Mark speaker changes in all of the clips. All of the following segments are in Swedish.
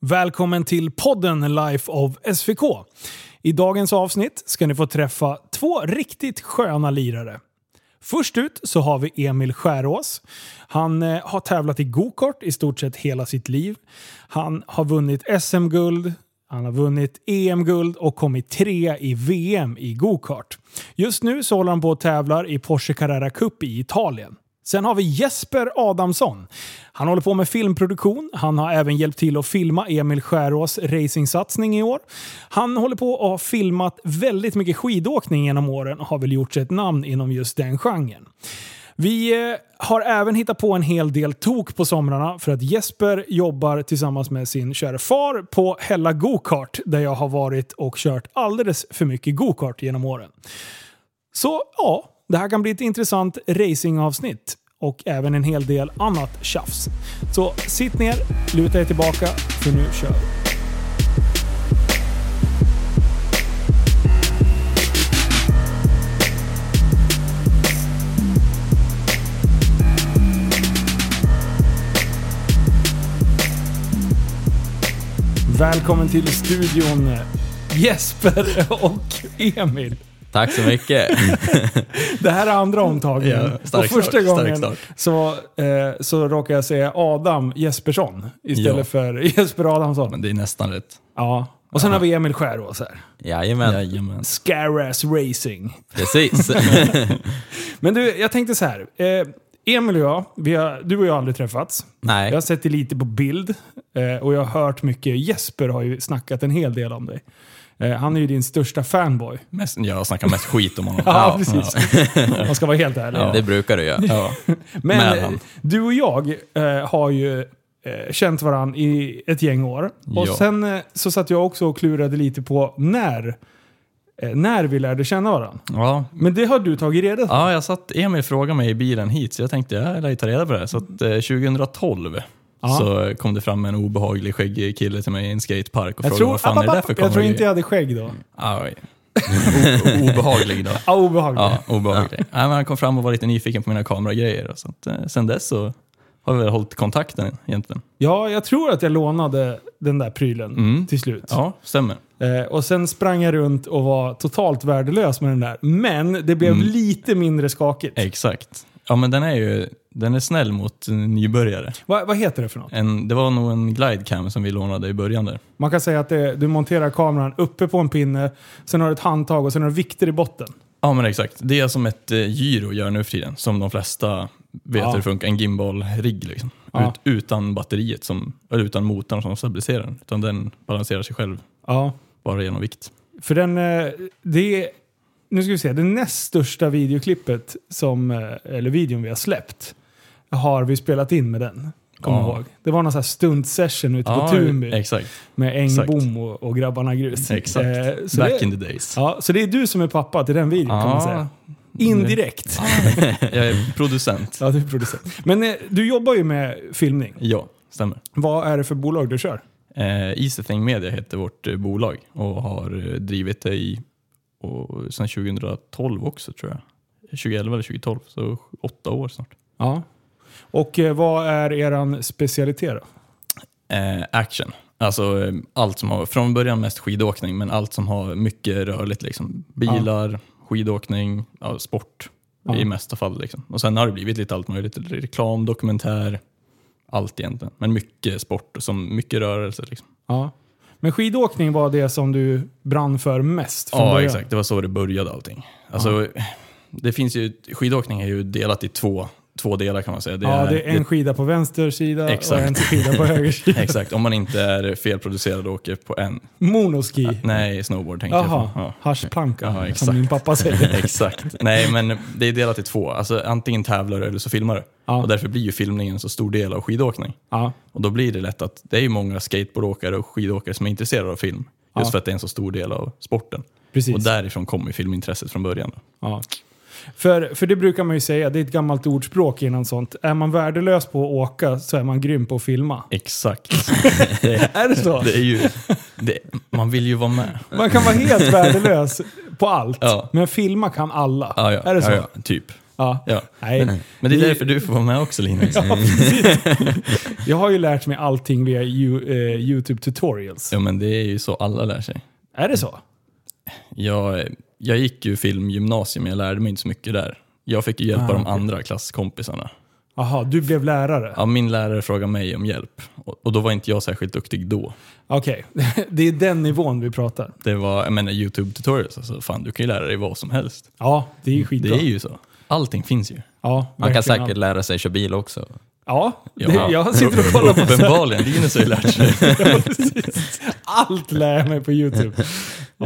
Speaker 1: Välkommen till podden Life of SVK. I dagens avsnitt ska ni få träffa två riktigt sköna lirare. Först ut så har vi Emil Skärås. Han eh, har tävlat i gokart i stort sett hela sitt liv. Han har vunnit SM-guld, han har vunnit EM-guld och kommit trea i VM i gokart. Just nu så håller han på och tävlar i Porsche Carrera Cup i Italien. Sen har vi Jesper Adamsson. Han håller på med filmproduktion. Han har även hjälpt till att filma Emil Skärås racingsatsning i år. Han håller på och har filmat väldigt mycket skidåkning genom åren och har väl gjort sig ett namn inom just den genren. Vi eh, har även hittat på en hel del tok på somrarna för att Jesper jobbar tillsammans med sin kära far på Hälla Gokart där jag har varit och kört alldeles för mycket gokart genom åren. Så ja, det här kan bli ett intressant racingavsnitt och även en hel del annat tjafs. Så sitt ner, luta er tillbaka, för nu kör vi. Välkommen till studion eh, Jesper och Emil.
Speaker 2: Tack så mycket.
Speaker 3: Mm,
Speaker 1: Det här är andra omtagningen.
Speaker 2: Ja, stark
Speaker 1: och första
Speaker 2: start, stark
Speaker 1: gången
Speaker 2: start.
Speaker 1: så, eh, så råkar jag säga Adam Jespersson istället
Speaker 2: Ja.
Speaker 1: för Jesper Adamsson.
Speaker 2: Men det är nästan rätt.
Speaker 1: Ja. Och sen har vi Emil Skärås här.
Speaker 2: Jajamän.
Speaker 1: Scaras Racing.
Speaker 2: Precis.
Speaker 1: Men du, jag tänkte så här. Eh, Emil och jag, vi har, du och jag har aldrig träffats.
Speaker 2: Nej,
Speaker 1: Jag har sett dig lite på bild eh, och jag har hört mycket. Jesper har ju snackat en hel del om dig. Eh, Han är ju din största fanboy.
Speaker 3: Mest, jag snackar mest skit om honom.
Speaker 1: Ja, precis. Man ska vara helt ärlig.
Speaker 2: det brukar du göra.
Speaker 3: Ja.
Speaker 1: Men
Speaker 3: Med
Speaker 1: eh,
Speaker 3: han.
Speaker 1: du och jag eh, har ju eh, känt varandra i ett gäng år. Och
Speaker 3: Ja.
Speaker 1: sen eh, så satt jag också och klurade lite på när, eh, när vi lärde känna varandra.
Speaker 3: Ja.
Speaker 1: Men det har du tagit reda på.
Speaker 3: ja, jag satt, Emil frågade mig i bilen hit så jag tänkte jag lär ju ta reda på det. här. Så att, eh, 2012
Speaker 1: Ja.
Speaker 3: så kom det fram en obehaglig skäggig kille till mig i en skatepark och
Speaker 1: Jag
Speaker 3: frågade
Speaker 1: tror,
Speaker 3: vad fan är det där för
Speaker 1: jag tror
Speaker 3: komedi?"
Speaker 1: inte jag hade skägg då.
Speaker 3: Aj. O- obehaglig då.
Speaker 1: Ah, obehagligt.
Speaker 3: Ja, obehaglig. Nej, men han kom fram och var lite nyfiken på mina kameragrejer. och Så att, eh, sen dess så har vi väl hållit kontakten egentligen.
Speaker 1: Ja, jag tror att jag lånade den där prylen
Speaker 3: Mm.
Speaker 1: till slut.
Speaker 3: Ja, stämmer.
Speaker 1: Eh, och sen sprang jag runt och var totalt värdelös med den där. Men det blev
Speaker 3: Mm.
Speaker 1: lite mindre skakigt.
Speaker 3: Exakt. Ja, men den är ju den är snäll mot eh, nybörjare.
Speaker 1: Va, vad heter det för något?
Speaker 3: En, det var nog en glidecam som vi lånade i början där.
Speaker 1: Man kan säga att det, du monterar kameran uppe på en pinne, sen har du ett handtag och sen har du vikter i botten.
Speaker 3: Ja men exakt. Det är som ett eh, gyro gör nu för tiden, som de flesta vet
Speaker 1: Ja.
Speaker 3: hur det funkar. En gimbal-rigg liksom.
Speaker 1: Ja.
Speaker 3: Ut, utan batteriet, som, eller utan motorn som stabiliserar den. Utan den balanserar sig själv
Speaker 1: Ja.
Speaker 3: bara genom vikt.
Speaker 1: För den, eh, det är, nu ska vi se, det näst största videoklippet som, eh, eller videon vi har släppt, har vi spelat in med den. Kommer
Speaker 3: Ja.
Speaker 1: jag ihåg. Det var någon sån här stuntsession ute på Tunby
Speaker 3: exakt.
Speaker 1: med
Speaker 3: exakt.
Speaker 1: Engbom och, och grabbarna Grus.
Speaker 3: Exakt.
Speaker 1: Eh, så,
Speaker 3: Back
Speaker 1: det,
Speaker 3: in Ah. the days.
Speaker 1: ja, så det är du som är pappa till den videon kan man säga. Indirekt.
Speaker 3: Ah. Jag är producent.
Speaker 1: Ja, du är producent. Men eh, du jobbar ju med filmning.
Speaker 3: Ja, stämmer.
Speaker 1: Vad är det för bolag du kör?
Speaker 3: Eh, Easything Media heter vårt eh, bolag och har eh, drivit det i, och, sedan 2012 också tror jag. 2011 eller 2012, så åtta år snart.
Speaker 1: Ja. Och eh, vad är eran specialitet då?
Speaker 3: eh, action. Alltså eh, allt som har, från början mest skidåkning, men allt som har mycket rörligt. Liksom. Bilar, skidåkning, ja, sport
Speaker 1: Ja.
Speaker 3: i mesta fall. Liksom. Och sen har det blivit lite allt möjligt. Reklam, dokumentär, allt egentligen. Men mycket sport, och som mycket rörelse. Liksom.
Speaker 1: Ja. Men skidåkning var det som du brann för mest från
Speaker 3: Ja,
Speaker 1: början?
Speaker 3: exakt. Det var så det började allting. Alltså, det finns ju, skidåkning är ju delat i två, två delar kan man säga. Det
Speaker 1: ja,
Speaker 3: är,
Speaker 1: det är en skida på vänster sida och
Speaker 3: Exakt.
Speaker 1: en skida på höger sida.
Speaker 3: Exakt, om man inte är felproducerad och åker på en...
Speaker 1: Monoski.
Speaker 3: Nej, snowboard tänkte
Speaker 1: Jaha,
Speaker 3: jag på. Ja.
Speaker 1: haschplanka
Speaker 3: Ja,
Speaker 1: som
Speaker 3: exakt.
Speaker 1: min pappa säger.
Speaker 3: Exakt. Nej, men det är delat i två. Alltså, antingen tävlar du eller så filmar du.
Speaker 1: Ja.
Speaker 3: Och därför blir ju filmningen en så stor del av skidåkning.
Speaker 1: Ja.
Speaker 3: Och då blir det lätt att det är ju många skateboardåkare och skidåkare som är intresserade av film. Just
Speaker 1: Ja.
Speaker 3: för att det är en så stor del av sporten.
Speaker 1: Precis.
Speaker 3: Och därifrån kommer ju filmintresset från början. Då.
Speaker 1: Ja. För, för det brukar man ju säga, det är ett gammalt ordspråk innan sånt. Är man värdelös på att åka så är man grym på att filma.
Speaker 3: Exakt.
Speaker 1: Är det så?
Speaker 3: Det är ju, det, man vill ju vara med.
Speaker 1: Man kan vara helt värdelös på allt,
Speaker 3: Ja.
Speaker 1: men filma kan alla.
Speaker 3: Ja, ja.
Speaker 1: Är det så?
Speaker 3: Ja, ja. Typ.
Speaker 1: Ja.
Speaker 3: Ja.
Speaker 1: Nej.
Speaker 3: Men det är
Speaker 1: Vi-
Speaker 3: därför du får vara med också Linus.
Speaker 1: Ja, precis. Jag har ju lärt mig allting via Ju- eh, YouTube tutorials.
Speaker 3: Ja, men det är ju så alla lär sig.
Speaker 1: Är det så?
Speaker 3: Jag, jag gick ju filmgymnasium, men jag lärde mig inte så mycket där. Jag fick ju hjälpa
Speaker 1: Ah,
Speaker 3: de
Speaker 1: okej.
Speaker 3: andra klasskompisarna.
Speaker 1: Jaha, du blev lärare?
Speaker 3: Ja, min lärare frågade mig om hjälp och, och då var inte jag särskilt duktig då.
Speaker 1: Okej, det är den nivån vi pratar.
Speaker 3: Det var, jag menar YouTube tutorials, alltså fan du kan ju lära dig vad som helst.
Speaker 1: Ja, det är ju
Speaker 3: Mm, Det
Speaker 1: skitbra.
Speaker 3: är ju så. Allting finns ju.
Speaker 1: ja,
Speaker 2: Man kan
Speaker 1: verkligen.
Speaker 2: säkert lära sig köra bil också.
Speaker 1: Ja, det,
Speaker 3: Ja.
Speaker 1: jag sitter och kollar på
Speaker 3: Uppenbarligen, Linus har ju lärt sig.
Speaker 1: allt lär jag mig på YouTube. Ja.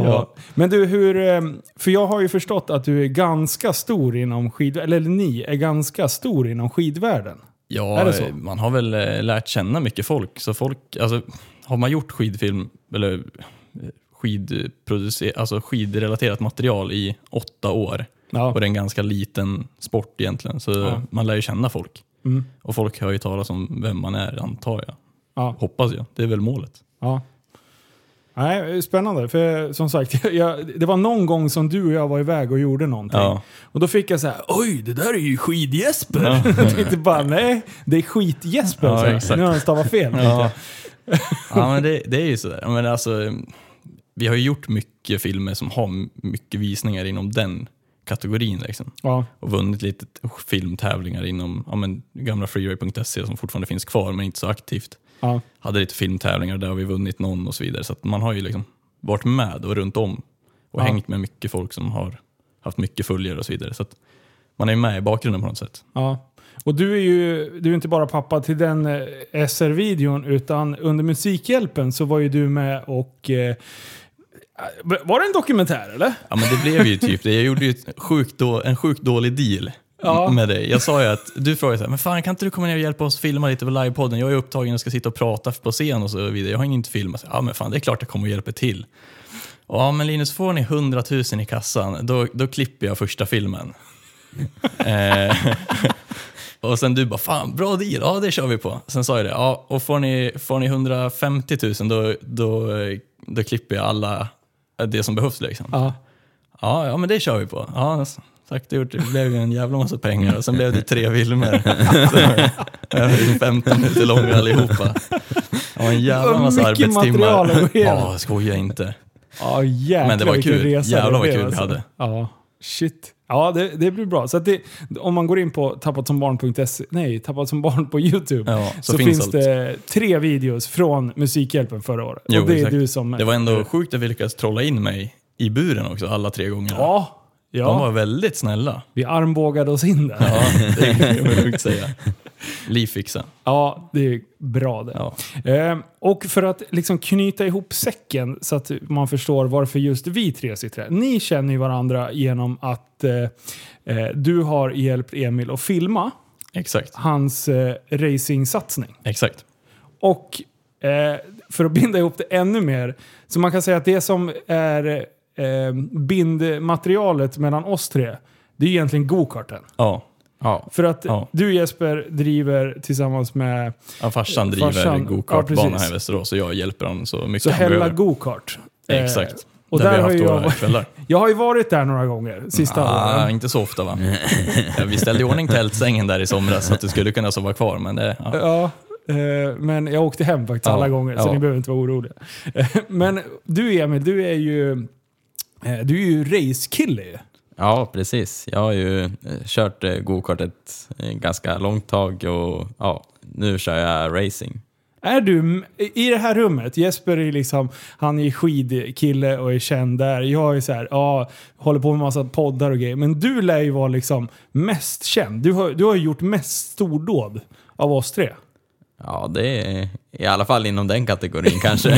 Speaker 3: Ja.
Speaker 1: Men du, hur... eh, För jag har ju förstått att du är ganska stor inom skid... Eller ni är ganska stor inom skidvärlden. Är
Speaker 3: Ja,
Speaker 1: det så?
Speaker 3: eh, man har väl eh, lärt känna mycket folk. Så folk alltså, har man gjort skidfilm, eller eh, skidproducer- alltså skidrelaterat material i åtta år,
Speaker 1: Ja.
Speaker 3: och det är en ganska liten sport egentligen, så
Speaker 1: Ja.
Speaker 3: man lär ju känna folk.
Speaker 1: Mm.
Speaker 3: Och folk hör ju talas om vem man är, antar jag.
Speaker 1: Ja.
Speaker 3: Hoppas jag. Det är väl målet.
Speaker 1: Ja. Nej, spännande. För som sagt, jag, det var någon gång som du och jag var iväg och gjorde någonting.
Speaker 3: Ja.
Speaker 1: Och då fick jag så här, oj, det där är ju skid-Jesper. jag tänkte bara, nej, det är skit-Jesper.
Speaker 3: Ja,
Speaker 1: Så här,
Speaker 3: exakt.
Speaker 1: nu har han stavat fel.
Speaker 3: Ja, ja men det, det är ju sådär. Men alltså, vi har ju gjort mycket filmer som har mycket visningar inom den kategorin. Liksom.
Speaker 1: Ja,
Speaker 3: och vunnit lite t- filmtävlingar inom ja, men, gamla freeway.se som fortfarande finns kvar men inte så aktivt.
Speaker 1: ja,
Speaker 3: Hade lite filmtävlingar där har vi vunnit någon och så vidare. Så att man har ju liksom varit med och runt om och
Speaker 1: Ja.
Speaker 3: hängt med mycket folk som har haft mycket följare och så vidare. Så att man är ju med i bakgrunden på något sätt.
Speaker 1: ja. Och du är ju du är inte bara pappa till den eh, SR-videon, utan under Musikhjälpen så var ju du med och... Eh, var det en dokumentär eller?
Speaker 3: Ja men det blev ju typ det. Jag gjorde ju ett sjukt då, en sjukt dålig deal
Speaker 1: Ja.
Speaker 3: med dig. Jag sa ju att, du frågade så här, men fan kan inte du komma ner och hjälpa oss filma lite på livepodden? Jag är upptagen och ska sitta och prata på scen och så vidare. Jag har ingen film. Jag sa, Ja men fan det är klart jag kommer och hjälper till. Och, ja men Linus, får ni 100 000 i kassan, då, då klipper jag första filmen. eh, och sen du bara, fan bra deal, ja det kör vi på. Sen sa jag det, ja och får ni, får ni 150 000 då, då, då klipper jag alla, det som behövs liksom.
Speaker 1: Ja.
Speaker 3: Ja, ja men det kör vi på. Ja, sagt och gjort. Det blev ju en jävla massa pengar och sen blev det tre filmer. Alltså, Så, eh, 15 minuter långa allihopa. Ja, en
Speaker 1: Det
Speaker 3: jävla
Speaker 1: var
Speaker 3: massa
Speaker 1: mycket material
Speaker 3: arbetstimmar.
Speaker 1: att gå igenom.
Speaker 3: Ja, skoja inte.
Speaker 1: Ja, jäklar
Speaker 3: Men det var
Speaker 1: vilken
Speaker 3: kul.
Speaker 1: resa
Speaker 3: Jävlar
Speaker 1: det alltså? blev,
Speaker 3: vad kul vi hade.
Speaker 1: Ja, shit. Ja, det, det blir bra. Så att det, om man går in på tappatsombarn.se, nej, tappat som barn på YouTube,
Speaker 3: Ja,
Speaker 1: så,
Speaker 3: så
Speaker 1: finns,
Speaker 3: finns
Speaker 1: det tre videos från Musikhjälpen förra året.
Speaker 3: Jo,
Speaker 1: och det är
Speaker 3: exakt.
Speaker 1: du som...
Speaker 3: Det var ändå sjukt att vi lyckades trolla in mig i buren också alla tre gånger.
Speaker 1: Ja,
Speaker 3: De var
Speaker 1: ja.
Speaker 3: väldigt snälla.
Speaker 1: vi armbågade oss in där. Ja,
Speaker 3: Ja, det kan man lugnt säga. Livfixen.
Speaker 1: det är bra det.
Speaker 3: Ja.
Speaker 1: Eh, och för att liksom knyta ihop säcken så att man förstår varför just vi tre sitter här. Ni känner ju varandra genom att eh, eh, du har hjälpt Emil att filma
Speaker 3: Exakt.
Speaker 1: hans eh, racingsatsning.
Speaker 3: Exakt.
Speaker 1: Och eh, för att binda ihop det ännu mer, så man kan säga att det som är eh, bindmaterialet mellan oss tre, det är egentligen gokarten.
Speaker 3: Ja.
Speaker 2: Ja.
Speaker 1: För att
Speaker 3: Ja.
Speaker 1: du Jesper driver tillsammans med
Speaker 3: Ja, farsan driver
Speaker 1: Farsan- ja,
Speaker 3: gokartbana
Speaker 1: precis.
Speaker 3: här i Västerås och jag hjälper honom så mycket
Speaker 1: Så
Speaker 3: han
Speaker 1: Hella
Speaker 3: behöver.
Speaker 1: Gokart. Eh,
Speaker 3: Exakt.
Speaker 1: och
Speaker 3: där,
Speaker 1: där
Speaker 3: vi
Speaker 1: har
Speaker 3: har haft
Speaker 1: ju jag
Speaker 3: våra
Speaker 1: varit-
Speaker 3: kvällar.
Speaker 1: Jag har ju varit där några gånger sista
Speaker 3: Ah,
Speaker 1: åren.
Speaker 3: inte så ofta va? Ja, vi ställde i ordning tältsängen där i somras så att du skulle kunna sova kvar. Men det, ja.
Speaker 1: Ja, eh, men jag åkte hem faktiskt
Speaker 3: Ja,
Speaker 1: alla gånger, så
Speaker 3: ja.
Speaker 1: ni behöver inte vara oroliga. Eh, men du Emil, du är ju, eh, du är ju racekille ju.
Speaker 2: ja, precis. Jag har ju eh, kört eh, gokart ett eh, ganska långt tag och ja, nu kör jag racing.
Speaker 1: Är du i det här rummet, Jesper är liksom, han är skidkille och är känd där. Jag är så här, ja, håller på med massa poddar och grejer. Men du lär ju vara liksom mest känd. Du har, du har ju gjort mest stordåd av oss tre.
Speaker 2: Ja, det är i alla fall inom den kategorin kanske.
Speaker 1: Ja,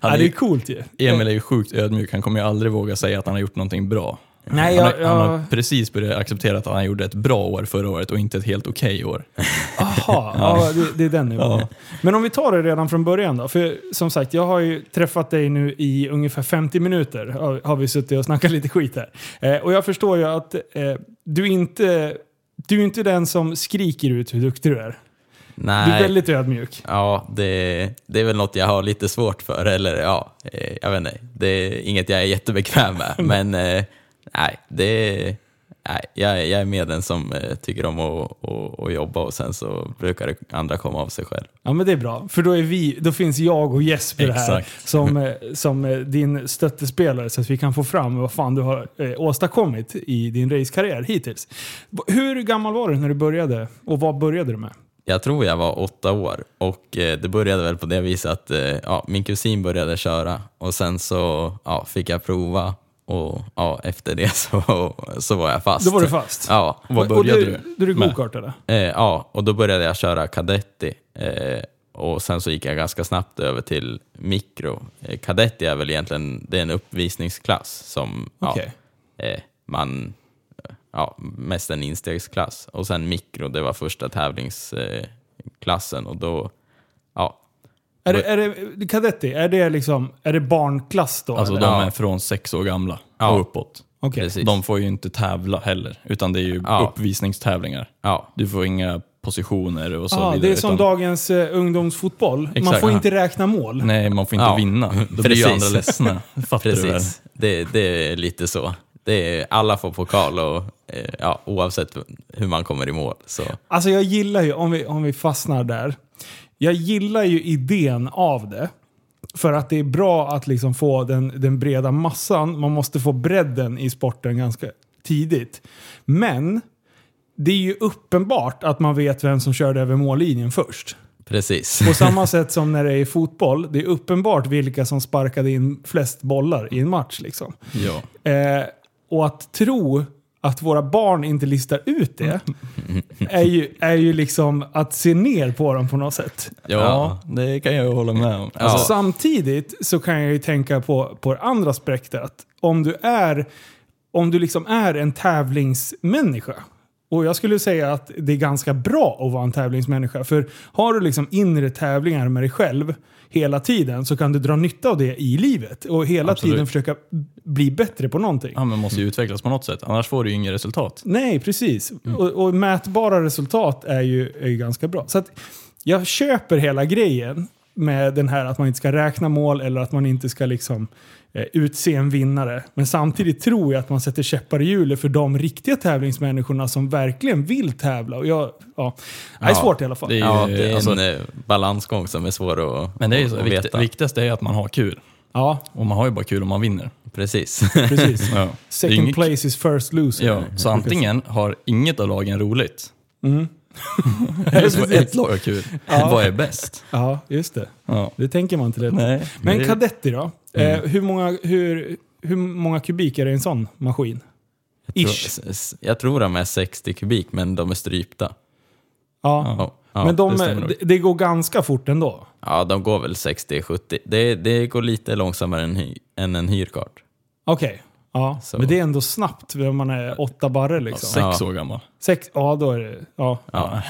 Speaker 3: Han
Speaker 1: det är
Speaker 3: är,
Speaker 1: coolt ju.
Speaker 3: Emil är ju sjukt ödmjuk. Han kommer ju aldrig våga säga att han har gjort någonting bra.
Speaker 1: Nej,
Speaker 3: han,
Speaker 1: jag,
Speaker 3: har, han
Speaker 1: jag,
Speaker 3: har precis börjat acceptera att han gjorde ett bra år förra året och inte ett helt okej år.
Speaker 1: Jaha, ja. det, det är den nivån. Men om vi tar det redan från början då. För som sagt, jag har ju träffat dig nu i ungefär 50 minuter. Har, har vi suttit och snackat lite skit här. Eh, och jag förstår ju att eh, du inte... Du är inte den som skriker ut hur duktig du är. Du är
Speaker 2: Nej.
Speaker 1: väldigt ödmjuk.
Speaker 2: Ja, det, det är väl något jag har lite svårt för, eller ja, eh, jag vet inte. Det är inget jag är jättebekväm med, men eh, nej, det, nej, jag, jag är med den som eh, tycker om att, att, att jobba och sen så brukar det andra komma av sig själv.
Speaker 1: Ja men det är bra, för då, är vi, då finns jag och Jesper här
Speaker 3: Exakt.
Speaker 1: som, eh, som eh, din stöttespelare så att vi kan få fram vad fan du har eh, åstadkommit i din racekarriär hittills. B- Hur gammal var du när du började och vad började du med?
Speaker 2: Jag tror jag var åtta år och eh, det började väl på det viset att eh, ja, min kusin började köra och sen så ja, fick jag prova och ja, efter det så, så var jag fast.
Speaker 1: Då var du fast?
Speaker 2: Ja,
Speaker 3: Vad
Speaker 1: och du?
Speaker 3: började du,
Speaker 1: Då du
Speaker 3: med?
Speaker 1: gokartade?
Speaker 2: eh, ja, och då började jag köra kadetti eh, och sen så gick jag ganska snabbt över till mikro. Eh, kadetti är väl egentligen det är en uppvisningsklass som
Speaker 1: Okej.
Speaker 2: ja, eh, man ja, mest en instegsklass. Och sen mikro, det var första tävlingsklassen. Eh, klassen. och då, ja,
Speaker 1: Är, det, är det kadetti? Är det, liksom, är det barnklass då?
Speaker 3: Alltså
Speaker 1: eller?
Speaker 3: de
Speaker 2: Ja.
Speaker 3: är från sex år gamla
Speaker 2: Ja.
Speaker 3: och uppåt.
Speaker 1: Okej.
Speaker 2: precis.
Speaker 3: De får ju inte tävla heller, utan det är ju
Speaker 2: Ja.
Speaker 3: uppvisningstävlingar.
Speaker 2: Ja,
Speaker 3: Du får inga positioner och så
Speaker 1: Ah,
Speaker 3: vidare.
Speaker 1: det är som
Speaker 3: utan-
Speaker 1: dagens eh, ungdomsfotboll. Man
Speaker 3: Exakt,
Speaker 1: får
Speaker 3: ja.
Speaker 1: inte räkna mål.
Speaker 3: Nej, man får inte
Speaker 2: Ja.
Speaker 3: vinna. Då blir ju
Speaker 2: Precis.
Speaker 3: andra ledsna. Fattar du väl?
Speaker 2: precis. Det, det är lite så. Det är, alla får pokal och eh, ja, oavsett hur man kommer i mål. Så,
Speaker 1: Alltså jag gillar ju, om vi, om vi fastnar där. Jag gillar ju idén av det. För att det är bra att liksom få den, den breda massan. Man måste få bredden i sporten ganska tidigt. Men det är ju uppenbart att man vet vem som körde över mållinjen först.
Speaker 2: precis.
Speaker 1: På samma sätt som när det är fotboll. Det är uppenbart vilka som sparkade in flest bollar i en match. Liksom.
Speaker 3: Ja.
Speaker 1: Eh, och att tro att våra barn inte listar ut det är ju, är ju liksom att se ner på dem på något sätt.
Speaker 3: Ja,
Speaker 2: Ja.
Speaker 3: det kan jag ju hålla med om.
Speaker 2: Ja.
Speaker 3: Alltså,
Speaker 1: Samtidigt så kan jag ju tänka på, på det andra spektrat. Om du är, om du liksom är en tävlingsmänniska. Och jag skulle säga att det är ganska bra att vara en tävlingsmänniska. För har du liksom inre tävlingar med dig själv hela tiden så kan du dra nytta av det i livet. Och hela
Speaker 3: Absolut.
Speaker 1: tiden försöka bli bättre på någonting.
Speaker 3: ja, men måste ju utvecklas på något sätt, annars får du ju inga resultat.
Speaker 1: Nej, precis.
Speaker 3: Mm.
Speaker 1: Och, och mätbara resultat är ju, är ju ganska bra. Så att jag köper hela grejen med den här att man inte ska räkna mål eller att man inte ska liksom, eh, utse en vinnare. Men samtidigt tror jag att man sätter käppar i hjulet för de riktiga tävlingsmänniskorna som verkligen vill tävla. Och jag, ja, det är
Speaker 2: Ja,
Speaker 1: svårt i alla fall.
Speaker 3: Det är ju,
Speaker 2: Ja, det är
Speaker 3: alltså,
Speaker 2: en eh, balansgång som är svår att,
Speaker 3: men det är ju
Speaker 2: att,
Speaker 3: så,
Speaker 2: att
Speaker 3: vikt,
Speaker 2: veta.
Speaker 3: viktigast är ju att man har kul.
Speaker 1: Ja,
Speaker 3: Och man har ju bara kul om man vinner.
Speaker 2: Precis.
Speaker 1: precis.
Speaker 3: Ja. Det är ju
Speaker 1: Second
Speaker 3: inget-
Speaker 1: place is first loser.
Speaker 3: Ja, så antingen har inget av lagen roligt, eller så har
Speaker 1: precis.
Speaker 3: ett lag har kul.
Speaker 1: Mm. Ja.
Speaker 3: Vad är bäst?
Speaker 1: Ja, just det.
Speaker 3: Ja.
Speaker 1: Det tänker man inte lätt på.
Speaker 3: Nej,
Speaker 1: Men
Speaker 3: det-
Speaker 1: Kadetti då? Eh, hur, många, hur, hur många kubik är det i en sån maskin? Ish.
Speaker 2: Tror- s- Jag tror de är 60 kubik, men de är strypta.
Speaker 1: Ja.
Speaker 2: Ja, ja,
Speaker 1: Men de,
Speaker 3: det stämmer nog.
Speaker 1: det, det går ganska fort ändå.
Speaker 2: Ja, de går väl 60-70. Det, det går lite långsammare än, hy, än en hyrkart.
Speaker 1: Okej. Ja,
Speaker 2: Så.
Speaker 1: men det är ändå snabbt när man är åtta barre liksom.
Speaker 3: Sex
Speaker 1: Ja,
Speaker 2: Ja.
Speaker 3: år gammal.
Speaker 1: Sex, ja då är det... Ja.
Speaker 2: Ja.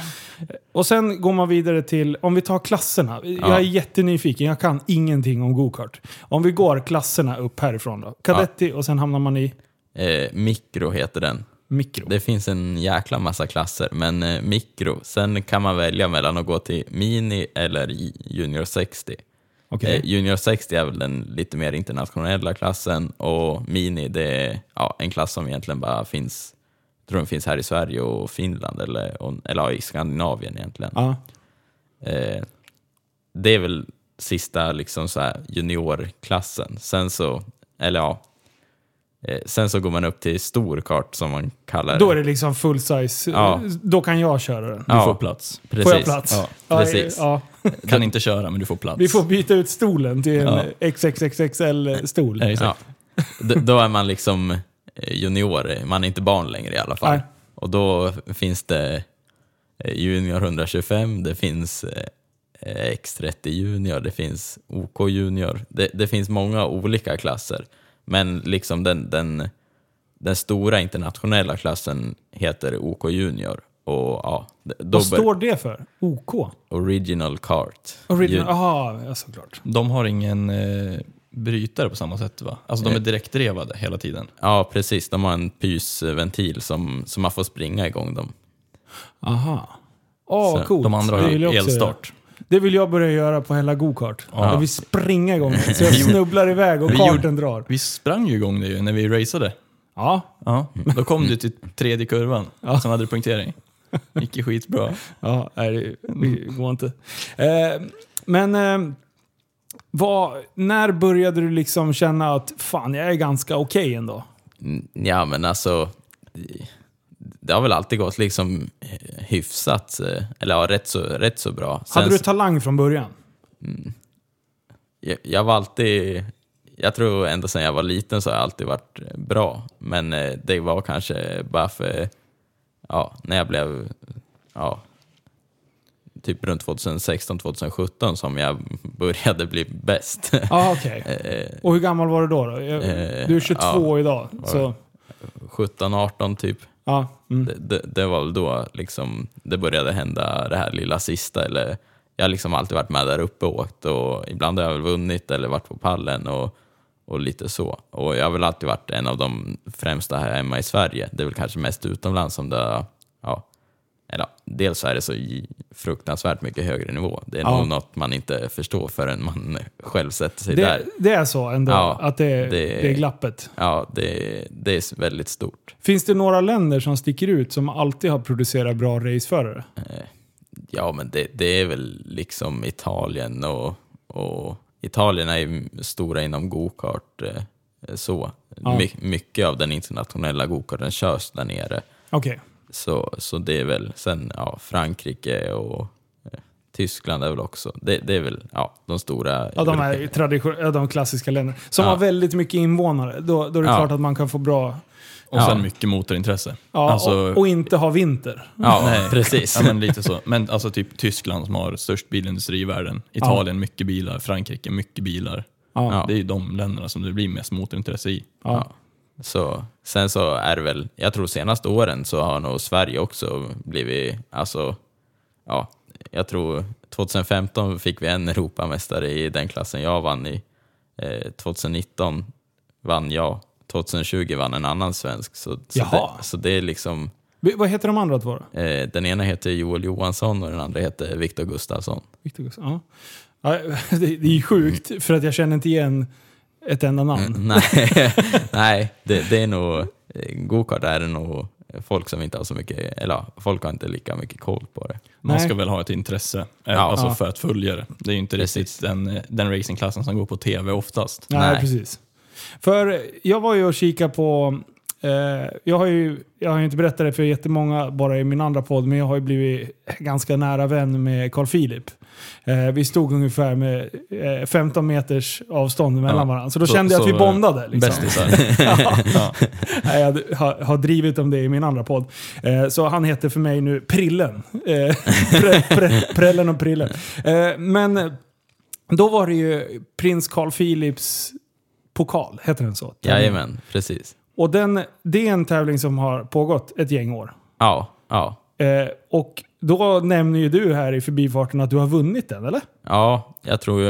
Speaker 1: Och sen går man vidare till, om vi tar klasserna. Jag är jättenyfiken, jag kan ingenting om gokart. Om vi går klasserna upp härifrån då. Kadetti och sen hamnar man i
Speaker 2: Eh, mikro heter den.
Speaker 1: mikro.
Speaker 2: Det finns en jäkla massa klasser, men eh, mikro. Sen kan man välja mellan att gå till mini eller i- junior 60.
Speaker 1: Okej.
Speaker 2: Eh, junior 60 är väl den lite mer internationella klassen och mini det är ja, en klass som egentligen bara finns, jag tror den finns här i Sverige och Finland eller, och, eller ja, i Skandinavien egentligen.
Speaker 1: Ja.
Speaker 2: Eh, det är väl sista liksom så här juniorklassen. Sen så, eller ja, eh, sen så går man upp till stor kart som man kallar
Speaker 1: Då är det liksom full size.
Speaker 2: Ja.
Speaker 1: Då kan jag köra den.
Speaker 3: Du
Speaker 2: Ja.
Speaker 3: får plats.
Speaker 2: Precis.
Speaker 1: Får jag plats?
Speaker 3: Ja,
Speaker 1: Ja,
Speaker 2: precis.
Speaker 1: Ja,
Speaker 3: Kan inte köra, men du får plats.
Speaker 1: Vi får byta ut stolen till en
Speaker 3: Ja.
Speaker 1: XXXXL-stol.
Speaker 3: Ja, exakt.
Speaker 2: Ja. D- då är man liksom eh, junior, man är inte barn längre i alla fall.
Speaker 1: Nej.
Speaker 2: Och då finns det eh, junior 125, det finns eh, eh, X30 junior, det finns OK junior. Det, det finns många olika klasser. Men liksom den, den, den stora internationella klassen heter OK junior. Och ja, d- då
Speaker 1: Vad
Speaker 2: bör-
Speaker 1: står det för? OK?
Speaker 2: Original Kart.
Speaker 1: Original?
Speaker 2: Jun-
Speaker 1: Jaha, ja, såklart.
Speaker 3: De har ingen eh, brytare på samma sätt va? Alltså
Speaker 2: Eh.
Speaker 3: de är direktdrevade hela tiden.
Speaker 2: Ja, precis. De har en pysventil som, som man får springa igång dem.
Speaker 1: Aha. Åh,
Speaker 2: Så,
Speaker 1: coolt.
Speaker 3: De andra
Speaker 1: Det
Speaker 3: har
Speaker 1: vill jag
Speaker 3: ju
Speaker 1: också göra.
Speaker 3: elstart.
Speaker 1: Det vill jag börja göra på hela gokart. Jag vill springa igång den, så jag snubblar iväg och
Speaker 3: Vi gjorde-
Speaker 1: karten drar.
Speaker 3: Vi sprang ju igång det ju när vi raceade.
Speaker 1: Ja,
Speaker 3: Ja.
Speaker 2: Mm.
Speaker 3: Då kom du till tredje kurvan, som hade du punktering. gick ju skitbra.
Speaker 1: Ja, nej, det det går inte. Eh, men eh, vad, när började du liksom känna att fan, jag är ganska okej ändå?
Speaker 2: Mm, Ja, men alltså... Det har väl alltid gått liksom hyfsat, eh, eller ja, rätt så, rätt så bra. Sen
Speaker 1: Hade du
Speaker 2: så-
Speaker 1: talang från början?
Speaker 2: jag, jag var alltid... Jag tror ända sedan jag var liten så har jag alltid varit bra. Men eh, det var kanske bara för... Ja, när jag blev... Ja, typ runt 2016, 2017 som jag började bli bäst.
Speaker 1: Ja, okej. Och hur gammal var du då? då? Jag,
Speaker 2: Eh,
Speaker 1: du är 22
Speaker 2: ja.
Speaker 1: idag. Så,
Speaker 2: 17, 18 typ.
Speaker 1: ja, mm.
Speaker 2: Det, det, det var väl då liksom det började hända det här lilla sista. Eller, jag har liksom alltid varit med där uppe och åkt och ibland har jag väl vunnit eller varit på pallen och, och lite så. Och jag har väl alltid varit en av de främsta här hemma i Sverige. Det är väl kanske mest utomlands som det ja, eller, ja, dels så är det så i- fruktansvärt mycket högre nivå. Det är
Speaker 1: Ja.
Speaker 2: nog något man inte förstår förrän man själv sätter sig
Speaker 1: Det,
Speaker 2: där.
Speaker 1: det är så ändå,
Speaker 2: Ja,
Speaker 1: att det, det...
Speaker 2: det-
Speaker 1: är glappet.
Speaker 2: Ja, det, det är väldigt stort.
Speaker 1: Finns det några länder som sticker ut som alltid har producerat bra raceförare?
Speaker 2: Ja, men det, det är väl liksom Italien och, och Italien är ju stora inom gokart. Eh, så.
Speaker 1: Ja.
Speaker 2: My, mycket av den internationella gokarten körs där nere.
Speaker 1: Okej.
Speaker 2: Så, så det är väl, sen ja, Frankrike och eh, Tyskland är väl också, det, det är väl ja, de stora.
Speaker 1: Ja, de, här tradition- ja, de klassiska länderna. Som
Speaker 2: Ja.
Speaker 1: har väldigt mycket invånare. Då, då är det
Speaker 2: Ja.
Speaker 1: klart att man kan få bra...
Speaker 3: Och
Speaker 2: Ja.
Speaker 3: sen mycket motorintresse.
Speaker 1: Ja,
Speaker 3: Alltså-
Speaker 1: och, och inte ha vinter.
Speaker 2: Ja,
Speaker 3: Nej.
Speaker 2: precis.
Speaker 3: Ja, men lite så. Men alltså typ Tyskland som har störst bilindustri i världen. Italien, mycket bilar. Frankrike, mycket bilar.
Speaker 1: Ja.
Speaker 2: Ja.
Speaker 3: Det är ju de länderna som det blir mest motorintresse i.
Speaker 1: Ja.
Speaker 2: Ja. Så, sen så är det väl, jag tror senaste åren så har nog Sverige också blivit, alltså, ja, jag tror 2015 fick vi en Europamästare i den klassen jag vann i. Eh, 2019 vann jag, 2020 vann en annan svensk. Så, så,
Speaker 1: Jaha.
Speaker 2: det, så det är liksom,
Speaker 1: Vi- Vad heter de andra två då?
Speaker 2: eh, den ena heter Joel Johansson och den andra heter Viktor Gustafsson.
Speaker 1: Victor Gustafsson? Ja. Ja, det, det är ju sjukt, för att jag känner inte igen ett enda
Speaker 2: Mm.
Speaker 1: namn.
Speaker 2: Nej, nej det, det är nog, eh, gokart är det nog folk som inte har så mycket, eller ja, folk har inte lika mycket koll på det.
Speaker 3: Man
Speaker 1: Nej.
Speaker 3: ska väl ha ett intresse eh, alltså
Speaker 1: Ja.
Speaker 3: för att följa det. Det är ju inte riktigt den, eh, den racingklassen som går på tv oftast.
Speaker 1: Nej,
Speaker 2: Nej.
Speaker 1: precis. För jag var ju och kikade på... Eh, jag har ju jag har ju inte berättat det för jättemånga bara i min andra podd, men jag har ju blivit ganska nära vän med Carl Philip. Eh, vi stod ungefär med eh, 15 meters avstånd mellan
Speaker 3: Ja.
Speaker 1: varandra, så då
Speaker 3: Så-
Speaker 1: kände jag att
Speaker 3: så,
Speaker 1: vi
Speaker 3: eh,
Speaker 1: bondade. Liksom.
Speaker 3: Bästisar. ja.
Speaker 1: Nej, jag har, har drivit om det i min andra podd. Eh, så han heter för mig nu Prillen. Eh, pre, pre, prällen och Prillen. Eh, men då var det ju prins Carl Philips pokal, heter den så?
Speaker 2: Jajamän, precis.
Speaker 1: Och den, det är en tävling som har pågått ett gäng år.
Speaker 2: Ja, ja,
Speaker 1: Eh, och då nämner ju du här i förbifarten att du har vunnit den, eller?
Speaker 2: ja, jag tror ju,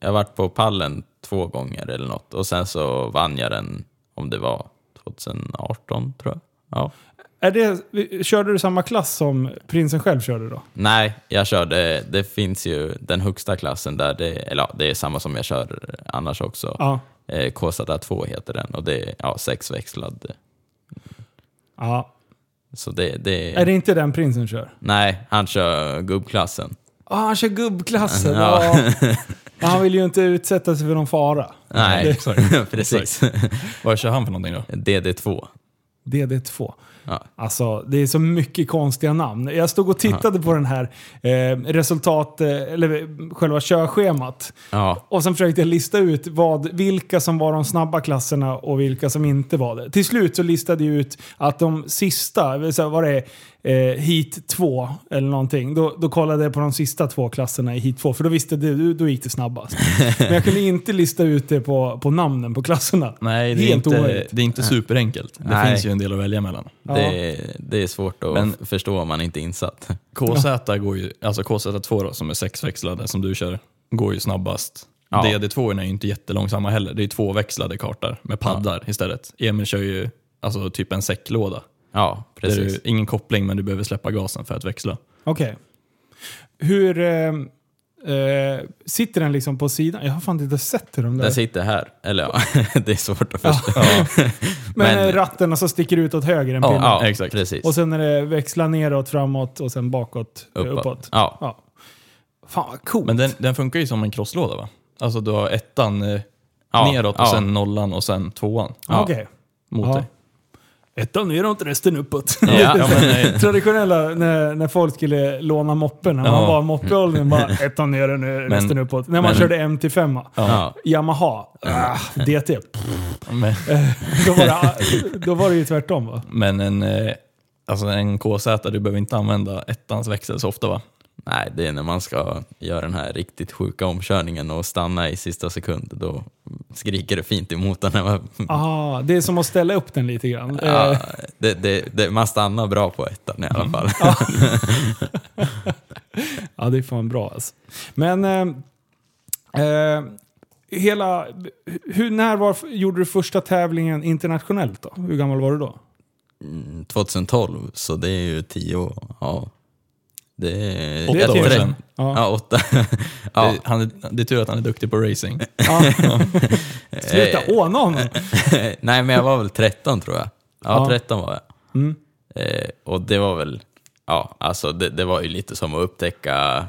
Speaker 2: jag har varit på pallen två gånger eller något och sen så vann jag den, om det var 2018 tror jag. Ja.
Speaker 1: Är det, körde du samma klass som prinsen själv körde då?
Speaker 2: Nej, jag körde, det finns ju den högsta klassen där, det, eller ja, det är samma som jag kör annars också.
Speaker 1: Ja.
Speaker 2: Eh, KZA2 heter den och det är ja, sexväxlad. eh,
Speaker 1: ja.
Speaker 2: Så det, det,
Speaker 1: Är det inte den prinsen kör?
Speaker 2: Nej, han kör gubbklassen.
Speaker 1: Ah, han kör gubbklassen.
Speaker 2: Ja.
Speaker 1: Ja. Men han vill ju inte utsätta sig för någon fara.
Speaker 2: Nej,
Speaker 3: exakt.
Speaker 2: precis.
Speaker 3: Vad kör han för någonting då?
Speaker 2: DD2.
Speaker 1: DD2.
Speaker 2: Ja.
Speaker 1: Alltså, det är så mycket konstiga namn. Jag stod och tittade på den här eh, resultat, eh, eller själva körschemat.
Speaker 2: Ja,
Speaker 1: Och sen försökte jag lista ut vad, vilka som var de snabba klasserna och vilka som inte var det. Till slut så listade jag ut att de sista, så här, var det eh, hit 2 eller någonting, då, då kollade jag på de sista två klasserna i hit 2 för då visste du, då gick det snabbast. Men jag kunde inte lista ut det på, på namnen på klasserna.
Speaker 3: Nej, det är,
Speaker 1: Helt
Speaker 3: inte,
Speaker 1: omöjligt.
Speaker 3: det är inte superenkelt. Det
Speaker 2: Nej.
Speaker 3: finns ju en del att välja mellan.
Speaker 2: det, det är svårt att
Speaker 3: Men-
Speaker 2: f- förstå om man inte är insatt.
Speaker 3: KZ går ju, alltså KZ2 då, som är sexväxlade som du kör, går ju snabbast.
Speaker 2: Ja.
Speaker 3: DD2 är ju inte jättelångsamma heller. Det är tvåväxlade kartor med paddar istället. Emil kör ju alltså, typ en säcklåda.
Speaker 2: Ja,
Speaker 3: Där
Speaker 2: precis.
Speaker 3: du, ingen koppling men du behöver släppa gasen för att växla.
Speaker 1: Okej. Hur... Eh, eh, sitter den liksom på sidan? Jag har fan inte sett hur de där...
Speaker 2: Den sitter här. Eller ja, det är svårt att förstå.
Speaker 1: Men,
Speaker 2: Men-
Speaker 1: eh, ratten och så sticker ut åt höger en pinne.
Speaker 2: Ja,
Speaker 3: exakt.
Speaker 2: precis.
Speaker 1: Och sen är det växla neråt, framåt och sen bakåt, eh, uppåt.
Speaker 2: Ja.
Speaker 1: Ja. Fan vad coolt.
Speaker 3: Men den, den funkar ju som en crosslåda va? Alltså du har ettan eh,
Speaker 2: Ja,
Speaker 3: neråt och
Speaker 2: ja.
Speaker 3: sen nollan och sen tvåan
Speaker 2: ja.
Speaker 1: Okej.
Speaker 3: mot
Speaker 1: Ja.
Speaker 3: dig.
Speaker 1: Ettan neråt, resten uppåt.
Speaker 2: Ja,
Speaker 3: Ja, men, eh,
Speaker 1: Traditionella när, när folk skulle låna moppen, när man
Speaker 3: Ja.
Speaker 1: var i moppeåldern, bara ettan ner och nu, resten
Speaker 3: Men-
Speaker 1: uppåt. När man
Speaker 2: men-
Speaker 1: körde M till 5
Speaker 2: ja.
Speaker 1: Yamaha, ah, DT. Pff,
Speaker 3: men,
Speaker 1: Då var, det, då var det ju tvärtom va?
Speaker 3: men en, eh, alltså en KZ, du behöver inte använda ettans växel så ofta va?
Speaker 2: Nej, det är när man ska göra den här riktigt sjuka omkörningen och stanna i sista sekund. Då skriker det fint i motorn. när man-
Speaker 1: Ah, det är som att ställa upp den lite grann.
Speaker 2: Ja,
Speaker 1: Eh,
Speaker 2: det, det, det, man stannar bra på ettan i alla fall.
Speaker 1: Ja, det är fan bra alltså. Men... Eh, eh, hela... Hur, när var, gjorde du första tävlingen internationellt då? Hur gammal var du då?
Speaker 2: Mm, 2012, så det är ju tio ja. Det är
Speaker 3: Åtta
Speaker 2: jag
Speaker 3: år
Speaker 2: tror-
Speaker 3: sedan.
Speaker 2: Ja, åtta. ja,
Speaker 3: Det, han, är- det är tur att han är duktig på racing.
Speaker 1: Ja. Sluta åna honom!
Speaker 2: eh, Nej, men jag var väl 13 tror jag. Ja,
Speaker 1: Ja.
Speaker 2: 13 var jag.
Speaker 1: Mm.
Speaker 2: Eh, och det var väl, ja, alltså det, det var ju lite som att upptäcka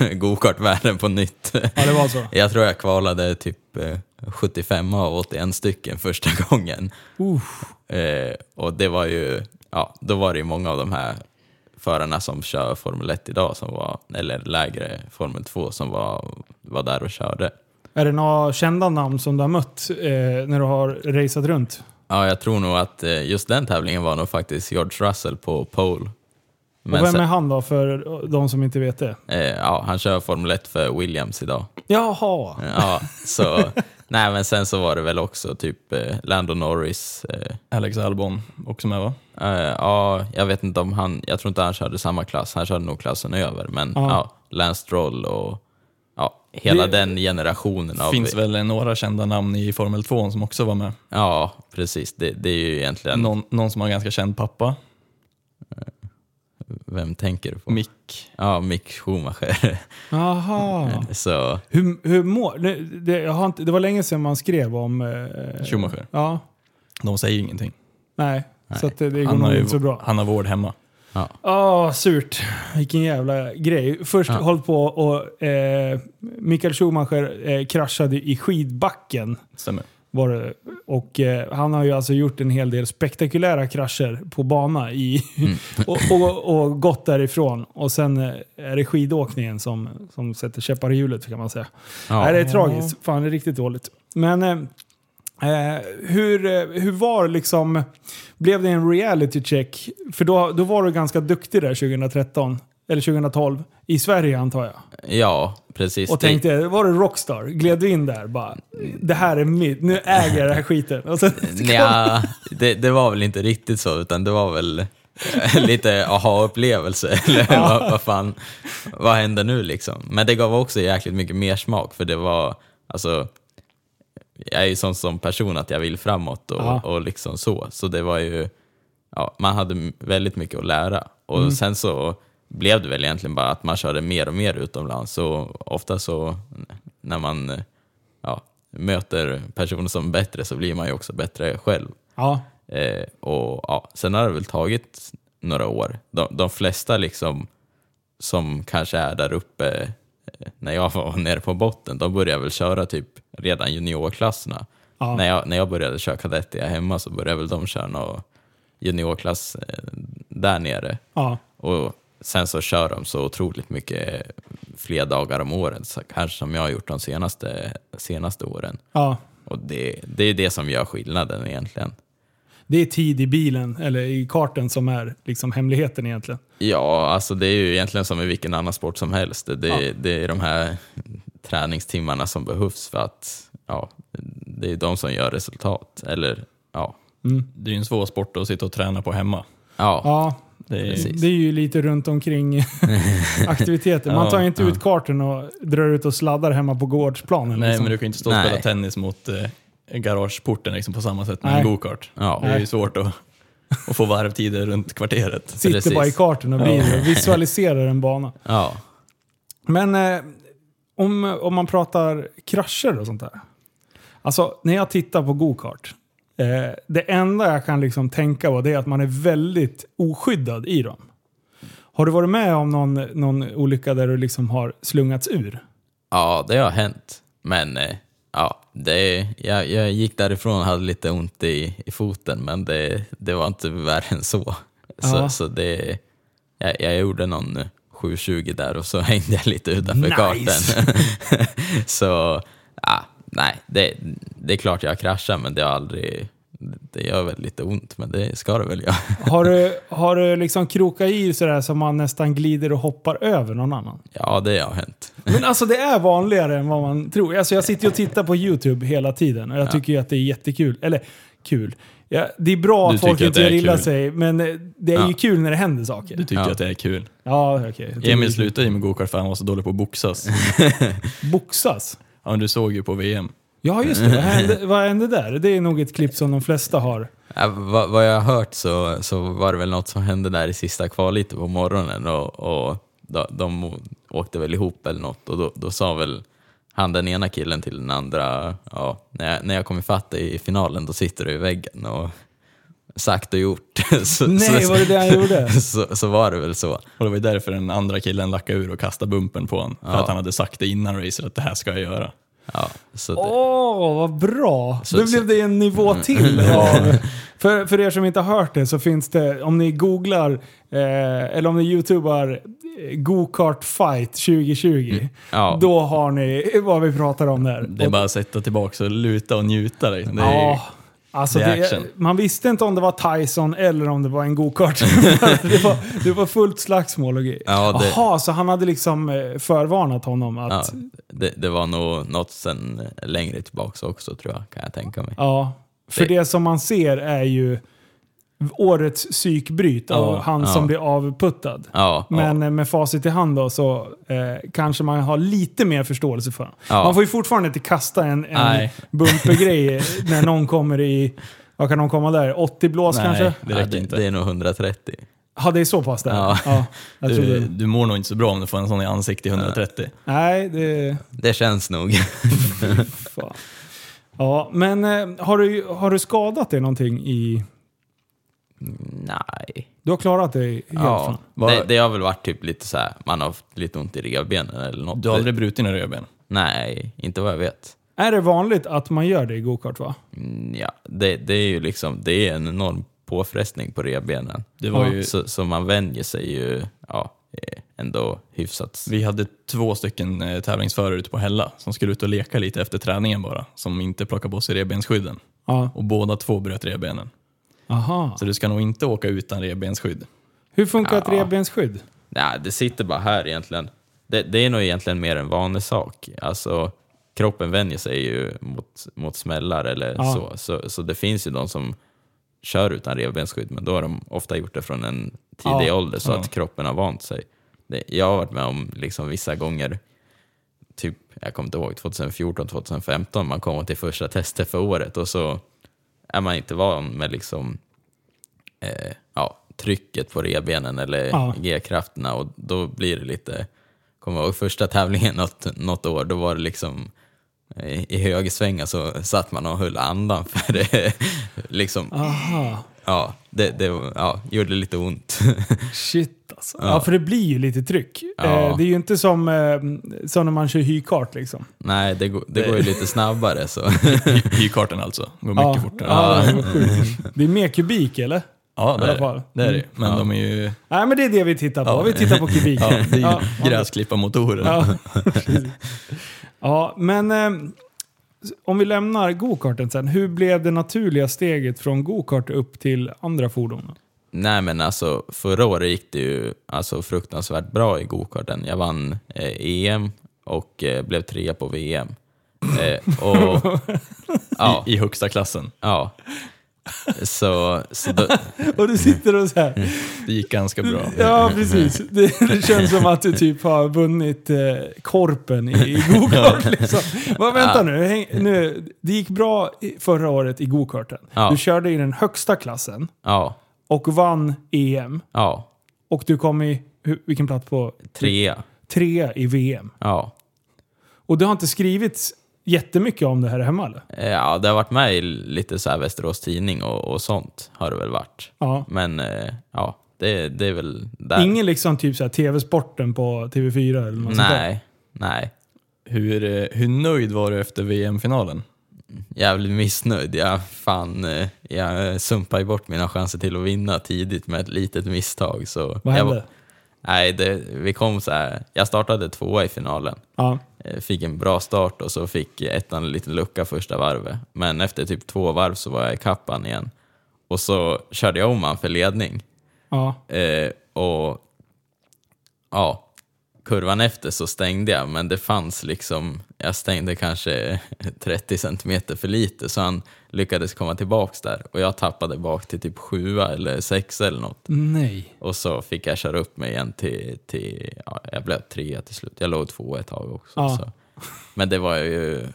Speaker 2: eh, gokartvärlden på nytt.
Speaker 1: Ja, det var så.
Speaker 2: jag tror jag kvalade typ eh, 75 av 81 stycken första gången. Eh, och det var ju, ja, då var det ju många av de här förarna som kör Formel 1 idag, som var, eller lägre Formel 2, som var, var där och körde.
Speaker 1: Är det några kända namn som du har mött eh, när du har raceat runt?
Speaker 2: Ja, jag tror nog att eh, just den tävlingen var nog faktiskt George Russell på pole.
Speaker 1: och
Speaker 2: Men
Speaker 1: vem
Speaker 2: sen-
Speaker 1: är han då, för de som inte vet det?
Speaker 2: eh, ja, han kör Formel 1 för Williams idag.
Speaker 1: Jaha!
Speaker 2: Eh, Ja, så, nej, men sen så var det väl också typ eh, Lando Norris. Eh,
Speaker 3: Alex Albon också med va?
Speaker 2: eh, ja, jag vet inte om han, jag tror inte han körde samma klass, han körde nog klassen över. Men
Speaker 1: Ja.
Speaker 2: ja, Lance Stroll och ja, hela
Speaker 1: Det-
Speaker 2: den generationen av...
Speaker 3: Finns väl några kända namn i Formel 2 som också var med.
Speaker 2: Ja, precis. Det, det är ju egentligen...
Speaker 3: Någon, någon som har en ganska känd pappa.
Speaker 2: Vem tänker du på?
Speaker 3: Mick.
Speaker 2: ja, Mick Schumacher.
Speaker 1: Jaha!
Speaker 2: så,
Speaker 1: Hur, hur mår... Det, det, jag har inte, det var länge sedan man skrev om... Eh,
Speaker 3: Schumacher.
Speaker 1: Ja.
Speaker 3: De säger ingenting.
Speaker 1: Nej. Så att det, det går
Speaker 3: Han har,
Speaker 1: nog
Speaker 3: ju,
Speaker 1: inte så bra.
Speaker 3: han har vård hemma.
Speaker 2: ja.
Speaker 1: Ah, surt. Vilken jävla grej. Först
Speaker 2: Ja.
Speaker 1: hållit på och eh, Mikael Schumacher eh, kraschade i skidbacken.
Speaker 3: Stämmer.
Speaker 1: Var det. Och eh, han har ju alltså gjort en hel del spektakulära krascher på bana i, och, och, och gått därifrån. Och sen eh, är det skidåkningen som, som sätter käppar i hjulet kan man säga. Nej, det är tragiskt. Fan, det är riktigt dåligt. Men eh, eh, hur, eh, hur var liksom... Blev det en reality check? För då, då var du ganska duktig där 2013, eller 2012, i Sverige antar jag.
Speaker 2: Ja, precis.
Speaker 1: Och
Speaker 2: Det-
Speaker 1: tänkte, var du rockstar? Gled du in där bara, det här är mitt, nu äger jag den här skiten. Och sen,
Speaker 2: Nja, det, det var väl inte riktigt så, utan det var väl lite aha-upplevelse. Eller vad, vad fan, vad händer nu liksom? Men det gav också jäkligt mycket mer smak för det var, alltså, jag är ju sån som person att jag vill framåt och,
Speaker 1: Ja.
Speaker 2: och liksom så. Så det var ju, ja, man hade m- väldigt mycket att lära. Och sen så blev det väl egentligen bara att man körde mer och mer utomlands. Så ofta så när man ja, möter personer som är bättre så blir man ju också bättre själv.
Speaker 1: ja,
Speaker 2: Eh, och ja, Sen har det väl tagit några år. De, de flesta liksom som kanske är där uppe eh, när jag var nere på botten, de började väl köra typ redan juniorklasserna.
Speaker 1: Ja.
Speaker 2: När, jag, när jag började köra kadett där jag hemma så började väl de köra någon juniorklass eh, där nere.
Speaker 1: ja.
Speaker 2: Och sen så kör de så otroligt mycket fler dagar om året, så kanske som jag har gjort de senaste, senaste åren.
Speaker 1: ja.
Speaker 2: Och det, det är det som gör skillnaden egentligen.
Speaker 1: Det är tid i bilen, eller i karten, som är liksom hemligheten egentligen.
Speaker 2: Ja, alltså det är ju egentligen som i vilken annan sport som helst. Det, det, det är de här träningstimmarna som behövs för att ja, det är de som gör resultat. Eller ja,
Speaker 3: Det är ju en svår sport att sitta och träna på hemma.
Speaker 2: ja,
Speaker 1: Mm. Ja,
Speaker 3: Det är,
Speaker 2: Precis.
Speaker 1: Det är ju lite runt omkring aktiviteter. Man tar ju inte
Speaker 2: Ja,
Speaker 1: ut kartan och drar ut och sladdar hemma på gårdsplanen.
Speaker 3: Nej,
Speaker 1: liksom.
Speaker 3: men du kan ju inte stå och
Speaker 2: Nej.
Speaker 3: spela tennis mot eh, garageporten liksom, på samma sätt med en
Speaker 1: Nej.
Speaker 3: gokart.
Speaker 2: Ja.
Speaker 3: Det är ju svårt att, att få varvtider runt kvarteret.
Speaker 1: Sitter
Speaker 2: precis.
Speaker 1: bara i kartan och blir, visualiserar en bana.
Speaker 2: ja.
Speaker 1: Men eh, om, om man pratar krascher och sånt där. Alltså, när jag tittar på gokart Eh, det enda jag kan liksom tänka på det är att man är väldigt oskyddad i dem. Har du varit med om någon, någon olycka där du liksom har slungats ur?
Speaker 2: Ja, det har hänt. Men eh, ja, det, jag, jag gick därifrån och hade lite ont i, i foten, men det, det var inte värre än så. Så,
Speaker 1: Ja.
Speaker 2: så det, jag, jag gjorde någon 720 där och så hängde jag lite utanför
Speaker 1: Nice.
Speaker 2: kartan. så ja, nej, det, det är klart jag har kraschat, men det har aldrig... Det gör väl lite ont, men det ska det väl göra.
Speaker 1: Har du, har du liksom krokat i sådär så man nästan glider och hoppar över någon annan?
Speaker 2: Ja, det har hänt.
Speaker 1: Men alltså det är vanligare än vad man tror. Alltså jag sitter ju och tittar på YouTube hela tiden och jag tycker ju att det är jättekul. Eller kul. Ja, det är bra
Speaker 3: Du
Speaker 1: att folk
Speaker 3: tycker att
Speaker 1: inte
Speaker 3: det
Speaker 1: gör
Speaker 3: är
Speaker 1: illa
Speaker 3: kul.
Speaker 1: sig, men eh, det är ju
Speaker 2: Ja.
Speaker 1: kul när det händer saker.
Speaker 3: Du tycker
Speaker 2: Ja.
Speaker 3: att det är kul.
Speaker 1: Ja, okej. Jag tycker det
Speaker 3: Emil
Speaker 1: är
Speaker 3: slutade ju med gokart för han var så dålig på att boxas.
Speaker 1: kul. Boxas?
Speaker 3: Ja, men du såg ju på VM.
Speaker 1: Ja, just det. Vad hände, vad hände där? Det är nog ett klipp som de flesta har.
Speaker 2: Ja, Äh, vad, vad jag har hört så, så var det väl något som hände där i sista kvalet på morgonen och, och de, de å- åkte väl ihop eller något och då, då sa väl han den ena killen till den andra, ja, när, jag, när jag kom ifatt dig i finalen då sitter du i väggen och sagt och gjort. så,
Speaker 1: Nej,
Speaker 2: så,
Speaker 1: var det det han gjorde?
Speaker 2: så, så var det väl så.
Speaker 3: Och det var ju därför den andra killen lackade ur och kastade bumpen på honom. För att han hade sagt det innan racet att det här ska jag göra.
Speaker 2: Ja, så det,
Speaker 1: Åh, vad bra!
Speaker 2: Så-
Speaker 1: Då
Speaker 2: så-
Speaker 1: blev det en nivå till. Av, för, för er som inte har hört det så finns det, om ni googlar, eh, eller om ni youtubar eh, Go-kart fight 2020,
Speaker 2: ja.
Speaker 1: då har ni vad vi pratar om där.
Speaker 3: Det är bara att sätta tillbaka och luta och njuta. dig. Det är ju,
Speaker 1: Ja, alltså
Speaker 3: det är
Speaker 1: det,
Speaker 3: action.
Speaker 1: man visste inte om det var Tyson eller om det var en go-kart. det, var, det var fullt slagsmål och grejer.
Speaker 2: Ja, det-
Speaker 1: Jaha, så han hade liksom eh, förvarnat honom
Speaker 2: ja,
Speaker 1: att... Ja.
Speaker 2: det, det var nog något sen längre tillbaks också tror jag, kan jag tänka mig.
Speaker 1: för det...
Speaker 2: Det-
Speaker 1: som man ser är ju årets psykbryt av
Speaker 2: Ja,
Speaker 1: han
Speaker 2: ja.
Speaker 1: som blir avputtad.
Speaker 2: Ja, ja.
Speaker 1: Men eh, med facit i hand då så eh, kanske man har lite mer förståelse för honom.
Speaker 2: Ja.
Speaker 1: Man får ju fortfarande inte kasta en, en
Speaker 3: Nej.
Speaker 1: bumpergrej när någon kommer i... Vad kan de komma där? 80 blås
Speaker 3: Nej.
Speaker 1: kanske?
Speaker 3: Det räcker
Speaker 2: ja, det,
Speaker 3: inte.
Speaker 2: det är nog 130.
Speaker 1: Ja, det är så pass där. Ja.
Speaker 2: Ja.
Speaker 1: jag tror
Speaker 3: du,
Speaker 1: det.
Speaker 3: du mår nog inte så bra om du får en sån i ansiktet i 130.
Speaker 1: Nej, det...
Speaker 2: Det känns nog.
Speaker 1: Fan. Ja, men eh, har du, har du skadat dig någonting i...
Speaker 2: Nej.
Speaker 1: Du har klarat dig helt
Speaker 2: Ja,
Speaker 1: från...
Speaker 2: det, det har väl varit typ lite så här, man har haft lite ont i revbenen eller något.
Speaker 3: Du har aldrig brutit några revben?
Speaker 2: Nej, inte vad jag vet.
Speaker 1: Är det vanligt att man gör det i gokart va?
Speaker 2: Mm, Ja, det, det är ju liksom, det är en enorm påfrestning på revbenen.
Speaker 3: Det var
Speaker 1: Ja.
Speaker 3: ju,
Speaker 2: Så, så man vänjer sig ju ja, eh, ändå hyfsat.
Speaker 3: vi hade två stycken eh, tävlingsförare ute på Hälla som skulle ut och leka lite efter träningen bara, som inte plockade på sig revbensskydden.
Speaker 1: Ja.
Speaker 3: Och båda två bröt revbenen.
Speaker 1: Aha.
Speaker 3: Så du ska nog inte åka utan revbensskydd.
Speaker 1: Hur funkar ett
Speaker 2: Ja.
Speaker 1: revbensskydd?
Speaker 2: Nej, det sitter bara här egentligen. Det, det är nog egentligen mer en vanesak. Alltså, kroppen vänjer sig ju mot, mot smällar eller
Speaker 1: Ja.
Speaker 2: så. så. Så det finns ju de som kör utan revbensskydd, men då har de ofta gjort det från en tidig
Speaker 1: Ja.
Speaker 2: ålder så
Speaker 3: Ja.
Speaker 2: att kroppen har vant sig. Det, jag har varit med om liksom vissa gånger, typ, jag kommer inte ihåg, 2014, 2015, man kommer till första testet för året och så är man inte van med liksom, eh, ja, trycket på revbenen eller
Speaker 1: Ja.
Speaker 2: G-krafterna och då blir det lite, kommer jag ihåg första tävlingen något, något år, då var det liksom eh, i högersvängar så satt man och höll andan för det, liksom,
Speaker 1: Aha.
Speaker 2: ja, det, det ja, gjorde lite ont.
Speaker 1: Shit alltså. Ja. för det blir ju lite tryck.
Speaker 2: Ja.
Speaker 1: Eh, det är ju inte som, eh, som när man kör hykart liksom.
Speaker 2: Nej, det, går- det går ju lite snabbare så.
Speaker 3: Hykarten alltså, går mycket
Speaker 1: ja.
Speaker 3: fortare.
Speaker 1: Ja, det, var sjukt. det är mer kubik eller?
Speaker 3: Ja, det
Speaker 1: I
Speaker 3: är
Speaker 1: alla fall. Mm.
Speaker 3: det. det, är det. ju. Men de är ju
Speaker 1: Nej men det är det vi tittar på. Vi tittar på kubik.
Speaker 3: ja, det är ju
Speaker 1: Ja.
Speaker 3: gräsklipparmotorer.
Speaker 1: Ja, precis. ja men eh, om vi lämnar gokarten sen. Hur blev det naturliga steget från gokart upp till andra fordon?
Speaker 2: Nej men alltså förra året gick det ju alltså, fruktansvärt bra i gokarten. Jag vann eh, EM och eh, blev trea på VM. Eh, och, ja,
Speaker 3: I, I högsta klassen.
Speaker 2: ja. Så, så då,
Speaker 1: Och du sitter och så här.
Speaker 3: Det gick ganska bra.
Speaker 1: Ja, precis. Det, det känns som att du typ har vunnit eh, korpen i, i gokart. Liksom. Vad, vänta nu, häng, nu. Det gick bra i- förra året i gokarten.
Speaker 2: Ja.
Speaker 1: Du körde i den högsta klassen
Speaker 2: ja,
Speaker 1: och vann EM.
Speaker 2: ja,
Speaker 1: Och du kom i, hur- vilken plats på?
Speaker 2: trea.
Speaker 1: Trea i VM.
Speaker 2: Ja.
Speaker 1: Och det har inte skrivits jättemycket om det här hemma eller?
Speaker 2: Eh, Ja, det har varit med i lite så här Västerås Tidning och, och sånt har det väl varit.
Speaker 1: Ja.
Speaker 2: Men eh, ja, det, det är väl där.
Speaker 1: Ingen liksom typ så här TV-sporten på TV4 eller något sånt där?
Speaker 2: Nej, nej.
Speaker 3: Hur, eh, hur nöjd var du efter VM-finalen?
Speaker 2: Jävligt missnöjd. Jag, fan, eh, jag sumpade ju bort mina chanser till att vinna tidigt med ett litet misstag. Så
Speaker 1: Vad
Speaker 2: jag,
Speaker 1: hände?
Speaker 2: var- nej, det, vi kom så här. Jag startade tvåa i finalen.
Speaker 1: Ja.
Speaker 2: Eh, Fick en bra start och så fick ettan en liten lucka första varvet. Men efter typ två varv så var jag i kappan igen. Och så körde jag om han för ledning.
Speaker 1: Ja.
Speaker 2: Eh, och ja, kurvan efter så stängde jag, men det fanns liksom, jag stängde kanske 30 centimeter för lite, så han lyckades komma tillbaks där. Och jag tappade bak till typ sjua eller sexa eller något.
Speaker 1: Nej.
Speaker 2: Och så fick jag köra upp mig igen till, till ja, jag blev trea till slut. Jag låg två ett tag också.
Speaker 1: Ja.
Speaker 2: Så. Men det var ju,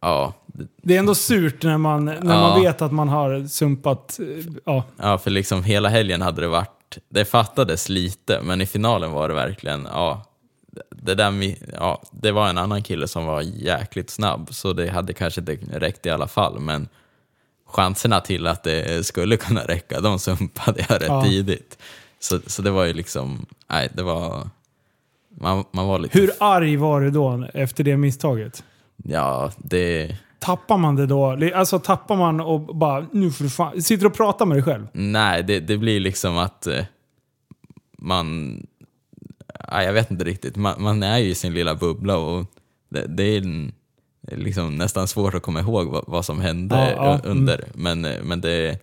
Speaker 2: ja, det-
Speaker 1: Det är ändå surt när man, när man
Speaker 2: Ja.
Speaker 1: vet att man har sumpat... eh, Ja.
Speaker 2: Ja, för liksom hela helgen hade det varit, det fattades lite, men i finalen var det verkligen, ja, det, där, mi- ja, det var en annan kille som var jäkligt snabb, så det hade kanske inte räckt i alla fall, men chanserna till att det skulle kunna räcka, de sumpade jag rätt
Speaker 1: Ja.
Speaker 2: tidigt. Så, så det var ju liksom, nej, det var, man, man var lite,
Speaker 1: Hur arg var du då efter det misstaget?
Speaker 2: ja, det,
Speaker 1: Tappar man det då? Alltså tappar man och bara nu för fan... Sitter och pratar med dig själv?
Speaker 2: Nej, det, det blir liksom att eh, man... Ja, jag vet inte riktigt. Man, man är ju i sin lilla bubbla och det, det är en- liksom nästan svårt att komma ihåg vad, vad som hände
Speaker 1: Ja, ja, Mm.
Speaker 2: u- under. Men, eh, men det...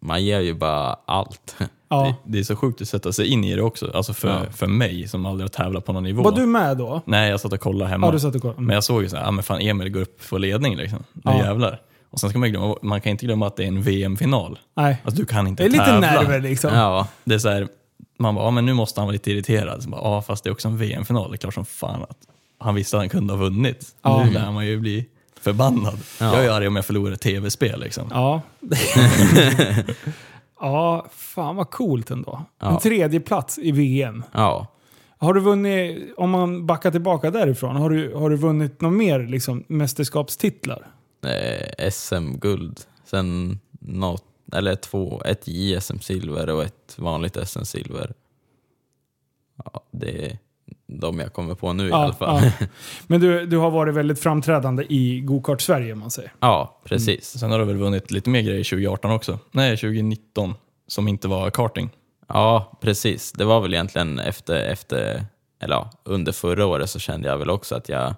Speaker 2: Man ger ju bara allt.
Speaker 1: Ja.
Speaker 3: Det är så sjukt att sätta sig in i det också. Alltså för,
Speaker 2: Ja.
Speaker 3: för mig som aldrig har tävlat på någon nivå.
Speaker 1: Var du med då?
Speaker 3: Nej, jag satt och kollade hemma.
Speaker 1: Ja, du satt och kollade.
Speaker 3: Men jag såg ju såhär, ah, men fan Emil går upp för ledning liksom. Nu
Speaker 1: Ja.
Speaker 3: jävlar. Och sen ska man ju glömma, man kan inte glömma att det är en VM-final.
Speaker 1: Nej.
Speaker 3: Alltså du kan inte
Speaker 1: Det är lite
Speaker 3: tävla.
Speaker 1: nerver liksom.
Speaker 2: Ja,
Speaker 3: Det är så här, man bara, ja men nu måste han vara lite irriterad. Så bara, ja fast det är också en VM-final, det är klart som fan att han visste att han kunde ha vunnit.
Speaker 1: Ja.
Speaker 3: Nu lär man ju bli förbannad.
Speaker 2: Ja.
Speaker 3: Jag är arg om jag förlorar ett tv-spel liksom.
Speaker 1: Ja. ja, fan vad coolt ändå. En
Speaker 2: Ja.
Speaker 1: tredje plats i VM.
Speaker 2: ja.
Speaker 1: Har du vunnit, om man backar tillbaka därifrån, har du, har du vunnit några mer liksom, mästerskapstitlar?
Speaker 2: Eh, SM-guld. Sen något, eller två, ett JSM-silver och ett vanligt SM-silver. Ja, det är de jag kommer på nu i alla fall.
Speaker 1: ja. Men du, du har varit väldigt framträdande i gokart Sverige om man säger.
Speaker 2: Ja, precis.
Speaker 3: Sen har du väl vunnit lite mer grejer 2018 också? Nej, 2019 som inte var karting.
Speaker 2: Ja, precis. Det var väl egentligen efter, efter eller ja, under förra året så kände jag väl också att jag,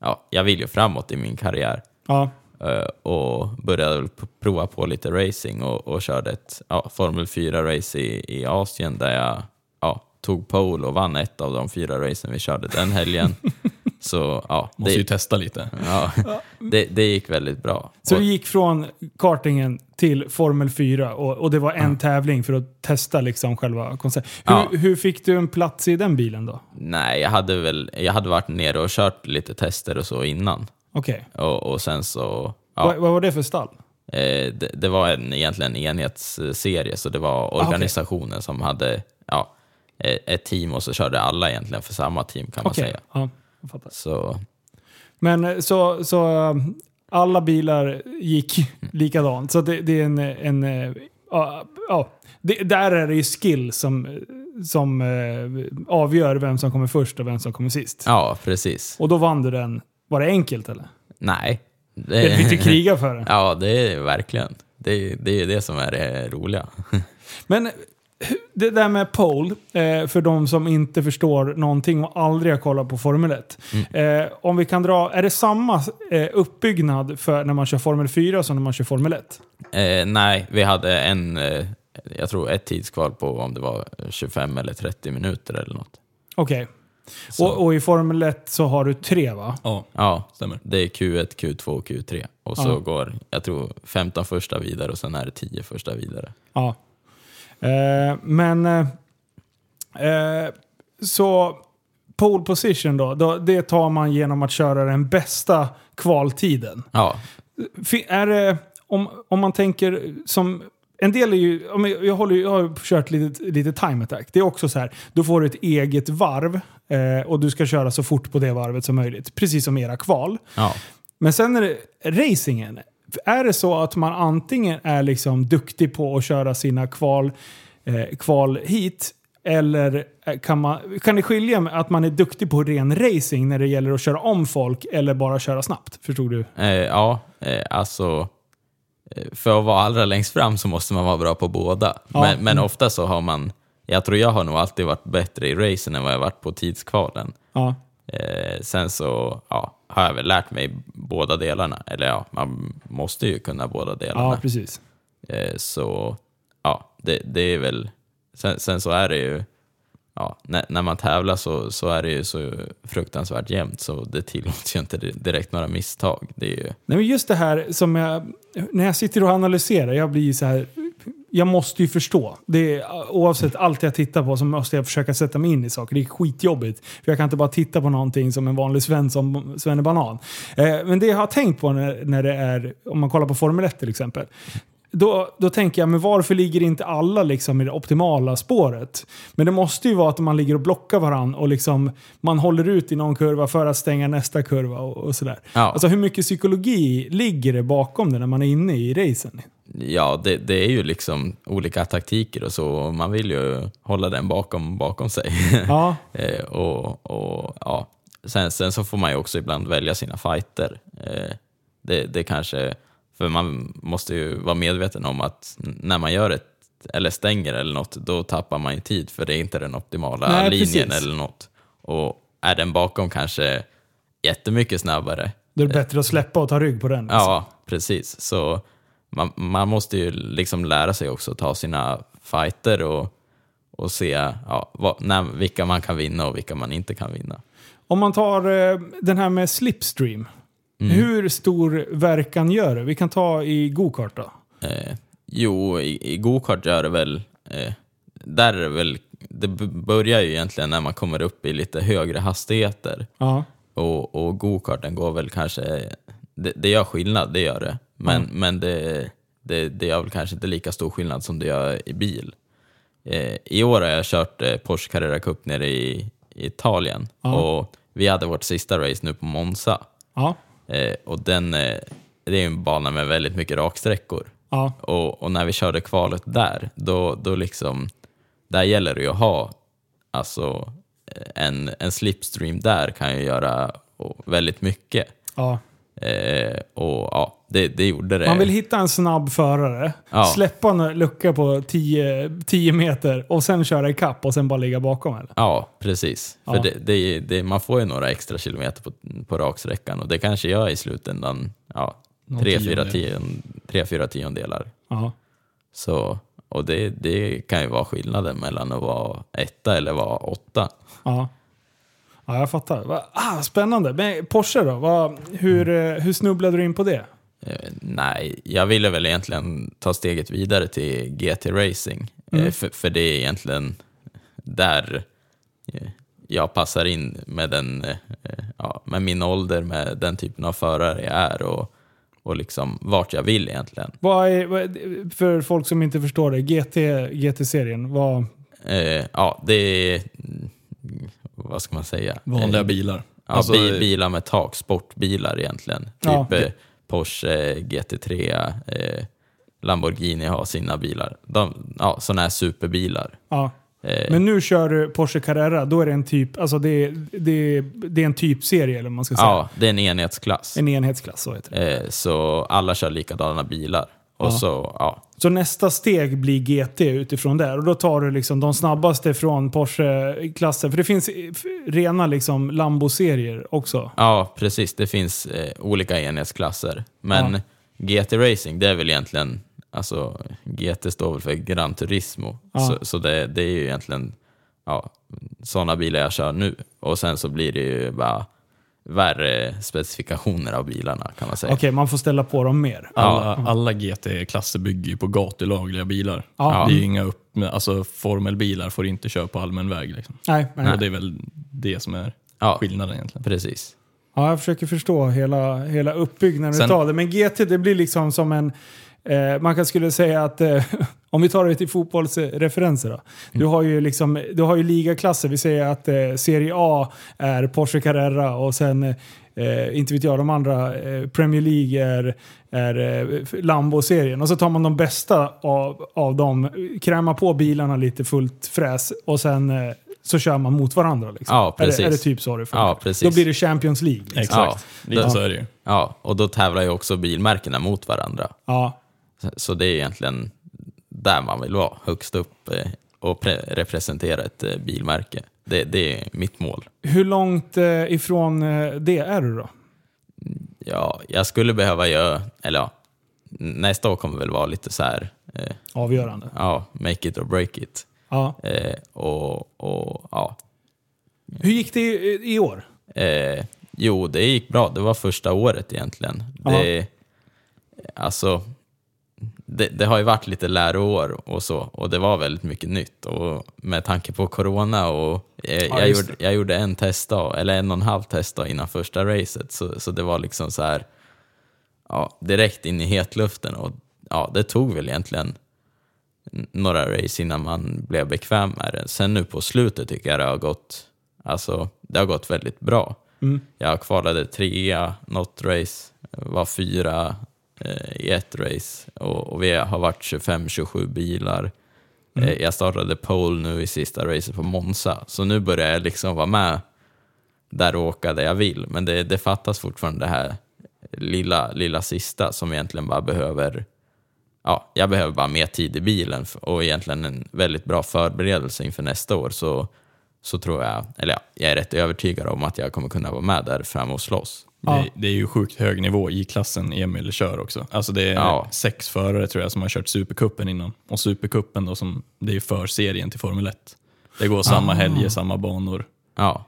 Speaker 2: ja, jag vill ju framåt i min karriär.
Speaker 1: Ja,
Speaker 2: Eh, och började väl p- prova på lite racing och, och körde ett ja, Formel 4-race i, i Asien där jag ja, tog pole och vann ett av de fyra racen vi körde den helgen. så ja,
Speaker 3: Måste ju
Speaker 2: det,
Speaker 3: testa lite.
Speaker 2: ja, det, det gick väldigt bra.
Speaker 1: så
Speaker 2: Och-
Speaker 1: du gick från kartingen till Formel 4 och, och det var en tävling för att testa liksom själva konceptet. Hur,
Speaker 2: Ja.
Speaker 1: hur fick du en plats i den bilen då?
Speaker 2: nej, jag hade väl jag hade varit nere och kört lite tester och så innan.
Speaker 1: Okej.
Speaker 2: Och, och sen så... Ja,
Speaker 1: Vad, vad var det för stall?
Speaker 2: eh, det, det var en, egentligen en enhetsserie, så det
Speaker 1: Ah,
Speaker 2: var organisationen som hade ja, eh, ett team och så körde alla egentligen för samma team kan man
Speaker 1: Okej,
Speaker 2: säga.
Speaker 1: ja, jag fattar.
Speaker 2: Så
Speaker 1: Men eh, så, så eh, alla bilar gick
Speaker 2: Mm.
Speaker 1: likadant. Så det, det är en... en eh, ja, ja. det, där är det ju skill som, eh, som eh, avgör vem som kommer först och vem som kommer sist.
Speaker 2: ja, precis.
Speaker 1: Och då vann du den. Var det enkelt eller?
Speaker 2: Nej.
Speaker 1: Det fick du kriga för den.
Speaker 2: Eh. Ja, det är verkligen. Det, det är ju det som är det roliga.
Speaker 1: Men eh, det där med pole, eh, för de som inte förstår någonting och aldrig har kollat på Formel 1.
Speaker 2: Mm.
Speaker 1: Eh, om vi kan dra, är det samma eh, uppbyggnad för när man kör Formel 4 som när man kör Formel 1?
Speaker 2: Eh, nej, vi hade en, eh, jag tror ett tidskval på om det var 25 eller 30 minuter eller något.
Speaker 1: Okej.
Speaker 2: Så,
Speaker 1: Och, och i Formel 1 så har du tre va?
Speaker 3: Ja,
Speaker 2: ja,
Speaker 3: stämmer.
Speaker 2: det är Q1, Q2 och Q3. Och så
Speaker 1: Ja.
Speaker 2: går, jag tror, 15 första vidare och sen är det 10 första vidare.
Speaker 1: Ja. Eh, men... Eh, eh, så pole position då, då, det tar man genom att köra den bästa kvaltiden.
Speaker 2: Ja,
Speaker 1: Fi- Är det, om, om man tänker som En del är ju, ja, men jag, håller, ju- jag har kört lite, lite time attack. Det är också så här, då får du ett eget varv eh, och du ska köra så fort på det varvet som möjligt. Precis som era kval.
Speaker 2: Ja.
Speaker 1: Men sen är det racingen. Är det så att man antingen är liksom duktig på att köra sina kval, eh, kval hit eller eh, kan, man, kan det skilja med att man är duktig på ren racing när det gäller att köra om folk eller bara köra snabbt? Förstod du?
Speaker 2: Eh, ja, eh, alltså... eh, För att vara allra längst fram så måste man vara bra på båda.
Speaker 1: Ja. Mm.
Speaker 2: Men, men ofta så har man... Jag tror jag har nog alltid varit bättre i racen än vad jag varit på tidskvalen.
Speaker 1: Ja.
Speaker 2: Eh, sen så ja, har jag väl lärt mig båda delarna. Eller ja, man måste ju kunna båda
Speaker 1: Ja,
Speaker 2: delarna.
Speaker 1: precis.
Speaker 2: eh, så ja, det, det är väl... Sen, sen så är det ju... Ja, när, när man tävlar så, så är det ju så fruktansvärt jämnt så det tillåts ju inte direkt några misstag. Det är ju,
Speaker 1: Nej, men just det här som jag... När jag sitter och analyserar, jag blir så här... Jag måste ju förstå. Det är, oavsett allt jag tittar på så måste jag försöka sätta mig in i saker. Det är skitjobbigt. För jag kan inte bara titta på någonting som en vanlig svensson, svennebanan. Eh, men det jag har tänkt på när, när det är... Om man kollar på Formel 1 till exempel. Då, då tänker jag, men varför ligger inte alla liksom i det optimala spåret? Men det måste ju vara att man ligger och blockar varandra och liksom, man håller ut i någon kurva för att stänga nästa kurva och, och sådär.
Speaker 2: ja.
Speaker 1: Alltså hur mycket psykologi ligger det bakom det när man är inne i racen?
Speaker 2: Ja, det, det är ju liksom olika taktiker och så. och Man vill ju hålla den bakom, bakom sig.
Speaker 1: Ja,
Speaker 2: eh, och, och, ja. sen, sen så får man ju också ibland välja sina fighter. Eh, det, det kanske, för man måste ju vara medveten om att n- när man gör ett eller stänger eller något, då tappar man ju tid för det är inte den optimala
Speaker 1: Nej,
Speaker 2: linjen
Speaker 1: precis.
Speaker 2: eller något. Och är den bakom kanske jättemycket snabbare,
Speaker 1: då är det bättre att släppa och ta rygg på den. liksom.
Speaker 2: Ja, precis. Så man, man måste ju liksom lära sig också att ta sina fighter och, och se ja, vad, när, vilka man kan vinna och vilka man inte kan vinna.
Speaker 1: Om man tar eh, den här med slipstream.
Speaker 2: Mm.
Speaker 1: Hur stor verkan gör det? Vi kan ta i gokart då.
Speaker 2: Eh, jo, i, i gokart gör det väl... Eh, där är det väl... Det b- börjar ju egentligen när man kommer upp i lite högre hastigheter.
Speaker 1: Ja.
Speaker 2: Och, och gokarten går väl kanske... Det, det gör skillnad, det gör det. Men, men det, det, det gör väl kanske inte lika stor skillnad som det gör i bil. Eh, I år har jag kört eh, Porsche Carrera Cup nere i, i Italien. Och vi hade vårt sista race nu på Monza.
Speaker 1: Ja.
Speaker 2: Eh, och den, eh, det är ju en bana med väldigt mycket raksträckor.
Speaker 1: Ja.
Speaker 2: Och, och när vi körde kvalet där, då, då liksom, där gäller det ju att ha, alltså eh, en, en slipstream där kan ju göra och, väldigt mycket.
Speaker 1: ja.
Speaker 2: Eh, och ja, det, det gjorde det.
Speaker 1: Man vill hitta en snabb förare,
Speaker 2: Ja.
Speaker 1: släppa en lucka på 10 10 meter och sen köra i kapp och sen bara ligga bakom. Eller?
Speaker 2: Ja, precis. För
Speaker 1: Ja.
Speaker 2: det, det, det, man får ju några extra kilometer på, på raksträckan och det kanske gör i slutändan ja,
Speaker 3: Någon
Speaker 2: tre, fyra
Speaker 3: tiondel.
Speaker 2: tion, tre, fyra tiondelar.
Speaker 1: Ja.
Speaker 2: Så, och det, det kan ju vara skillnaden mellan att vara etta eller vara åtta.
Speaker 1: Ja. ja, jag fattar. Va- Ah, spännande. Men Porsche då? Vad- hur,
Speaker 2: Mm.
Speaker 1: eh, hur snubblade du in på det?
Speaker 2: Eh, nej, jag ville väl egentligen ta steget vidare till GT Racing. Eh, för, för det är egentligen där eh, jag passar in med, den, eh, eh, ja, med min ålder, med den typen av förare jag är och, och liksom vart jag vill egentligen.
Speaker 1: Vad är, vad är, för folk som inte förstår det, GT, GT-serien, vad...
Speaker 2: Eh, ja, det är... mm, Vad ska man säga?
Speaker 3: Vanliga
Speaker 2: Eh,
Speaker 3: bilar.
Speaker 2: Ja,
Speaker 3: Alltså,
Speaker 2: bi- bilar med tak, sportbilar egentligen. Typ
Speaker 1: Ja.
Speaker 2: eh, Porsche, GT3, eh, Lamborghini har sina bilar. De, ja, sådana här superbilar.
Speaker 1: Ja.
Speaker 2: Eh,
Speaker 1: Men nu kör du Porsche Carrera, då är det en typ, alltså det, är- det, är- det är en typserie eller vad man ska säga.
Speaker 2: ja, det är en enhetsklass.
Speaker 1: En enhetsklass, så heter det.
Speaker 2: Eh, så alla kör likadana bilar. Och
Speaker 1: Ja.
Speaker 2: så, ja,
Speaker 1: Så nästa steg blir GT utifrån där och då tar du liksom de snabbaste från Porsche-klassen. För det finns eh, f- rena liksom Lambo-serier också.
Speaker 2: ja, precis. Det finns eh, olika enhetsklasser. Men
Speaker 1: Ja.
Speaker 2: GT Racing, det är väl egentligen, alltså GT står väl för Gran Turismo.
Speaker 1: Ja.
Speaker 2: Så, så det, det är ju egentligen ja, sådana bilar jag kör nu. Och sen så blir det ju bara värre specifikationer av bilarna kan man säga.
Speaker 1: Okej, man får ställa på dem mer.
Speaker 2: Ja.
Speaker 3: Alla, alla GT-klasser bygger ju på gatulagliga bilar.
Speaker 1: Ja.
Speaker 3: Det är ju inga upp, alltså formelbilar får inte köra på allmän väg. Liksom.
Speaker 1: Nej, men,
Speaker 3: Och det är väl det som är
Speaker 2: Ja.
Speaker 3: skillnaden egentligen.
Speaker 2: Precis.
Speaker 1: Ja, jag försöker förstå hela, hela uppbyggnaden
Speaker 3: Sen-
Speaker 1: utav det. Men GT, det blir liksom som en... Eh, man kan skulle säga att, eh, om vi tar det till fotbollsreferenser
Speaker 2: Mm.
Speaker 1: då. Du har ju, liksom, du har ju ligaklasser, vi säger att eh, Serie A är Porsche Carrera och sen, eh, inte vet jag, de andra, eh, Premier League är, är eh, Lambo-serien. Och så tar man de bästa av, av dem, krämar på bilarna lite fullt fräs och sen eh, så kör man mot varandra. Liksom.
Speaker 2: Ja,
Speaker 1: är, det,
Speaker 2: precis.
Speaker 1: är det typ så det funkar?
Speaker 2: Ja, precis.
Speaker 1: Då blir det Champions League. Liksom.
Speaker 3: Exakt,
Speaker 2: Ja,
Speaker 3: lite
Speaker 2: det-
Speaker 3: så är det ju.
Speaker 2: Ja, och då tävlar ju också bilmärkena mot varandra.
Speaker 1: Ja.
Speaker 2: Så det är egentligen där man vill vara, högst upp eh, och pre- representera ett eh, bilmärke. Det, det är mitt mål.
Speaker 1: Hur långt eh, ifrån eh, det är du då?
Speaker 2: Ja, jag skulle behöva göra, eller ja, nästa år kommer väl vara lite så här, eh,
Speaker 1: Avgörande.
Speaker 2: ja, make it or break it.
Speaker 1: Ja.
Speaker 2: Eh, och, och ja,
Speaker 1: Hur gick det i, i år?
Speaker 2: Eh, jo, det gick bra. Det var första året egentligen. Det, alltså, det, det har ju varit lite läroår och så och det var väldigt mycket nytt. Och med tanke på corona och eh, jag,
Speaker 1: just
Speaker 2: gjorde, jag gjorde en testdag, eller en och en halv testdag innan första racet. Så, så det var liksom så här ja, direkt in i hetluften och ja, det tog väl egentligen n- några race innan man blev bekväm med det. Sen nu på slutet tycker jag det har gått, alltså, det har gått väldigt bra. Jag kvalade trea något race, var fyra eh, i ett race och, och vi har varit 25-27 bilar. Eh, jag startade pole nu i sista racet på Monza, så nu börjar jag liksom vara med där och åka där jag vill. Men det, det fattas fortfarande det här lilla, lilla sista som egentligen bara behöver ja, jag behöver bara mer tid i bilen f- och egentligen en väldigt bra förberedelse inför nästa år så, så tror jag, eller ja, jag är rätt övertygad om att jag kommer kunna vara med där fram och slåss.
Speaker 1: Ja.
Speaker 3: Det, det är ju sjukt hög nivå i klassen Emil kör också. Alltså det är
Speaker 2: Ja.
Speaker 3: sex förare tror jag som har kört Supercupen innan. Och Supercupen då, som, det är ju förserien till Formel 1. Det går
Speaker 1: Ah.
Speaker 3: samma helger, samma banor.
Speaker 2: Ja,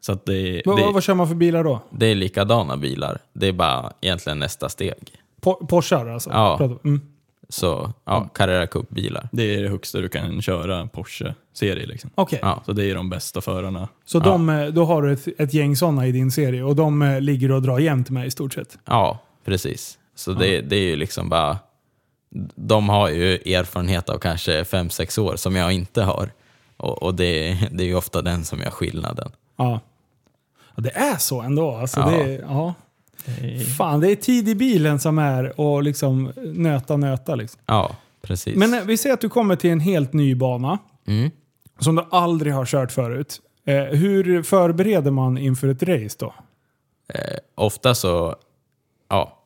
Speaker 3: Så att det,
Speaker 1: Vad- vad-
Speaker 3: det,
Speaker 1: vad kör man för bilar då?
Speaker 2: det är likadana bilar, det är bara egentligen nästa steg.
Speaker 1: Po- Porschar alltså?
Speaker 2: Ja.
Speaker 1: Pratar- Mm.
Speaker 2: Så ja, Carrera Cup-bilar.
Speaker 3: det är det högsta du kan köra Porsche-serie. Liksom.
Speaker 1: Okej,
Speaker 2: Ja.
Speaker 3: Så det är de bästa förarna.
Speaker 1: så de, eh, då har du ett, ett gäng sådana i din serie och de eh, ligger och drar jämnt med i stort sett?
Speaker 2: Ja, precis. Så det, det är ju liksom bara... De har ju erfarenhet av kanske fem sex år som jag inte har. Och, och det, det är ju ofta den som gör skillnaden.
Speaker 1: Ja. ja det är så ändå alltså.
Speaker 2: Ja.
Speaker 1: Det är, ja. Fan, det är tid i bilen som är och liksom nöta, nöta liksom.
Speaker 2: Ja, precis.
Speaker 1: Men eh, vi säger att du kommer till en helt ny bana
Speaker 2: Mm.
Speaker 1: som du aldrig har kört förut. Eh, hur förbereder man inför ett race då?
Speaker 2: Eh, ofta så, ja,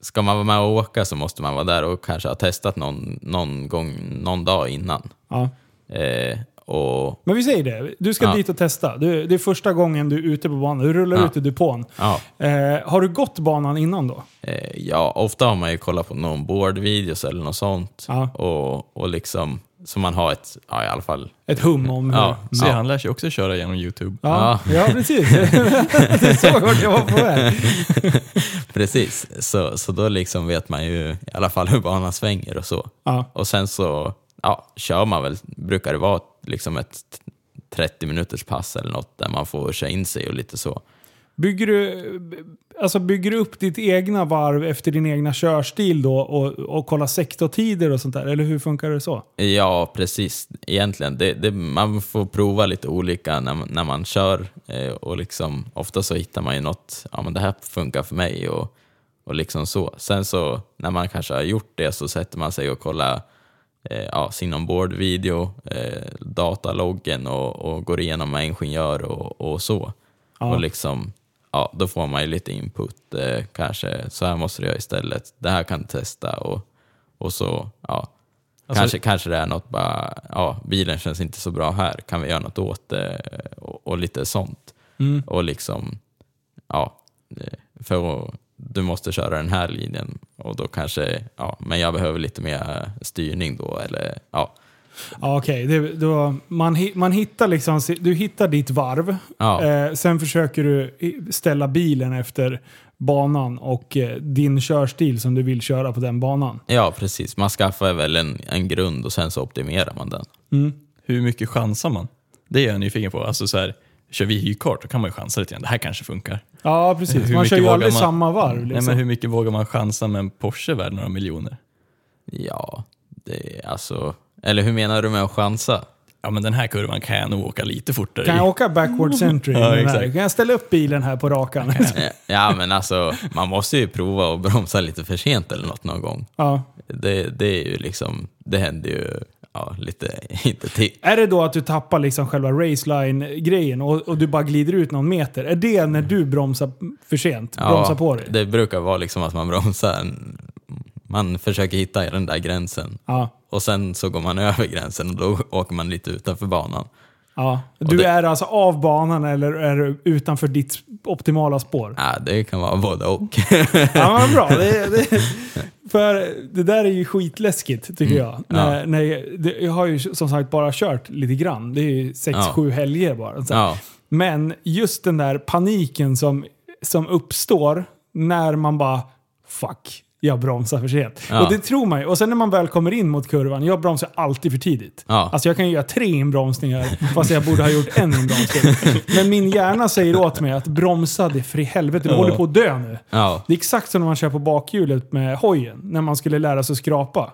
Speaker 2: ska man vara med och åka så måste man vara där och kanske ha testat någon, någon gång, någon dag innan.
Speaker 1: Ja.
Speaker 2: Eh, och
Speaker 1: Men vi säger det, du ska
Speaker 2: Ja.
Speaker 1: dit och testa. Du, det är första gången du är ute på banan, du rullar
Speaker 2: Ja.
Speaker 1: ut i depån.
Speaker 2: ja,
Speaker 1: Eh, har du gått banan innan då?
Speaker 2: eh, ja, ofta har man ju kollat på någon boardvideos eller något sånt.
Speaker 1: Ja.
Speaker 2: Och, och liksom, så man har ett, ja i alla fall,
Speaker 1: Ett hum om hur...
Speaker 2: ja,
Speaker 3: Så
Speaker 2: ja,
Speaker 3: han lär sig också köra genom YouTube.
Speaker 1: Ja, ja. precis. du såg vart jag var på väg.
Speaker 2: precis. Så, så då liksom vet man ju i alla fall hur banan svänger och så.
Speaker 1: Ja.
Speaker 2: Och sen så ja, kör man väl, brukar det vara liksom ett t- 30 minuters pass eller något där man får köra in sig och lite så.
Speaker 1: Bygger, du, alltså bygger du upp ditt egna varv efter din egna körstil då och, och kollar sektortider och sånt där? Eller hur funkar det så?
Speaker 2: Ja, precis. Egentligen, det, det, man får prova lite olika när, man- när man kör eh, och liksom, ofta så hittar man ju något, ja men det här funkar för mig och, och liksom så. Sen så när man kanske har gjort det så sätter man sig och kollar eh, ja, sin ombord-video, eh, dataloggen och, och går igenom med ingenjör och, och så. Och liksom, ja, då får man ju lite input, eh, kanske så här måste du göra istället, det här kan du testa och, och så. Ja.
Speaker 3: Alltså-
Speaker 2: kanske, kanske det är något bara, ja, bilen känns inte så bra här, kan vi göra något åt det? Och, och lite sånt. Och liksom, ja, eh, för att- du måste köra den här linjen och då kanske, ja, men jag behöver lite mer styrning då eller ja.
Speaker 1: Ja, okej. Det- då- Man, hi- man hittar liksom, si- du hittar ditt varv.
Speaker 2: Ja.
Speaker 1: Eh, sen försöker du i- ställa bilen efter banan och eh, din körstil som du vill köra på den banan.
Speaker 2: Ja, precis. Man skaffar väl en, en grund och sen så optimerar man den.
Speaker 1: Mm.
Speaker 3: Hur mycket chansar man? Det är jag nyfiken på. Alltså så här, Kör vi hyrkart, då kan man ju chansa lite grann. Det här kanske funkar.
Speaker 1: Ja, precis.
Speaker 3: Hur
Speaker 1: Man
Speaker 3: mycket
Speaker 1: kör ju
Speaker 3: vågar
Speaker 1: aldrig
Speaker 3: man-
Speaker 1: samma varv.
Speaker 3: Nej,
Speaker 1: Liksom.
Speaker 3: men hur mycket vågar man chansa med en Porsche värd några miljoner?
Speaker 2: Ja, det är alltså... Eller hur menar du med att chansa?
Speaker 3: Ja, men den här kurvan kan jag nog åka lite fortare
Speaker 1: Kan
Speaker 3: i.
Speaker 1: jag åka backwards entry?
Speaker 3: Ja,
Speaker 1: med den här?
Speaker 3: exakt.
Speaker 1: Kan jag ställa upp bilen här på rakan?
Speaker 2: Eh, Ja, men alltså, man måste ju prova och bromsa lite för sent eller något någon gång.
Speaker 1: ja.
Speaker 2: Det, det är ju liksom, det händer ju ja, lite, inte till.
Speaker 1: Är det då att du tappar liksom själva raceline-grejen och, och du bara glider ut någon meter? Är det när du bromsar för sent?
Speaker 2: Ja,
Speaker 1: bromsar på dig?
Speaker 2: Det brukar vara liksom att man bromsar, en- man försöker hitta den där gränsen.
Speaker 1: Ja.
Speaker 2: Och sen så går man över gränsen och då åker man lite utanför banan.
Speaker 1: ja. Du
Speaker 2: det-
Speaker 1: är alltså av banan eller är du utanför ditt optimala spår?
Speaker 2: Ja, det kan vara både och.
Speaker 1: Ja, men bra. Det, det, Mm. för det där är ju skitläskigt tycker jag. När, när jag, det, jag har ju som sagt bara kört lite grann. Det är ju sex,
Speaker 2: Ja.
Speaker 1: sju helger bara. Så här.
Speaker 2: Ja,
Speaker 1: Men just den där paniken som, som uppstår när man bara fuck, jag bromsar för sent.
Speaker 2: Ja.
Speaker 1: Och det tror man ju. Och sen när man väl kommer in mot kurvan, jag bromsar alltid för tidigt.
Speaker 2: Ja.
Speaker 1: Alltså jag kan ju göra tre inbromsningar fast jag borde ha gjort en inbromsning. Men min hjärna säger åt mig att bromsa det för i helvete, du håller på att dö nu.
Speaker 2: ja,
Speaker 1: Det är exakt som när man kör på bakhjulet med hojen, när man skulle lära sig skrapa.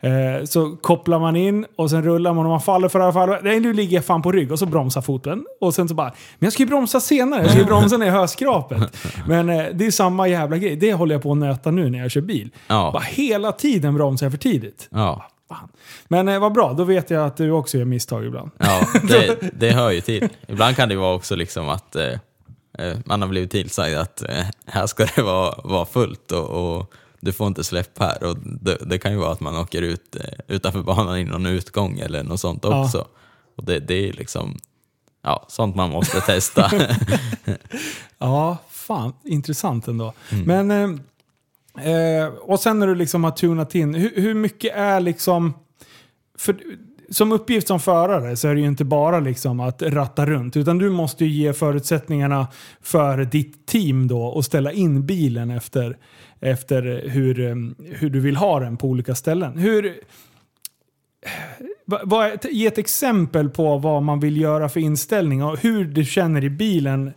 Speaker 1: Eh, så kopplar man in och sen rullar man och man faller för alla fall. Nej, nu ligger jag fan på rygg och så bromsar foten. Och sen så bara, men jag ska ju bromsa senare, jag ska ju bromsa när jag hör skrapet. Men eh, det är samma jävla grej, det håller jag på att nöta nu när jag kör bil.
Speaker 2: Ja.
Speaker 1: Bara hela tiden bromsar jag för tidigt.
Speaker 2: ja.
Speaker 1: Fan. Men eh, vad bra, då vet jag att du också gör misstag ibland.
Speaker 2: Ja, det, det hör ju till. Ibland kan det ju vara också liksom att eh, eh, man har blivit tillsagd att eh, här ska det vara, vara fullt och, och du får inte släppa här. Och det, det kan ju vara att man åker ut eh, utanför banan i någon utgång eller något sånt
Speaker 1: Ja.
Speaker 2: också. Och det, det är liksom ja, sånt man måste testa.
Speaker 1: Ja, fan intressant ändå. Men, eh, eh, och sen när du liksom har tunat in, hur, hur mycket är liksom... För, som uppgift som förare så är det ju inte bara liksom att ratta runt, utan du måste ju ge förutsättningarna för ditt team då och ställa in bilen efter, efter hur, eh, hur du vill ha den på olika ställen. Hur, Va- vad är- ge ett exempel på vad man vill göra för inställning och hur du känner i bilen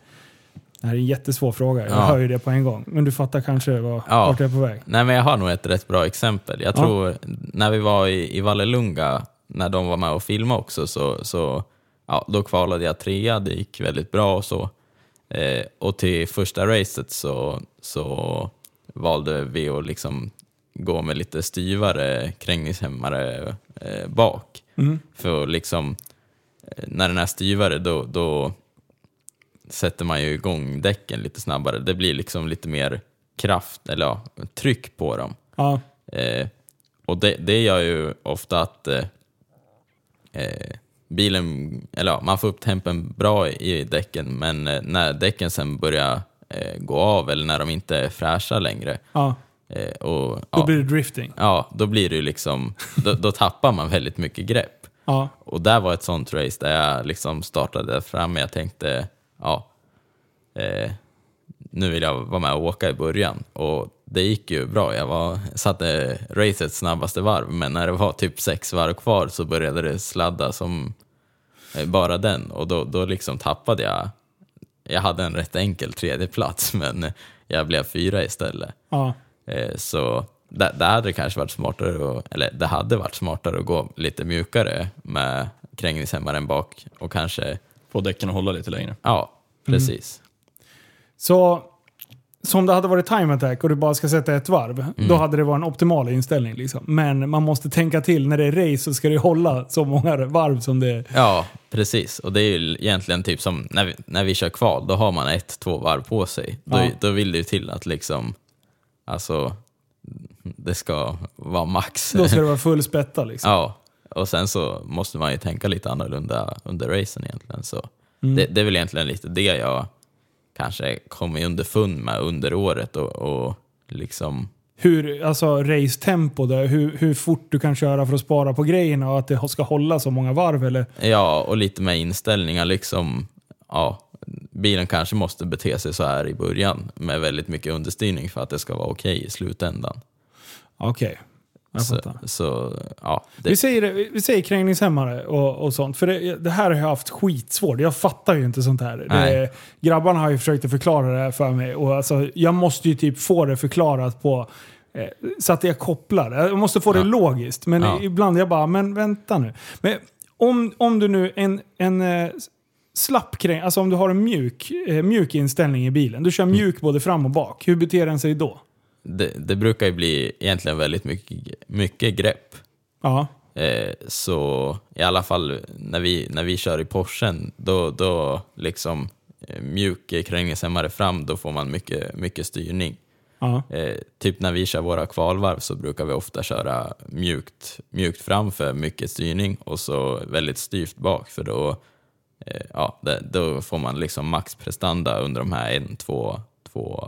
Speaker 1: det här är en jättesvår fråga. Jag
Speaker 2: Ja.
Speaker 1: hör ju det på en gång. Men du fattar kanske vad,
Speaker 2: Ja.
Speaker 1: vart jag är på väg.
Speaker 2: Nej, men jag har nog ett rätt bra exempel. Jag
Speaker 1: Ja.
Speaker 2: tror när vi var i, i Vallelunga, när de var med och filmade också, så, så ja, då kvalade jag trea, det gick väldigt bra och så. Eh, och till första racet så, så valde vi att liksom gå med lite styvare krängningshämmare eh, bak. För att liksom, eh, när den är styvare då, då sätter man ju igång däcken lite snabbare. Det blir liksom lite mer kraft, eller ja, tryck på dem.
Speaker 1: Ja,
Speaker 2: Eh, och det, det gör ju ofta att eh, eh, bilen, eller ja, man får upp tempen bra i, i däcken, men eh, när däcken sen börjar eh, gå av eller när de inte är fräscha längre,
Speaker 1: ja.
Speaker 2: eh, och,
Speaker 1: Då
Speaker 2: ja,
Speaker 1: blir det drifting.
Speaker 2: ja, då blir det ju liksom, då, då tappar man väldigt mycket grepp.
Speaker 1: Ja.
Speaker 2: Och där var ett sånt race där jag liksom startade fram. Jag tänkte, ja, eh, nu vill jag vara med och åka i början. Och det gick ju bra. Jag var, satte racets snabbaste varv, men när det var typ sex varv kvar så började det sladda som eh, bara den. Och då, då liksom tappade jag. Jag hade en rätt enkel tredje plats men jag blev fyra istället.
Speaker 1: ja.
Speaker 2: Eh, Så där, där hade det kanske varit smartare, att, eller det hade varit smartare att gå lite mjukare med krängningshämmaren bak och kanske,
Speaker 3: Få däcken att hålla lite längre.
Speaker 2: ja,
Speaker 1: Mm.
Speaker 2: precis.
Speaker 1: Så som det hade varit time attack och du bara ska sätta ett varv,
Speaker 2: Mm.
Speaker 1: då hade det varit en optimal inställning. Liksom. Men man måste tänka till. När det är race så ska det hålla så många varv som det är.
Speaker 2: Ja, precis. Och det är ju egentligen typ som när vi, när vi kör kval, då har man ett, två varv på sig. Då,
Speaker 1: Ja.
Speaker 2: då vill det ju till att liksom, alltså, det ska vara max.
Speaker 1: Då ska det vara full spätta. Liksom.
Speaker 2: Ja, och sen så måste man ju tänka lite annorlunda under racen egentligen. Så
Speaker 1: Mm.
Speaker 2: det, det är väl egentligen lite det jag kanske kommer underfund med under året och, och liksom,
Speaker 1: Hur, alltså racetempo, där, hur, hur fort du kan köra för att spara på grejerna och att det ska hålla så många varv. Eller,
Speaker 2: ja, och lite med inställningar liksom, ja, bilen kanske måste bete sig så här i början med väldigt mycket understyrning för att det ska vara okej i slutändan.
Speaker 1: Okej. Jag
Speaker 2: Så,
Speaker 1: fattar.
Speaker 2: så ja,
Speaker 1: Vi
Speaker 2: det,
Speaker 1: säger, det- vi säger krängningshämmare och, och sånt. För det, det här har jag haft skitsvårt. Jag fattar ju inte sånt här. Det,
Speaker 2: Nej.
Speaker 1: grabbarna har ju försökt att förklara det här för mig. Och alltså, jag måste ju typ få det förklarat på... Eh, så att jag kopplar. Jag måste få det
Speaker 2: Ja.
Speaker 1: logiskt. Men
Speaker 2: Ja.
Speaker 1: ibland jag bara, men vänta nu. Men om, om du nu en, en eh, slapp kräng, alltså om du har en mjuk, eh, mjuk inställning i bilen. Du kör
Speaker 2: Mm.
Speaker 1: mjuk både fram och bak. Hur beter den sig då?
Speaker 2: det, det brukar ju bli egentligen väldigt mycket, mycket grepp.
Speaker 1: Ja.
Speaker 2: Eh, så i alla fall när vi, när vi kör i Porschen, då, då liksom eh, mjuk krängningshämmare fram, då får man mycket, mycket styrning.
Speaker 1: ja.
Speaker 2: Eh, typ när vi kör våra kvalvarv så brukar vi ofta köra mjukt, mjukt framför, mycket styrning och så väldigt styvt bak för då, eh, ja, det, då får man liksom maxprestanda under de här en, två, två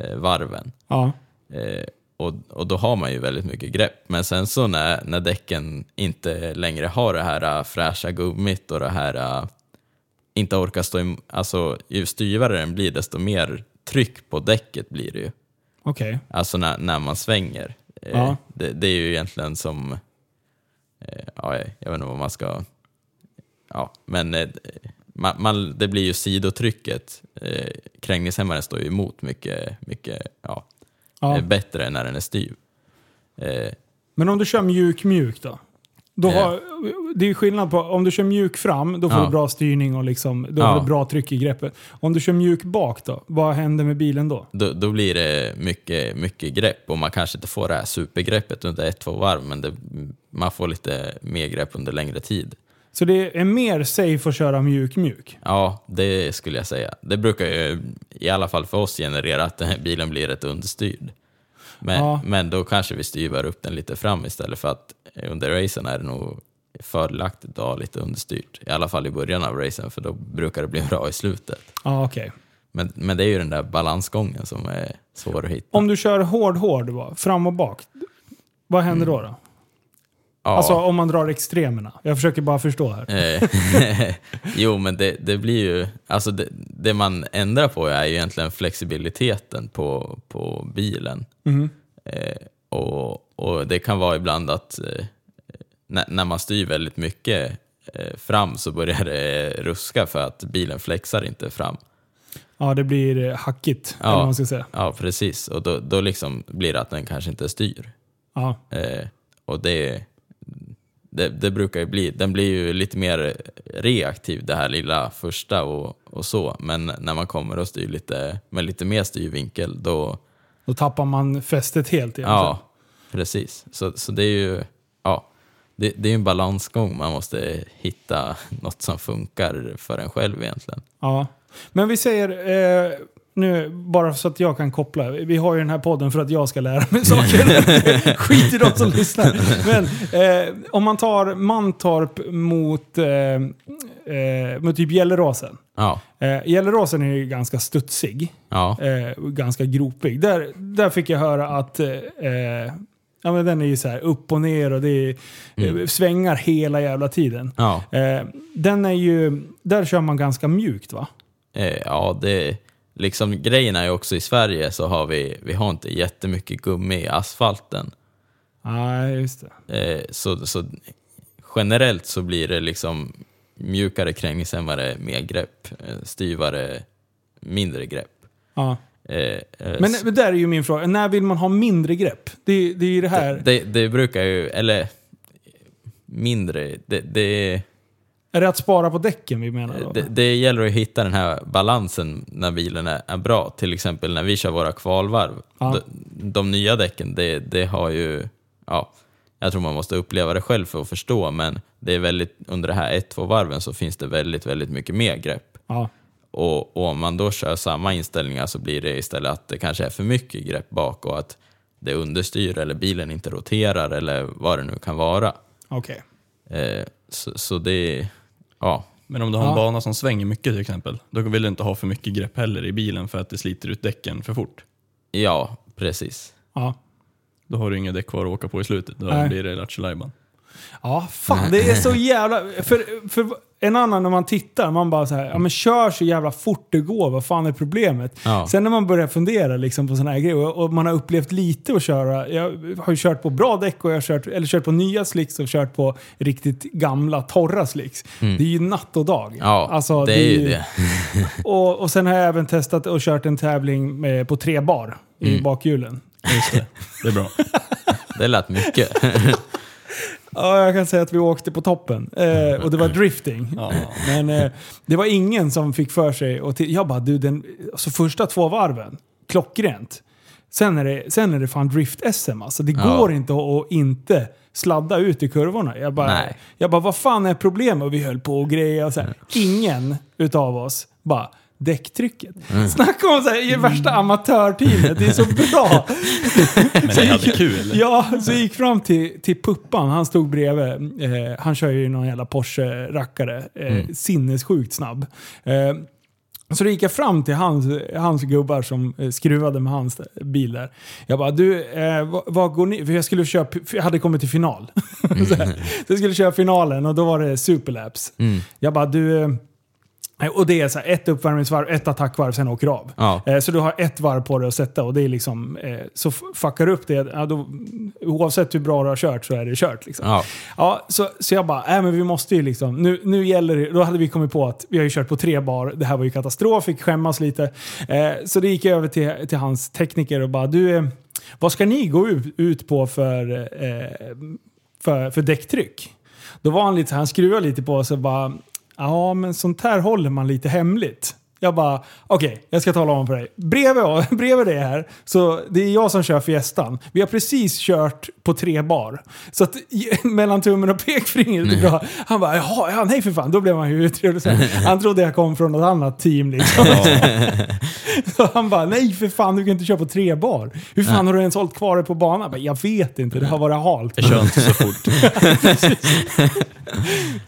Speaker 2: eh, varven.
Speaker 1: ja.
Speaker 2: Eh, och, och då har man ju väldigt mycket grepp. Men sen så när, när däcken inte längre har det här eh, fräscha gummit och det här eh, inte orkar stå im- alltså ju styvare den blir desto mer tryck på däcket blir det ju.
Speaker 1: Okej.
Speaker 2: Alltså när, när man svänger. Eh,
Speaker 1: Ja.
Speaker 2: Det, det är ju egentligen som, eh, ja, jag- jag vet inte vad man ska, ja, men eh, man, man, det blir ju sidotrycket. Eh, krängningshämmaren står ju emot mycket, mycket ja,
Speaker 1: Ja.
Speaker 2: eh, bättre när den är styv. Eh,
Speaker 1: Men om du kör mjuk mjuk då? då
Speaker 2: Ja.
Speaker 1: har, det är ju skillnad på, om du kör mjuk fram, då får
Speaker 2: Ja.
Speaker 1: du bra styrning och liksom, då
Speaker 2: Ja.
Speaker 1: har du bra tryck i greppet. Om du kör mjuk bak då, vad händer med bilen då?
Speaker 2: då, då blir det mycket, mycket grepp och man kanske inte får det här supergreppet under ett, två varv, men det, man får lite mer grepp under längre tid.
Speaker 1: Så det är mer safe att köra mjuk mjuk.
Speaker 2: Ja, det skulle jag säga. Det brukar ju, i alla fall för oss, generera att den här bilen blir rätt understyrd. Men,
Speaker 1: Ja.
Speaker 2: men då kanske vi styvar upp den lite fram istället för att under racen är det nog fördelaktigt att ha lite understyrt. I alla fall i början av racen, för då brukar det bli bra i slutet.
Speaker 1: Ja, okej.
Speaker 2: Men, men det är ju den där balansgången som är svår att hitta.
Speaker 1: Om du kör hård hård, va? fram och bak, vad händer då? då?
Speaker 2: Mm. ja.
Speaker 1: Alltså om man drar extremerna. Jag försöker bara förstå här.
Speaker 2: Eh, jo, men det, det blir ju... Alltså det, det man ändrar på är ju egentligen flexibiliteten på, på bilen.
Speaker 1: Mhm.
Speaker 2: Eh, och, och det kan vara ibland att eh, när, när man styr väldigt mycket eh, fram så börjar det ruska för att bilen flexar inte fram.
Speaker 1: Ja, det blir eh, hackigt,
Speaker 2: Ja.
Speaker 1: eller vad man ska säga.
Speaker 2: Ja, precis. Och då, då liksom blir det att den kanske inte styr.
Speaker 1: Ja.
Speaker 2: Eh, och det, det, det brukar ju bli, den blir ju lite mer reaktiv det här lilla första och, och så. Men när man kommer och styr lite, med lite mer styrvinkel då,
Speaker 1: Då tappar man fästet helt egentligen.
Speaker 2: ja precis. Så, så det är ju, ja, det, det är ju en balansgång. Man måste hitta något som funkar för en själv egentligen.
Speaker 1: Ja. Men vi säger, eh, nu bara så att jag kan koppla. Vi har ju den här podden för att jag ska lära mig saker. Skit i de som lyssnar. Men eh, om man tar Mantorp mot, eh, eh, mot typ Gelleråsen.
Speaker 2: Ja,
Speaker 1: Eh, Gelleråsen är ju ganska studsig.
Speaker 2: ja,
Speaker 1: Eh, och ganska gropig. Där, där fick jag höra att eh, eh, ja, men den är ju så här upp och ner och det är, eh, svängar hela jävla tiden.
Speaker 2: ja.
Speaker 1: Eh, den är ju, där kör man ganska mjukt va?
Speaker 2: Eh, ja, det liksom grejen är ju också i Sverige så har vi, vi har inte jättemycket gummi i asfalten.
Speaker 1: Nej, just det.
Speaker 2: Eh, så, så generellt så blir det liksom mjukare krängningshämmare, mer grepp, eh, styvare, mindre grepp.
Speaker 1: Ja.
Speaker 2: Eh, eh,
Speaker 1: Men,
Speaker 2: så
Speaker 1: men där är ju min fråga, när vill man ha mindre grepp? Det, är- det är ju det här.
Speaker 2: det, det brukar ju, eller mindre, det, det,
Speaker 1: är det att spara på däcken vi menar då?
Speaker 2: det, det gäller att hitta den här balansen när bilen är, är bra. Till exempel när vi kör våra kvalvarv.
Speaker 1: Ja.
Speaker 2: De, de nya däcken, det, det har ju, ja, jag tror man måste uppleva det själv för att förstå, men det är väldigt, under det här 1-2 varven så finns det väldigt, väldigt mycket mer grepp.
Speaker 1: ja.
Speaker 2: Och, och om man då kör samma inställningar så blir det istället att det kanske är för mycket grepp bak och att det understyr eller bilen inte roterar eller vad det nu kan vara.
Speaker 1: Okej.
Speaker 2: Eh, så, så det, ja,
Speaker 3: Men om du har
Speaker 1: Ja.
Speaker 3: en bana som svänger mycket till exempel, då vill du inte ha för mycket grepp heller i bilen för att det sliter ut däcken för fort.
Speaker 2: ja precis.
Speaker 1: Ja.
Speaker 3: Då har du inga däck kvar att åka på i slutet. Då
Speaker 1: Nej.
Speaker 3: blir det lattjo lajban.
Speaker 1: ja, fan det är så jävla... För, för en annan när man tittar, man bara så här, ja men kör så jävla fort det går, vad fan är problemet?
Speaker 2: Ja.
Speaker 1: Sen när man börjar fundera liksom på sådana här grejer och, och man har upplevt lite att köra, jag har ju kört på bra däck och jag har kört, eller kört på nya slicks och kört på riktigt gamla torra slicks. Det är ju natt och dag.
Speaker 2: Mm. Ja,
Speaker 1: Alltså,
Speaker 2: det är ju det.
Speaker 1: Och, och sen har jag även testat och kört en tävling med, på tre bar i bakhjulen.
Speaker 3: Just det. Det är bra.
Speaker 2: Det lät mycket.
Speaker 1: Ja, jag kan säga att vi åkte på toppen. Eh, och det var drifting.
Speaker 3: Ja.
Speaker 1: Men eh, det var ingen som fick för sig och till, Jag bara, du den... Alltså första två varven, klockrent. Sen är det, sen är det fan drift-SM alltså. Det
Speaker 2: Ja.
Speaker 1: går inte att, att inte sladda ut i kurvorna. Jag bara,
Speaker 2: Nej. Mm.
Speaker 1: jag bara, vad fan är problemet? Och vi höll på och grejade och så här. Ingen utav oss bara, däcktrycket.
Speaker 2: Mm.
Speaker 1: Snacka om så här, i värsta amatörteamet, det är så bra!
Speaker 3: Men det hade kul.
Speaker 1: Ja, så jag gick fram till, till Puppan, han stod bredvid. Eh, han kör ju någon jävla Porsche-rackare. Eh, Sinnessjukt snabb. Eh, så då gick jag fram till hans, hans gubbar som eh, skruvade med hans bil där. Jag bara, du, eh, vad, vad går ni? För jag, skulle köra, för jag hade kommit till final. så, här, så jag skulle köra finalen och då var det superlaps. Jag bara, du... eh, och det är så här, ett uppvärmningsvarv, ett attackvarv, sen åker du av.
Speaker 2: Ja.
Speaker 1: Eh, Så du har ett varv på dig att sätta och det är liksom, eh, så f- fuckar du upp det, ja, då, oavsett hur bra du har kört så är det kört. Liksom.
Speaker 2: Ja.
Speaker 1: Ja, så, så jag bara, äh, men vi måste ju liksom, nu, nu gäller det, då hade vi kommit på att vi har ju kört på tre bar, det här var ju katastrof, fick skämmas lite. Eh, så det gick jag över till, till hans tekniker och bara, du, eh, vad ska ni gå ut, ut på för, eh, för, för däcktryck? Då var han lite så här, han skruvade lite på sig och bara, ja men sånt här håller man lite hemligt. Jag bara, okej, jag ska tala om för dig. Bredvid, bredvid det här, så det är jag som kör fiestan. Vi har precis kört på tre bar. Så att mellan tummen och pekfingret är bra. Han bara, jaha, ja, nej för fan. Då blev han ju trevlig. Så här, Han trodde jag kom från något annat team liksom. Så han bara, nej för fan, du kan inte köra på tre bar. Hur fan har du ens hållit kvar det på banan? Jag, bara, jag vet inte, det har varit halt.
Speaker 3: Jag kör inte så fort.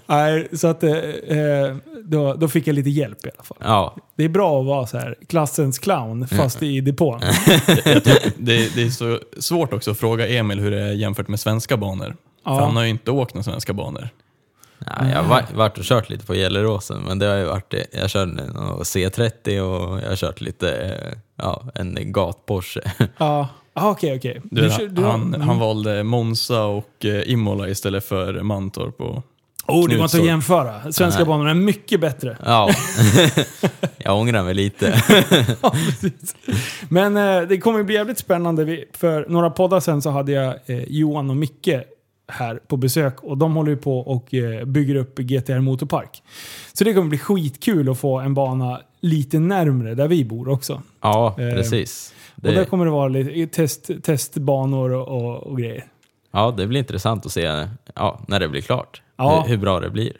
Speaker 1: Nej, så att eh, eh, då, då fick jag lite hjälp i alla fall.
Speaker 2: Ja.
Speaker 1: Det är bra att våra så här, klassens
Speaker 3: Mm.
Speaker 1: clown fast i depån.
Speaker 3: Det, det är så svårt också att fråga Emil hur det är jämfört med svenska banor.
Speaker 1: Ja.
Speaker 3: För han har ju inte åkt några svenska banor.
Speaker 2: Ja, jag har va- varit och kört lite på Gelleråsen, men det har ju varit det. Jag körde någon C30 och jag har kört lite, eh, ja, en gatporsche.
Speaker 1: Ja, Ah, okej okej.
Speaker 3: Du,
Speaker 1: Du
Speaker 3: vet,
Speaker 1: kör- du-
Speaker 3: han,
Speaker 1: mm.
Speaker 3: han valde Monza och eh, Imola istället för Mantorp. Och,
Speaker 1: Oh, det går inte att
Speaker 3: Knutsår. Mm.
Speaker 1: jämföra. Svenska
Speaker 2: Nej.
Speaker 1: banorna är mycket bättre.
Speaker 2: Ja, jag ångrar mig lite.
Speaker 1: Ja, precis. Men eh, det kommer ju bli jävligt spännande. Vi- För några poddar sen så hade jag eh, Johan och Micke här på besök och de håller ju på och eh, bygger upp GTR Motorpark. Så det kommer bli skitkul att få en bana lite närmre där vi bor också.
Speaker 2: Ja,
Speaker 1: Eh,
Speaker 2: precis.
Speaker 1: Och där
Speaker 2: Det,
Speaker 1: kommer det vara lite test, testbanor och, och, och grejer.
Speaker 2: ja, det blir intressant att se ja, när det blir klart,
Speaker 1: Ja.
Speaker 2: hur, hur bra det blir.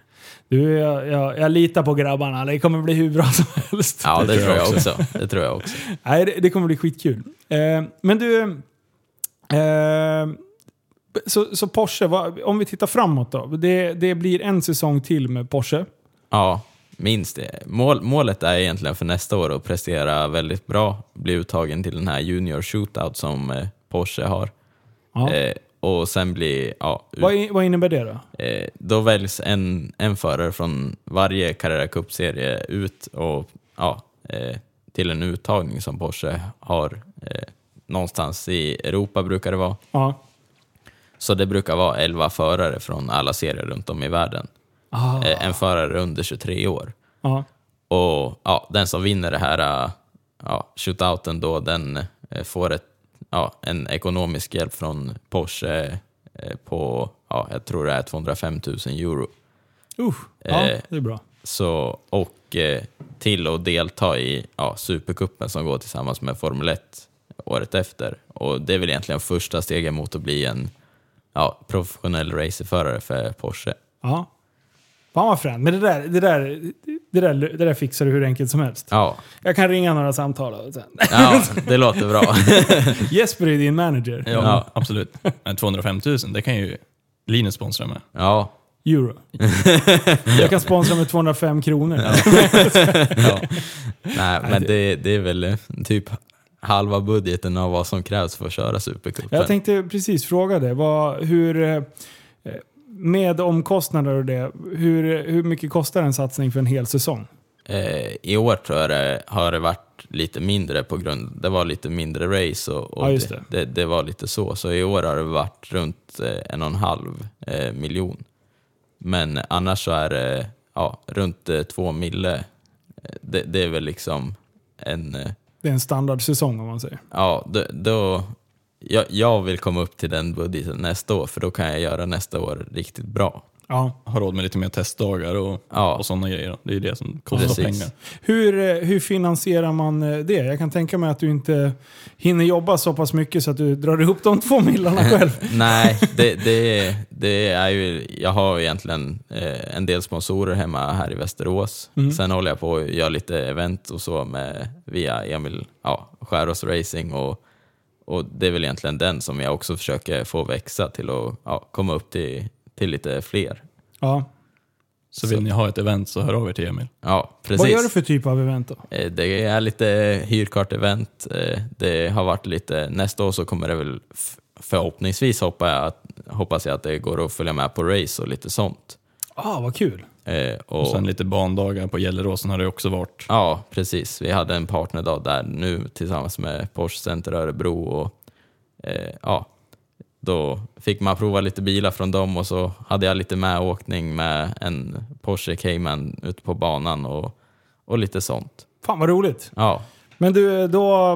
Speaker 1: Du, jag, jag, jag litar på grabbarna. Det kommer bli hur bra som helst.
Speaker 2: Ja, det,
Speaker 3: tror
Speaker 2: tror
Speaker 3: jag
Speaker 2: jag också. Det tror jag också.
Speaker 1: Nej, det, det kommer bli skitkul. Eh, men du... Eh, så, så Porsche, vad, om vi tittar framåt då. Det, det blir en säsong till med Porsche.
Speaker 2: Ja, minst det. Mål, målet är egentligen för nästa år att prestera väldigt bra, bli uttagen till den här junior shootout som eh, Porsche har.
Speaker 1: Ja.
Speaker 2: Eh, och sen bli, ja, ut,
Speaker 1: vad, i- vad innebär det då?
Speaker 2: eh, då väljs en, en förare från varje Carrera Cup-serie ut och ja, eh, till en uttagning som Porsche har eh, någonstans i Europa brukar det vara.
Speaker 1: Ja.
Speaker 2: Så det brukar vara 11 förare från alla serier runt om i världen.
Speaker 1: Ah,
Speaker 2: Eh, en förare under 23 år.
Speaker 1: ja.
Speaker 2: Och ja, den som vinner det här eh, ja, shootouten då, den eh, får ett, ja, en ekonomisk hjälp från Porsche eh, på, ja, jag tror det är 205 000 euro.
Speaker 1: Usch, ja,
Speaker 2: Eh.
Speaker 1: det är bra.
Speaker 2: Så, och eh, till att delta i ja, Supercupen som går tillsammans med Formel 1 året efter. Och det är väl egentligen första steget mot att bli en ja, professionell racerförare för Porsche.
Speaker 1: Ja. Fan vad fränt. Men det där, det, där, det, där, det där fixar du hur enkelt som helst.
Speaker 2: Ja,
Speaker 1: Jag kan ringa några samtal. och sen.
Speaker 2: ja det låter bra.
Speaker 1: Jesper är din manager.
Speaker 3: ja,
Speaker 2: Ja.
Speaker 3: absolut. Men 205 000, det kan ju Linus sponsra med.
Speaker 2: Ja,
Speaker 1: Euro. Jag kan sponsra med 205 kronor.
Speaker 2: ja. Nej, men det, det är väl typ halva budgeten av vad som krävs för att köra Supercupen.
Speaker 1: Jag tänkte precis fråga det. Vad, hur, eh, med omkostnader och det, hur, hur mycket kostar en satsning för en hel säsong?
Speaker 2: Eh, I år tror jag det har det varit lite mindre på grund det var lite mindre race och, och
Speaker 1: Ja, just
Speaker 2: det. Det, det var lite så. Så i år har det varit runt eh, en och en halv eh, miljon. Men annars så är det ja, runt eh, två mille. Eh, Det, det är väl liksom en... Eh,
Speaker 1: Det är en standardsäsong om man säger.
Speaker 2: ja, då, då, jag, jag vill komma upp till den budgeten nästa år för då kan jag göra nästa år riktigt bra.
Speaker 1: Ja.
Speaker 3: Har råd med lite mer testdagar och,
Speaker 2: Ja.
Speaker 3: och sådana grejer. Det är ju det som kostar
Speaker 2: Precis.
Speaker 3: pengar.
Speaker 1: Hur, eh, hur finansierar man eh, det? Jag kan tänka mig att du inte hinner jobba så pass mycket så att du drar ihop de två millarna själv.
Speaker 2: Nej, det, det, det är ju... Jag har egentligen eh, en del sponsorer hemma här i Västerås.
Speaker 1: Mm.
Speaker 2: Sen håller jag på och gör lite event och så med, via Emil ja, Skärås Racing. Och, och det är väl egentligen den som jag också försöker få växa till att ja, komma upp till, till lite fler.
Speaker 1: Ja.
Speaker 3: Så vill ni ha ett event så hör av er till Emil.
Speaker 2: Ja, precis.
Speaker 1: Vad gör du för typ av event då?
Speaker 2: Eh, Det är lite hyrkartevent. eh, Det har varit lite, nästa år så kommer det väl f- förhoppningsvis hoppa jag att, hoppas jag att det går att följa med på race och lite sånt.
Speaker 1: Ah, vad kul.
Speaker 2: Eh,
Speaker 3: Och
Speaker 2: Och,
Speaker 3: sen lite bandagar på Gelleråsen har det också varit.
Speaker 2: ja, precis. Vi hade en partnerdag där nu tillsammans med Porsche Center Örebro och eh, ja, då fick man prova lite bilar från dem och så hade jag lite medåkning med en Porsche Cayman ute på banan och, och lite sånt.
Speaker 1: Fan vad roligt.
Speaker 2: Ja,
Speaker 1: Men du, då,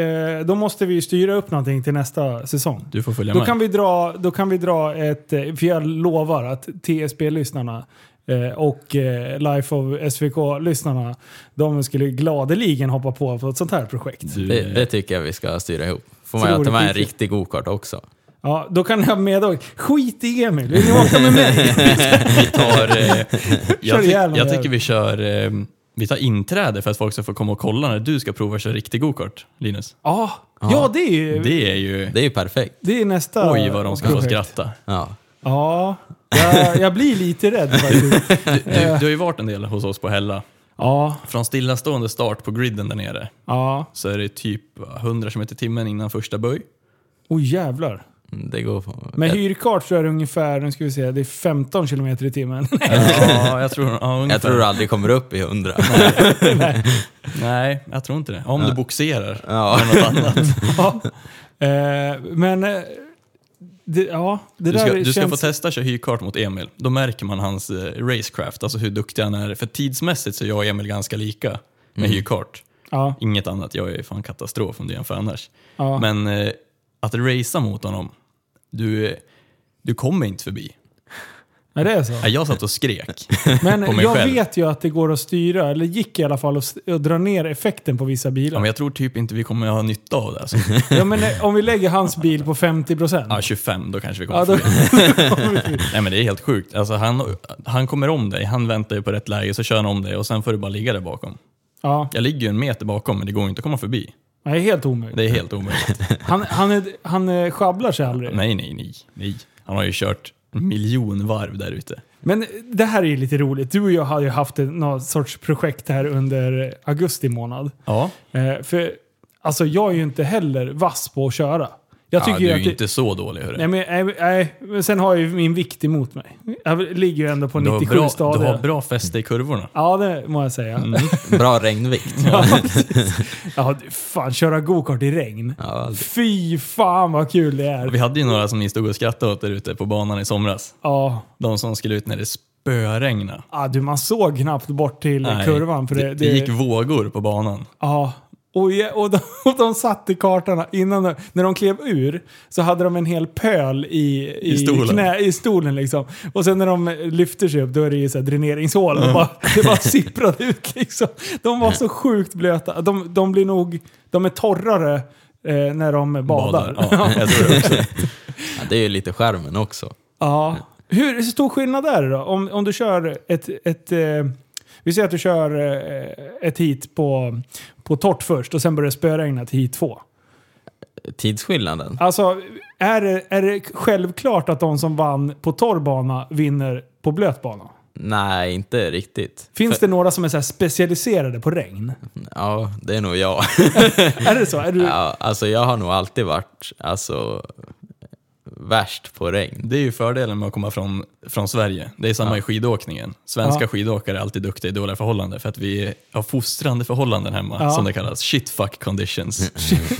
Speaker 1: eh, då måste vi ju styra upp någonting till nästa säsong.
Speaker 3: Du får följa
Speaker 1: Då
Speaker 3: med.
Speaker 1: kan, vi dra, då kan vi dra ett, eh, för jag lovar att TSB-lyssnarna eh, och eh, Life of SVK-lyssnarna, de skulle gladeligen hoppa på på ett sånt här projekt.
Speaker 3: Du,
Speaker 2: Det, det tycker jag vi ska styra ihop. Får
Speaker 1: Så
Speaker 2: man ju
Speaker 1: Mm. det
Speaker 2: ta
Speaker 1: vore
Speaker 2: med en
Speaker 1: skitkul.
Speaker 2: riktig gokart också.
Speaker 1: Ja, då kan ni ha med och Skit i Emil, vill ni åka med mig?
Speaker 3: tar, eh, jag, ty-
Speaker 1: ihjäl någon
Speaker 3: jag
Speaker 1: jävel.
Speaker 3: tycker vi kör eh, vi tar inträde för att folk ska få komma och kolla när du ska prova att köra riktig gokart, Linus.
Speaker 1: Ja, ja det är ju
Speaker 3: Det är ju...
Speaker 2: Det är ju perfekt.
Speaker 1: det är nästa
Speaker 3: Oj vad de ska få
Speaker 1: projekt.
Speaker 3: skratta.
Speaker 2: Ja.
Speaker 1: Ja, jag, jag blir lite rädd faktiskt.
Speaker 3: Du, du har ju varit en del hos oss på Hälla.
Speaker 1: Ja,
Speaker 3: Från stillastående start på griden där nere
Speaker 1: ja.
Speaker 3: så är det typ 100 km i timmen innan första böj.
Speaker 1: Oh jävlar.
Speaker 2: Mm, Det går på.
Speaker 1: Med
Speaker 2: jag,
Speaker 1: hyrkart så är det ungefär, nu ska vi se, det är 15 km i timmen.
Speaker 3: Ja, jag tror, ja, ungefär.
Speaker 2: jag tror du aldrig kommer upp i hundra.
Speaker 3: Nej, jag tror inte det. Om du boxerar.
Speaker 2: Ja.
Speaker 3: eller något annat.
Speaker 1: Ja. Eh, men eh, det, ja, det
Speaker 3: Du
Speaker 1: där
Speaker 3: ska, du ska få
Speaker 1: känns...
Speaker 3: testa att köra hyrkart mot Emil. Då märker man hans eh, racecraft, alltså hur duktig han är. För tidsmässigt så är jag och Emil ganska lika med hyrkart.
Speaker 1: ja,
Speaker 3: Inget annat, jag är fan katastrof om du jämför annars.
Speaker 1: ja.
Speaker 3: Men eh, att racea mot honom, du, eh, du kommer inte förbi.
Speaker 1: ja, det är så.
Speaker 3: Nej, Jag satt och skrek.
Speaker 1: Men
Speaker 3: på mig
Speaker 1: jag
Speaker 3: själv.
Speaker 1: vet ju att det går att styra, eller gick i alla fall, att s- att dra ner effekten på vissa
Speaker 3: Ja,
Speaker 1: bilar.
Speaker 3: men jag tror typ inte vi kommer ha nytta av det. Alltså.
Speaker 1: Ja, men eh, om vi lägger hans bil på 50 procent.
Speaker 3: Ja, 25, då kanske vi kommer
Speaker 1: Ja, då,
Speaker 3: förbi. Nej men det är helt sjukt. Alltså, han, han kommer om dig, han väntar ju på rätt läge, så kör han om dig och sen får du bara ligga där bakom.
Speaker 1: ja,
Speaker 3: Jag ligger ju en meter bakom men det går ju inte att komma förbi.
Speaker 1: det är helt omöjligt.
Speaker 3: Det är helt omöjligt.
Speaker 1: Han, han, är, han eh, sjabblar sig aldrig.
Speaker 3: nej, nej, nej, nej. Han har ju kört en miljon varv där ute.
Speaker 1: Men det här är ju lite roligt. Du och jag har ju haft en- någon sorts projekt här under eh, augusti månad.
Speaker 3: Ja,
Speaker 1: Eh, för alltså, jag är ju inte heller vass på att köra. Jag tycker
Speaker 3: ja du
Speaker 1: ju
Speaker 3: är
Speaker 1: att
Speaker 3: ju
Speaker 1: det-
Speaker 3: inte så dålig hörru.
Speaker 1: Nej, men, nej, nej, men sen har jag ju min vikt emot mig. Jag ligger ju ändå på
Speaker 3: Du har,
Speaker 1: 97
Speaker 3: bra, du
Speaker 1: stadier.
Speaker 3: har bra Mm. fäste i kurvorna.
Speaker 1: Ja, det må jag säga.
Speaker 2: Bra regnvikt.
Speaker 1: Ja, precis. ja, du, fan, köra gokart i regn.
Speaker 2: Ja, aldrig.
Speaker 1: Fy fan vad kul det är.
Speaker 3: Vi hade ju några som ni stod och skrattade åt där ute på banan i somras.
Speaker 1: Ja,
Speaker 3: De som skulle ut när det spöregna.
Speaker 1: ja du, man såg knappt bort till
Speaker 3: Nej,
Speaker 1: kurvan. För det,
Speaker 3: det, gick vågor på banan.
Speaker 1: Ja. Och, ja, och, de, och de satte kartorna innan de, När de klev ur så hade de en hel pöl i, i,
Speaker 3: stolen.
Speaker 1: Knä, i stolen liksom. Och sen när de lyfter sig upp då är det ju så här dräneringshål. Och bara, det bara sipprade ut liksom. De var så sjukt blöta. De, de blir nog... De är torrare eh, när de badar.
Speaker 3: Ja, jag tror det också.
Speaker 2: Ja, det är ju lite skärmen också.
Speaker 1: Ja. Hur hur stor skillnad är det då? Om, om du kör ett... ett eh, vi säger att du kör eh, ett hit på, på torrt först och sen börjar det spöregna till hit två.
Speaker 2: Tidsskillnaden?
Speaker 1: Alltså, är det, är det självklart att de som vann på torr bana vinner på blöt bana?
Speaker 2: Nej, inte riktigt.
Speaker 1: Finns det några som är så här specialiserade på regn?
Speaker 2: Ja, det är nog jag.
Speaker 1: Är det så? Är du,
Speaker 2: Ja, alltså jag har nog alltid varit alltså, värst på regn.
Speaker 3: Det är ju fördelen med att komma från, från Sverige. Det är samma i skidåkningen. Svenska
Speaker 1: Ja.
Speaker 3: skidåkare är alltid duktiga i dåliga förhållanden för att vi har fostrande förhållanden hemma,
Speaker 1: Ja.
Speaker 3: som det kallas. Shit fuck conditions.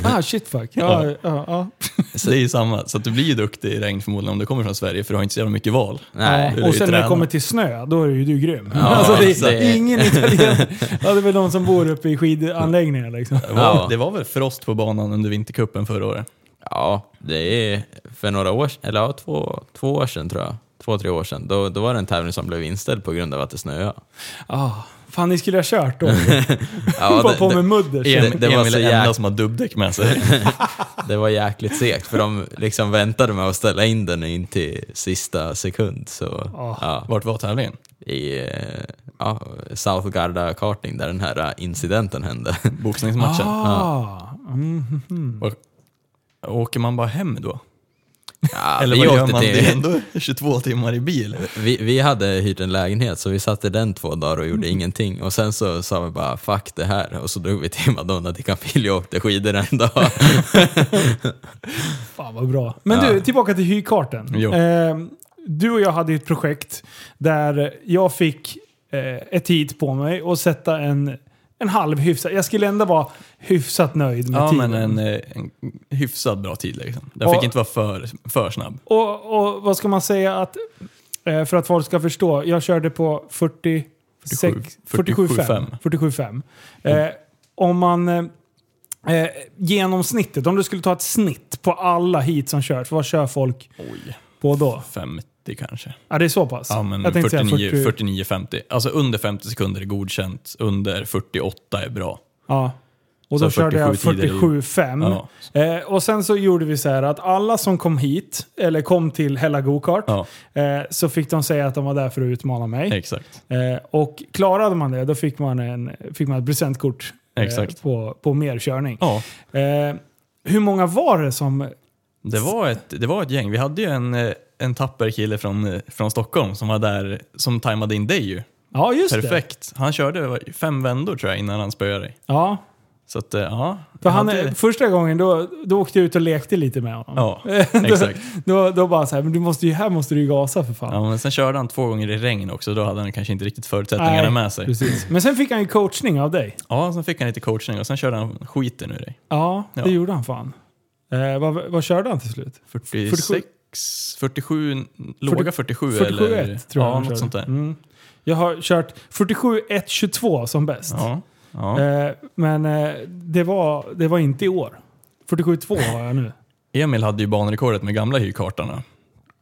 Speaker 1: Ah, shit fuck. Ja, ja. Ja,
Speaker 3: Så det är ju samma. Så att du blir ju duktig i regn förmodligen om du kommer från Sverige för du har inte så jävla mycket val.
Speaker 2: Nej.
Speaker 1: Ja, Och sen när det
Speaker 3: Träna.
Speaker 1: kommer till snö, då är ju du grym. alltså, det,
Speaker 2: det-
Speaker 1: är ingen italien. Ja, det är väl de som bor uppe i skidanläggningar liksom.
Speaker 3: Det var,
Speaker 2: Ja.
Speaker 3: det var väl frost på banan under vintercupen förra året?
Speaker 2: Ja, det är för några år sedan, eller ja, två, två år sedan tror jag. Två, tre år sedan. Då, då var det en tävling som blev inställd på grund av att det snöade.
Speaker 1: Ah, fan, ni skulle ha kört då.
Speaker 2: Ja,
Speaker 1: Bara
Speaker 2: det,
Speaker 1: på med
Speaker 2: det,
Speaker 1: mudder.
Speaker 2: Ja.
Speaker 3: Emil
Speaker 2: det var
Speaker 3: Emil
Speaker 2: så
Speaker 3: är enda
Speaker 2: jäk-
Speaker 3: som har dubbdäck med sig.
Speaker 2: det var jäkligt segt för de liksom väntade med att ställa in den in till sista sekund. Så,
Speaker 1: Ah.
Speaker 2: ja,
Speaker 3: Vart var tävlingen?
Speaker 2: I eh, ja, South Garda karting där den här incidenten hände.
Speaker 3: Boxningsmatchen?
Speaker 1: Ah,
Speaker 3: Åker man bara hem då?
Speaker 2: Ja,
Speaker 3: Eller
Speaker 2: vi
Speaker 3: vad gör
Speaker 2: åkte
Speaker 3: man?
Speaker 2: till-
Speaker 3: Det är ändå 22 timmar i bil.
Speaker 2: Vi, vi hade hyrt en lägenhet så vi satt i den två dagar och
Speaker 3: Mm.
Speaker 2: gjorde ingenting och sen så sa vi bara fuck det här och så drog vi till Madonna di Campiglio och åkte skidor en dag.
Speaker 1: Fan vad bra. Men du, tillbaka till hykarten.
Speaker 3: Jo.
Speaker 1: Eh, du och jag hade ju ett projekt där jag fick eh, ett tid på mig och sätta en, en halv hyfsad. Jag skulle ändå vara hyfsat nöjd med
Speaker 3: Ja,
Speaker 1: tiden.
Speaker 3: men en, eh, en hyfsad bra tid. Liksom. Den
Speaker 1: Och-
Speaker 3: fick inte vara för, för snabb.
Speaker 1: Och, och vad ska man säga att, eh, för att folk ska förstå, jag körde på 47,5.
Speaker 3: 47,
Speaker 1: 47,5. 47,5.
Speaker 3: Mm.
Speaker 1: Eh, om man... Eh, eh, genomsnittet, om du skulle ta ett snitt på alla hit som körs, vad kör folk
Speaker 3: Oj.
Speaker 1: på då?
Speaker 3: 50 kanske.
Speaker 1: Ja, det är så pass?
Speaker 3: Ja, men
Speaker 1: jag tänkte
Speaker 3: 49,
Speaker 1: säga 40...
Speaker 3: 49, 50. Alltså under 50 sekunder är godkänt, under 48 är bra.
Speaker 1: Ja. Och då
Speaker 3: Så
Speaker 1: körde jag
Speaker 3: 47 tider i-
Speaker 1: 47,5.
Speaker 3: Ja.
Speaker 1: Eh, och sen så gjorde vi så här att alla som kom hit, eller kom till Hella Gokart,
Speaker 3: Ja,
Speaker 1: eh, så fick de säga att de var där för att utmana mig.
Speaker 3: exakt.
Speaker 1: Eh, och klarade man det, då fick man, en, fick man ett presentkort eh,
Speaker 3: Exakt.
Speaker 1: på, på mer körning.
Speaker 3: Ja,
Speaker 1: Eh, hur många var det som...
Speaker 3: det var, ett, det var ett gäng. Vi hade ju en, eh, en tapper kille från, eh, från Stockholm som var där, som tajmade in dig ju.
Speaker 1: Ja, just det.
Speaker 3: Perfekt. Han körde vad, fem vändor tror jag innan han spöade dig.
Speaker 1: Ja,
Speaker 3: Så att, eh, ja.
Speaker 1: för han,
Speaker 3: hade-
Speaker 1: första gången då, då åkte jag ut och lekte lite med honom.
Speaker 3: Ja, exakt.
Speaker 1: Då, då bara så här, men du måste ju, här måste du ju gasa för fan.
Speaker 3: Ja, men sen körde han två gånger i regn också, då hade han kanske inte riktigt förutsättningarna
Speaker 1: Nej,
Speaker 3: med sig.
Speaker 1: Precis. Men sen fick han ju coachning av dig.
Speaker 3: Ja, sen fick han lite coachning och sen körde han skiten ur dig.
Speaker 1: Ja, det
Speaker 3: Ja.
Speaker 1: gjorde han fan. Eh, vad, vad körde han till slut?
Speaker 3: 46, 47, låga 47,
Speaker 1: 47
Speaker 3: eller?
Speaker 1: tror jag
Speaker 3: ja,
Speaker 1: han
Speaker 3: något
Speaker 1: körde.
Speaker 3: sånt där.
Speaker 1: Mm. Jag har kört 47-1-22 som bäst.
Speaker 3: Ja, ja.
Speaker 1: Eh, men eh, det, var, det var inte i år. 47,2 har jag nu.
Speaker 3: Emil hade ju banrekordet med gamla hyrkartarna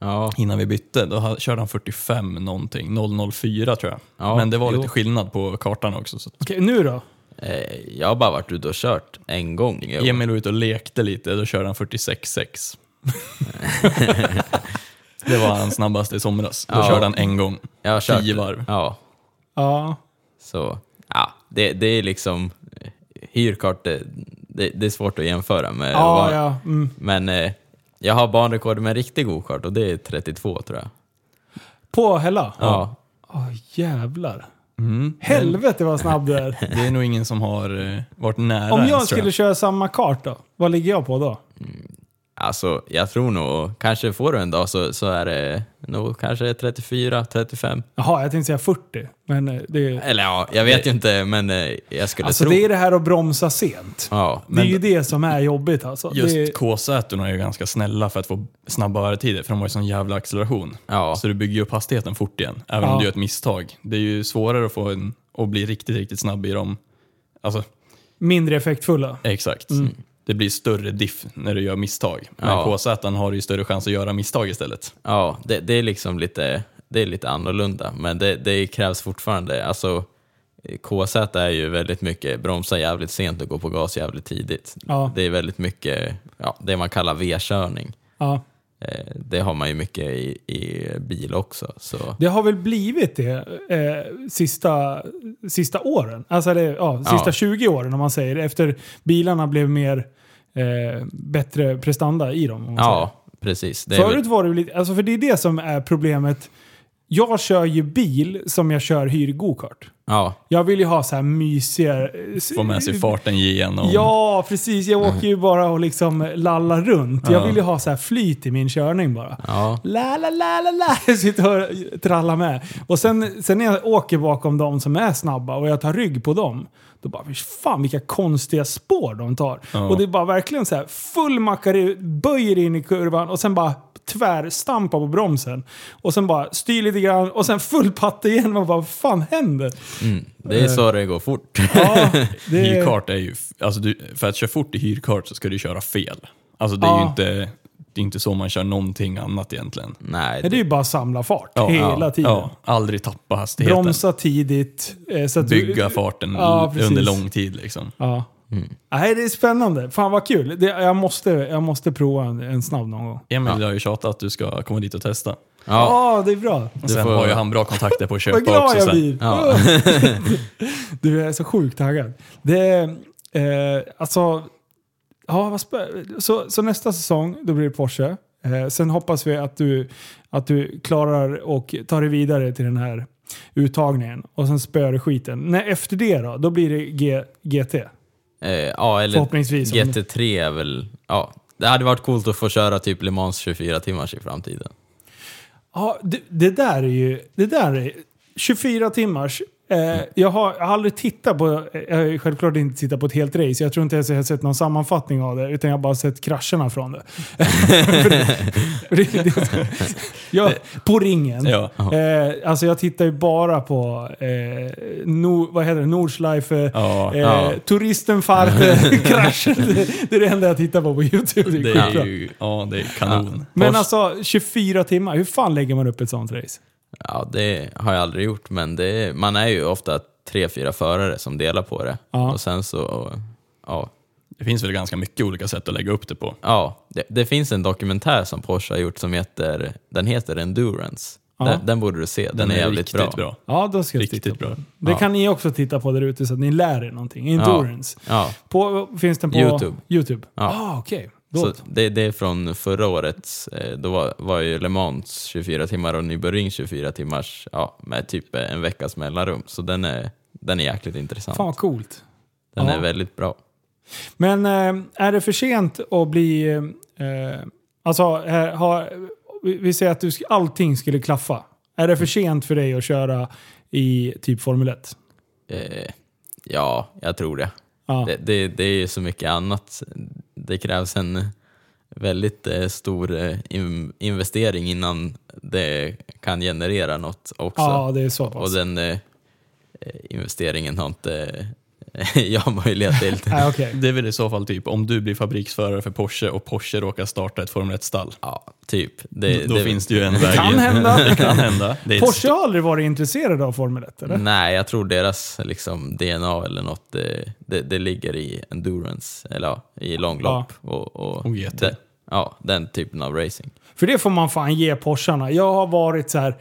Speaker 2: ja,
Speaker 3: innan vi bytte. Då ha- körde han 45 någonting, 004 tror jag.
Speaker 2: Ja,
Speaker 3: Men det var
Speaker 2: jo.
Speaker 3: lite skillnad på kartan också. Så att
Speaker 1: Okej, nu då?
Speaker 2: eh, jag har bara varit ute och kört en gång. i år.
Speaker 3: Emil var ute och lekte lite, då körde han 46,6. det var han snabbaste i somras. Då
Speaker 2: Ja.
Speaker 3: körde han en gång.
Speaker 2: Jag har kört,
Speaker 3: tio varv.
Speaker 2: Ja,
Speaker 3: Eh,
Speaker 1: Ja.
Speaker 2: så ja, det, det är liksom eh, hyrkart, det, det, det är svårt att jämföra med.
Speaker 1: Ja,
Speaker 2: vad-
Speaker 1: ja. Mm.
Speaker 2: Men eh, jag har banrekord med en riktig gokart och det är 32 tror jag.
Speaker 1: På Hella?
Speaker 2: Ja.
Speaker 1: Åh, jävlar.
Speaker 3: Mm.
Speaker 1: Helvete vad snabb du är.
Speaker 3: Det är nog ingen som har eh, varit nära
Speaker 1: Om
Speaker 3: ens,
Speaker 1: jag
Speaker 3: tror
Speaker 1: skulle köra samma kart då? Vad ligger jag på då?
Speaker 2: Alltså, jag tror nog, kanske får du en dag så, så är det nog kanske 34, 35.
Speaker 1: Jaha, jag tänkte säga 40. Men eh, det är...
Speaker 2: Eller ja, jag vet ju inte, men eh, jag skulle
Speaker 1: Alltså
Speaker 2: tro...
Speaker 1: det är det här att bromsa sent.
Speaker 2: Ja,
Speaker 1: Det är ju det som är jobbigt alltså.
Speaker 3: Just
Speaker 1: det...
Speaker 3: K-sätorna är ju ganska snälla för att få snabba öretider, för de har ju sån jävla acceleration.
Speaker 2: ja,
Speaker 3: Så du bygger ju upp hastigheten fort igen, även
Speaker 1: Ja.
Speaker 3: om du gör ett misstag. Det är ju svårare att få en att bli riktigt, riktigt snabb i dem. Alltså,
Speaker 1: Mindre effektfulla.
Speaker 3: exakt.
Speaker 1: Mm.
Speaker 3: Det blir större diff när du gör misstag. Men
Speaker 2: Ja.
Speaker 3: K-sätan har ju större chans att göra misstag istället.
Speaker 2: ja det, det är liksom lite, det är lite annorlunda, men det, det krävs fortfarande. Alltså, KZ är ju väldigt mycket bromsa jävligt sent och gå på gas jävligt tidigt.
Speaker 1: Ja.
Speaker 2: Det är väldigt mycket ja, det man kallar V-körning.
Speaker 1: Ja.
Speaker 2: Eh, Det har man ju mycket i, i bil också. Så.
Speaker 1: Det har väl blivit det eh, sista, sista åren. Alltså det, ja, sista
Speaker 2: Ja.
Speaker 1: 20 åren om man säger. Efter bilarna blev mer eh, bättre prestanda i dem. Om man
Speaker 2: Ja, precis. Det är
Speaker 1: säger.
Speaker 2: väl-
Speaker 1: Förut var det väl lite, alltså för det är det som är problemet Jag kör ju bil som jag kör hyrgokart.
Speaker 2: Ja,
Speaker 1: Jag vill ju ha så här mysiga... eh,
Speaker 3: Få med sig farten genom.
Speaker 1: Ja, precis. Jag åker ju bara och liksom lallar runt. Jag
Speaker 3: Ja.
Speaker 1: vill ju ha så här flyt i min körning bara.
Speaker 2: ja.
Speaker 1: La, la, la, la, la. Sitta och tralla med. Och sen, sen när jag åker bakom de som är snabba och jag tar rygg på dem. Då bara, "Fy fan vilka konstiga spår de tar.
Speaker 3: Ja.
Speaker 1: Och det är bara verkligen så här, full mackare, böjer in i kurvan och sen bara tvärstampar på bromsen. Och sen bara styr lite grann och sen full patte igen. Man bara, vad fan händer?
Speaker 2: mm. Det
Speaker 1: Eh.
Speaker 2: är så det går fort.
Speaker 1: Ja, det är-
Speaker 3: Hyrkart är ju... Alltså du, för att köra fort i hyrkart så ska du köra fel. Alltså det är
Speaker 1: Ja.
Speaker 3: ju inte, det är inte så man kör någonting annat egentligen.
Speaker 2: Nej,
Speaker 1: Nej, det är
Speaker 2: det,
Speaker 1: ju bara samla fart
Speaker 3: Ja,
Speaker 1: hela tiden.
Speaker 3: Ja, aldrig tappa hastigheten.
Speaker 1: Bromsa tidigt. eh, Så att
Speaker 3: Bygga
Speaker 1: Du,
Speaker 3: farten
Speaker 1: Ja, precis.
Speaker 3: under lång tid liksom.
Speaker 1: ja.
Speaker 2: Mm.
Speaker 1: Nej, det är spännande. Fan vad kul. Det, jag, måste, jag måste prova en, en snabb någon gång.
Speaker 3: Emil har ju tjatat att du ska komma dit och testa.
Speaker 2: ja,
Speaker 1: Ja, det är bra.
Speaker 3: Och sen
Speaker 2: får-
Speaker 3: har ju han bra kontakter på att köpa
Speaker 1: Vad glad
Speaker 3: också.
Speaker 1: jag
Speaker 3: sen.
Speaker 1: blir.
Speaker 2: Ja.
Speaker 1: du, jag är så sjukt taggad. Det är, eh, alltså, ja, vad spä... så, så nästa säsong, då blir det Porsche. Eh, sen hoppas vi att du, att du klarar och tar dig vidare till den här uttagningen. Och sen spöar du skiten. Nej, efter det då? Då blir det G, GT.
Speaker 2: eh, ja eller
Speaker 1: Förhoppningsvis. om-
Speaker 2: GT3 är väl... Ja. Det hade varit coolt att få köra typ Le Mans 24 timmars i framtiden.
Speaker 1: Ja, det, det där är ju... Det där är 24 timmars. Eh, jag, har, jag har aldrig tittat på... Jag har ju självklart inte tittat på ett helt race. Jag tror inte ens jag har sett någon sammanfattning av det. Utan jag har bara sett krascherna från det. För det- för det- det- jag, på ringen.
Speaker 3: Ja.
Speaker 1: Eh, alltså jag tittar ju bara på... Eh, no, vad heter det? Nordslife. Eh,
Speaker 3: Ja,
Speaker 1: eh,
Speaker 2: ja.
Speaker 1: Turisten Fart. kraschen. Det, det är det enda jag tittar på på YouTube. Det är,
Speaker 3: det
Speaker 1: skitbra.
Speaker 3: är ju ja, det är kanon.
Speaker 1: Men
Speaker 3: Porsche-
Speaker 1: alltså 24 timmar. Hur fan lägger man upp ett sånt race?
Speaker 2: Ja, det har jag aldrig gjort, men det är, man är ju ofta tre, fyra förare som delar på det.
Speaker 1: Ja.
Speaker 2: Och sen så... Ja,
Speaker 3: det finns väl ganska mycket olika sätt att lägga upp det på.
Speaker 2: ja det, det finns en dokumentär som Porsche har gjort som heter... Den heter Endurance.
Speaker 1: Ja.
Speaker 2: Den, den borde du se, den, är, jävligt
Speaker 3: riktigt
Speaker 2: bra.
Speaker 3: bra.
Speaker 1: Ja, då ska jag titta
Speaker 3: Riktigt
Speaker 1: på.
Speaker 3: bra.
Speaker 1: Det
Speaker 2: Ja.
Speaker 1: kan ni också titta på där ute så att ni lär er någonting. Endurance.
Speaker 2: Ja,
Speaker 1: På, finns den på
Speaker 2: YouTube.
Speaker 1: YouTube?
Speaker 2: Ja.
Speaker 1: Ah, okej.
Speaker 2: så
Speaker 1: Då-
Speaker 2: det, det är från förra årets, eh, då var, var ju Le Mans 24 timmar och Nürburgring 24 timmars, ja, med typ eh, en veckas mellanrum. Så den är, den är jäkligt intressant.
Speaker 1: Fan vad coolt.
Speaker 2: Den
Speaker 1: ja.
Speaker 2: är väldigt bra.
Speaker 1: Men eh, är det för sent att bli... Eh, alltså, här, har, vi, vi säger att du, sk- allting skulle klaffa. Är det för sent för dig att köra i typ Formel 1?
Speaker 2: Eh, ja, jag tror det.
Speaker 1: Ja.
Speaker 2: Det, det, det är ju så mycket annat. Det krävs en väldigt eh, stor eh, in, investering innan det kan generera något också.
Speaker 1: ja, det är så pass.
Speaker 2: Och den eh, investeringen har inte eh, jag möjlighet till.
Speaker 1: Nej, Ah, okej.
Speaker 3: Det är väl i så fall typ om du blir fabriksförare för Porsche och Porsche råkar starta ett Formel 1-stall.
Speaker 2: ja, typ. Det,
Speaker 3: Då
Speaker 2: det,
Speaker 3: finns det ju en väg
Speaker 1: kan
Speaker 3: in.
Speaker 1: hända.
Speaker 3: Det kan hända. Det är ett
Speaker 1: Porsche har aldrig varit intresserad av Formel 1, eller?
Speaker 2: Nej, jag tror deras liksom, DNA eller något, det, det, det ligger i endurance, eller ja, i långlopp. Och, och,
Speaker 3: Och GT.
Speaker 2: den- ja, den typen av racing.
Speaker 1: För det får man fan ge Porscharna. Jag har varit så här.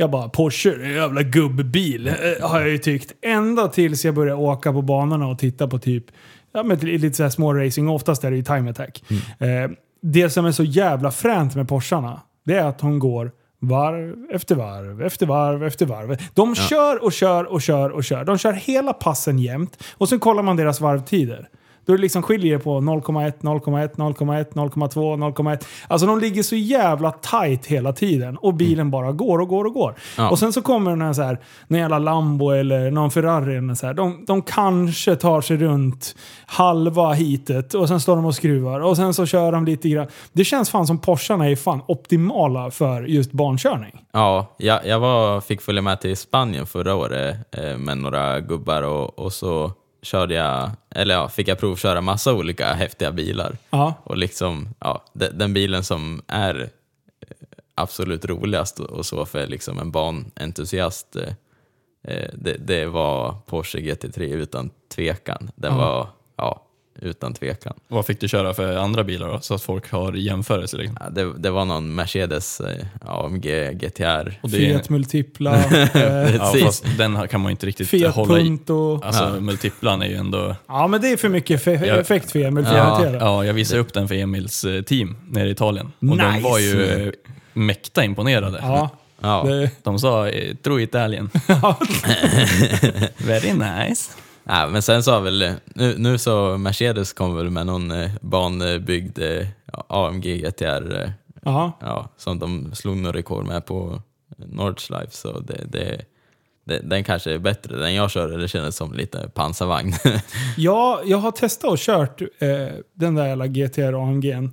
Speaker 1: Jag bara, Porsche, det är en jävla gubbbil. eh, Har jag ju tyckt. Ända tills jag började åka på banorna och titta på typ, ja men till- lite så här små racing. Oftast är det ju time attack. Eh, det som är så jävla fränt med Porscharna, det är att de går varv efter varv efter varv efter varv. De kör och kör och kör och kör. De kör hela passen jämt. Och sen kollar man deras varvtider. Då det liksom skiljer det på 0,1, 0,1, 0,1, 0,2, 0,1. Alltså de ligger så jävla tight hela tiden och
Speaker 3: Mm.
Speaker 1: bilen bara går och går och går.
Speaker 2: Ja.
Speaker 1: Och sen så kommer den här så här, någon jävla Lambo eller någon Ferrari. eller Så här, de, de kanske tar sig runt halva hitet och sen står de och skruvar och sen så kör de lite grann. Det känns fan som Porscharna är fan optimala för just barnkörning.
Speaker 2: Ja, jag, jag var, fick följa med till Spanien förra året eh, med några gubbar och, och så körde jag, eller ja, fick jag provköra massa olika häftiga bilar.
Speaker 1: Ja.
Speaker 2: Och liksom, ja, de, den bilen som är eh, absolut roligast och, och så för liksom en banentusiast, eh, eh, det, det var Porsche GT3 utan tvekan. Den
Speaker 3: Mm.
Speaker 2: var, ja, utan tvekan.
Speaker 3: Vad fick du köra för andra bilar då? Så att folk har jämförelse. Liksom.
Speaker 2: Ja, det, det var någon Mercedes eh, AMG GTR.
Speaker 3: Och det,
Speaker 1: Fiat Multipla, eh,
Speaker 3: ja,
Speaker 2: Precis.
Speaker 3: fast den här kan man ju inte riktigt
Speaker 1: Fiat
Speaker 3: hålla i.
Speaker 1: Punto.
Speaker 3: Alltså multiplan är ju ändå...
Speaker 1: Ja men det är för mycket fe-
Speaker 3: Ja.
Speaker 1: effekt för Emil för att
Speaker 3: Ja,
Speaker 1: hantera.
Speaker 3: ja, jag visade upp den för Emils eh, team nere i Italien. Och
Speaker 1: Nice.
Speaker 3: de var ju eh, mäkta imponerade.
Speaker 1: Ja.
Speaker 2: Ja.
Speaker 1: Det,
Speaker 3: De sa eh, “True Italien”. Very nice.
Speaker 2: Nej, men sen så har väl, nu, nu så Mercedes kom väl med någon eh, banbyggd eh, AMG GTR eh,
Speaker 1: ja.
Speaker 2: ja, som de slog några rekord med på Nordschleife så det, det, det, den kanske är bättre. Den jag körde det kändes som lite pansarvagn.
Speaker 1: Ja, jag har testat och kört eh, den där jävla GTR AMG
Speaker 2: Mm.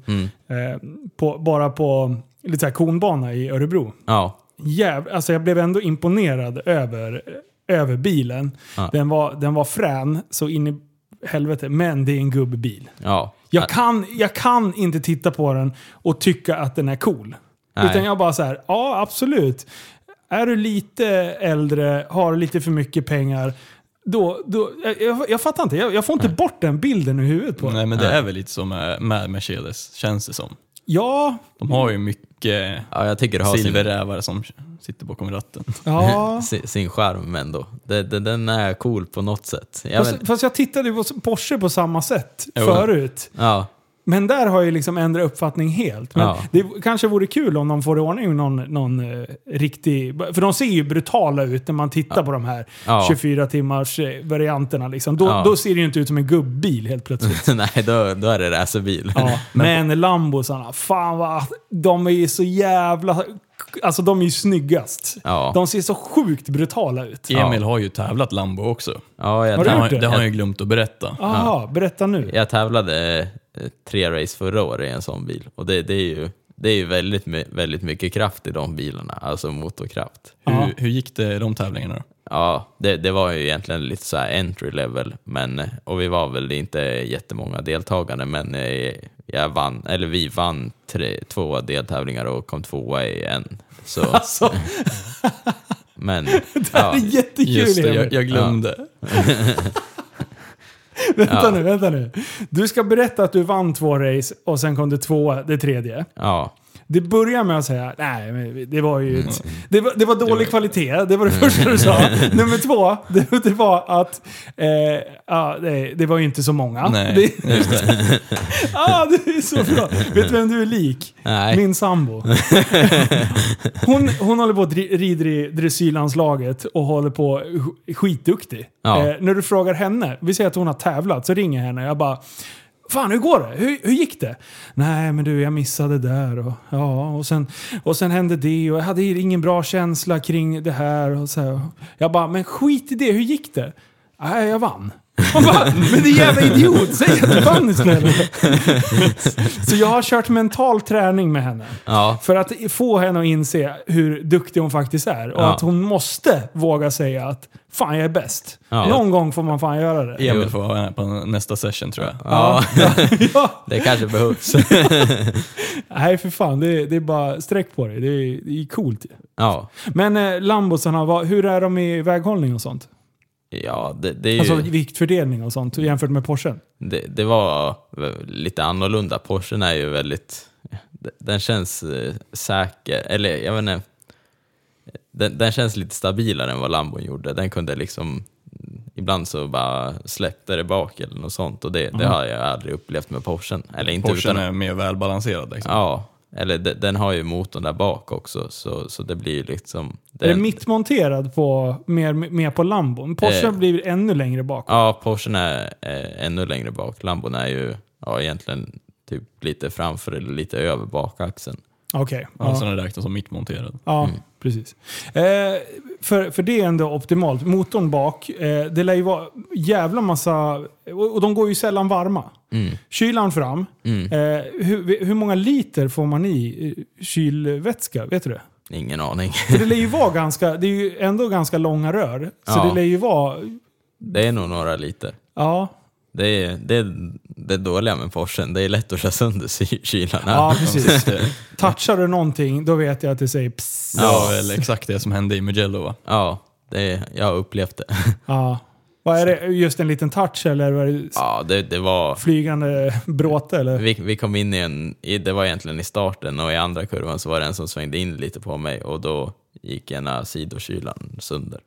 Speaker 1: eh, på, bara på lite så här konbana i Örebro.
Speaker 2: ja,
Speaker 1: Jäv, alltså jag blev ändå imponerad över, över bilen.
Speaker 2: Ja.
Speaker 1: Den, var, den var frän så in i helvete, men det är en gubbbil.
Speaker 2: ja.
Speaker 1: Jag kan, jag kan inte titta på den och tycka att den är cool.
Speaker 2: Nej.
Speaker 1: Utan jag bara så här, ja absolut. Är du lite äldre, har lite för mycket pengar, då, då, jag- jag, jag fattar inte. Jag, jag får inte bort den bilden ur huvudet på
Speaker 3: Nej,
Speaker 1: den.
Speaker 3: men det är väl lite som med, med Mercedes, känns det som.
Speaker 1: Ja,
Speaker 3: De har ju mycket
Speaker 2: ja, jag tycker det har sin,
Speaker 3: silverrävare som sitter bakom ratten.
Speaker 1: ja.
Speaker 2: sin, sin charm ändå. Det, det, den är cool på något sätt. Jag
Speaker 1: fast,
Speaker 2: vet-
Speaker 1: fast jag tittade ju på Porsche på samma sätt
Speaker 2: Jo.
Speaker 1: förut.
Speaker 2: ja,
Speaker 1: Men där har jag ju liksom ändrat uppfattning helt. Men
Speaker 2: Ja.
Speaker 1: det kanske vore kul om de får i ordning någon, någon eh, riktig... För de ser ju brutala ut när man tittar på de här
Speaker 2: Ja.
Speaker 1: 24 timmars eh, varianterna. Liksom. Då,
Speaker 2: Ja.
Speaker 1: då ser det ju inte ut som en gubbil helt plötsligt.
Speaker 2: nej, då, då är det racerbil.
Speaker 1: Ja, men Lambosarna, fan vad... De är ju så jävla... Alltså de är ju snyggast.
Speaker 2: Ja.
Speaker 1: De ser så sjukt brutala ut.
Speaker 3: Emil har ju tävlat Lambo också.
Speaker 2: Ja, jag,
Speaker 1: Har du
Speaker 2: täv-
Speaker 1: gjort
Speaker 3: Han,
Speaker 1: det?
Speaker 3: det har han ju glömt att berätta.
Speaker 1: Aha, berätta nu.
Speaker 2: jag tävlade eh, tre race förra året i en sån bil och det, det är ju, det är ju väldigt, my- väldigt mycket kraft i de bilarna, alltså motorkraft.
Speaker 1: Ja.
Speaker 3: Hur, hur gick det i de tävlingarna då?
Speaker 2: Ja, det, det var ju egentligen lite så här entry level, men, och vi var väl inte jättemånga deltagare, men eh, jag vann, eller vi vann tre, två deltävlingar och kom tvåa i en. Så,
Speaker 1: Alltså,
Speaker 2: men,
Speaker 1: det här
Speaker 2: ja,
Speaker 1: är jättekul
Speaker 3: Just det,
Speaker 1: Emil.
Speaker 3: jag, jag glömde.
Speaker 1: Vänta
Speaker 2: Ja.
Speaker 1: nu, vänta nu. Du ska berätta att du vann två race och sen kom det tvåa, det tredje.
Speaker 2: ja,
Speaker 1: Det börjar med att säga, nej, men det var ju ett, det, var, det var dålig kvalitet, det var det första du sa. Nummer två, det, det var att eh, ja, det, det var ju inte så många.
Speaker 3: Nej,
Speaker 1: Det, ah, det är så bra. Vet du vem du är lik?
Speaker 2: nej,
Speaker 1: Min sambo. Hon, hon håller på och dri- rider i dressyrlandslaget och håller på sk- skitduktig.
Speaker 2: Ja.
Speaker 1: Eh, när du frågar henne, vi säger att hon har tävlat, så ringer jag henne och jag bara Fan, hur går det? Hur, hur gick det? Nej, men du, jag missade där och ja, och sen, och sen hände det och jag hade ingen bra känsla kring det här och så här. Jag bara, men skit i det, hur gick det? Nej, jag vann. Hon bara, men din jävla idiot, säg att du vann snälla. Så jag har kört mental träning med henne.
Speaker 2: ja,
Speaker 1: För att få henne att inse hur duktig hon faktiskt är. Och
Speaker 2: Ja.
Speaker 1: att hon måste våga säga att fan jag är bäst.
Speaker 2: Ja.
Speaker 1: Någon gång får man fan göra det.
Speaker 3: Emil får vara här på nästa session tror jag.
Speaker 2: ja,
Speaker 1: Ja.
Speaker 2: det kanske behövs.
Speaker 1: Nej för fan, det är, det är bara sträck på dig. Det är, det är coolt.
Speaker 2: Ja,
Speaker 1: Men eh, lambosarna, vad, hur är de i väghållning och sånt?
Speaker 2: ja det, det är ju...
Speaker 1: Alltså viktfördelning och sånt jämfört med Porschen.
Speaker 2: det, det var lite annorlunda. Porschen är ju väldigt... Den känns eh, säker, eller jag vet inte. Den, den känns lite stabilare än vad Lambon gjorde. Den kunde liksom... Ibland så bara släppte det bak eller något sånt och det, det har jag aldrig upplevt med Porschen. Eller inte
Speaker 3: Mhm. Porschen
Speaker 2: utan...
Speaker 3: är mer välbalanserad. Liksom.
Speaker 2: Ja, eller de, den har ju motorn där bak också så, så det blir ju liksom...
Speaker 1: Är det
Speaker 2: den-
Speaker 1: mittmonterad på, mer, mer på lambon? Porschen
Speaker 2: Eh.
Speaker 1: blir ännu längre bak.
Speaker 2: Ja, Porschen är eh, ännu längre bak. Lambon är ju ja, egentligen typ lite framför eller lite över bakaxeln.
Speaker 1: Okej.
Speaker 3: Ja.
Speaker 1: ja.
Speaker 3: Alltså den räknas som mittmonterad.
Speaker 1: Ja,
Speaker 2: Mm.
Speaker 1: precis. Eh, för, för det är ändå optimalt. Motorn bak, eh, det lär ju vara jävla massa... Och, och de går ju sällan varma.
Speaker 2: Mm.
Speaker 1: Kylan fram.
Speaker 2: Mm.
Speaker 1: Eh, hur, hur många liter får man i eh, kylvätska? Vet du det?
Speaker 2: Ingen aning.
Speaker 1: För det lär ju vara ganska... Det är ju ändå ganska långa rör. Så
Speaker 2: Ja.
Speaker 1: det lär ju vara...
Speaker 2: Det är nog några liter.
Speaker 1: Ja,
Speaker 2: Det är det, är, det dåliga med Porschen, det är lätt att köra sönder ky- kylarna.
Speaker 1: ja precis. Touchar du någonting, då vet jag att det säger pss.
Speaker 3: Det var väl exakt det som hände i Mugello va?
Speaker 2: Ja, det är, jag har upplevt det.
Speaker 1: Ja. Vad är det? Just en liten touch eller var det
Speaker 2: Ja, det, det var...
Speaker 1: flygande bråte eller?
Speaker 2: Vi, vi kom in i en... i- Det var egentligen i starten och i andra kurvan så var det en som svängde in lite på mig och då gick ena sidokylan sönder.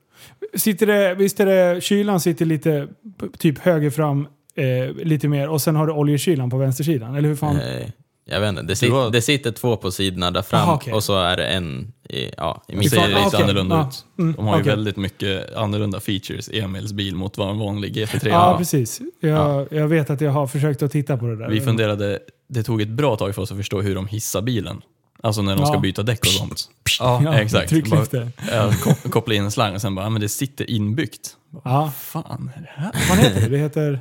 Speaker 1: Sitter det, visst är det, kylan sitter lite p- typ höger fram, eh, lite mer, och sen har du oljekylan på vänstersidan? Eller hur fan?
Speaker 2: Eh, Jag vet inte, det, sit,
Speaker 3: var-
Speaker 2: det sitter två på sidorna där fram
Speaker 1: Aha, okej.
Speaker 2: och så är det en i, ja, i
Speaker 3: De
Speaker 2: mitten.
Speaker 3: ser
Speaker 1: Ifall-
Speaker 3: lite
Speaker 1: ah, okej.
Speaker 3: annorlunda
Speaker 1: Ja.
Speaker 3: ut.
Speaker 1: Mm,
Speaker 3: De har ju
Speaker 1: okej.
Speaker 3: väldigt mycket annorlunda features i Emils bil mot vad en vanlig GT3
Speaker 1: Ja,
Speaker 3: har.
Speaker 1: precis. Jag, jag vet att jag har försökt att titta på det där.
Speaker 3: Vi funderade, det tog ett bra tag för oss att förstå hur de hissar bilen. Alltså när de ska
Speaker 1: Ja.
Speaker 3: byta däck och sånt. Ja,
Speaker 1: Ja,
Speaker 3: exakt.
Speaker 1: trycklyfter.
Speaker 3: Bara, ja, ko- koppla in en slang och sen bara, ja, men det sitter inbyggt. Vad
Speaker 1: Ja,
Speaker 3: fan är det här?
Speaker 1: vad heter det? Det heter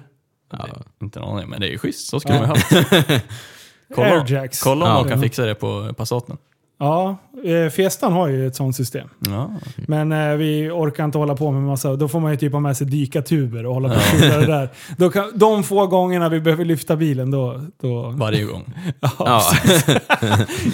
Speaker 2: Ja.
Speaker 3: Inte en aning, men det är ju schysst. Så skulle
Speaker 1: Ja.
Speaker 3: man ju haft. Kolla,
Speaker 1: airjacks.
Speaker 3: kolla om
Speaker 2: Ja.
Speaker 3: de kan fixa det på Passaten.
Speaker 1: Ja, eh, Fiestan har ju ett sånt system.
Speaker 3: Ja.
Speaker 1: Men eh, vi orkar inte hålla på med massa, då får man ju typ ha med sig dykartuber och hålla på och skjuta det där. Då kan, de få gångerna vi behöver lyfta bilen då... då
Speaker 3: Varje gång,
Speaker 2: Ja.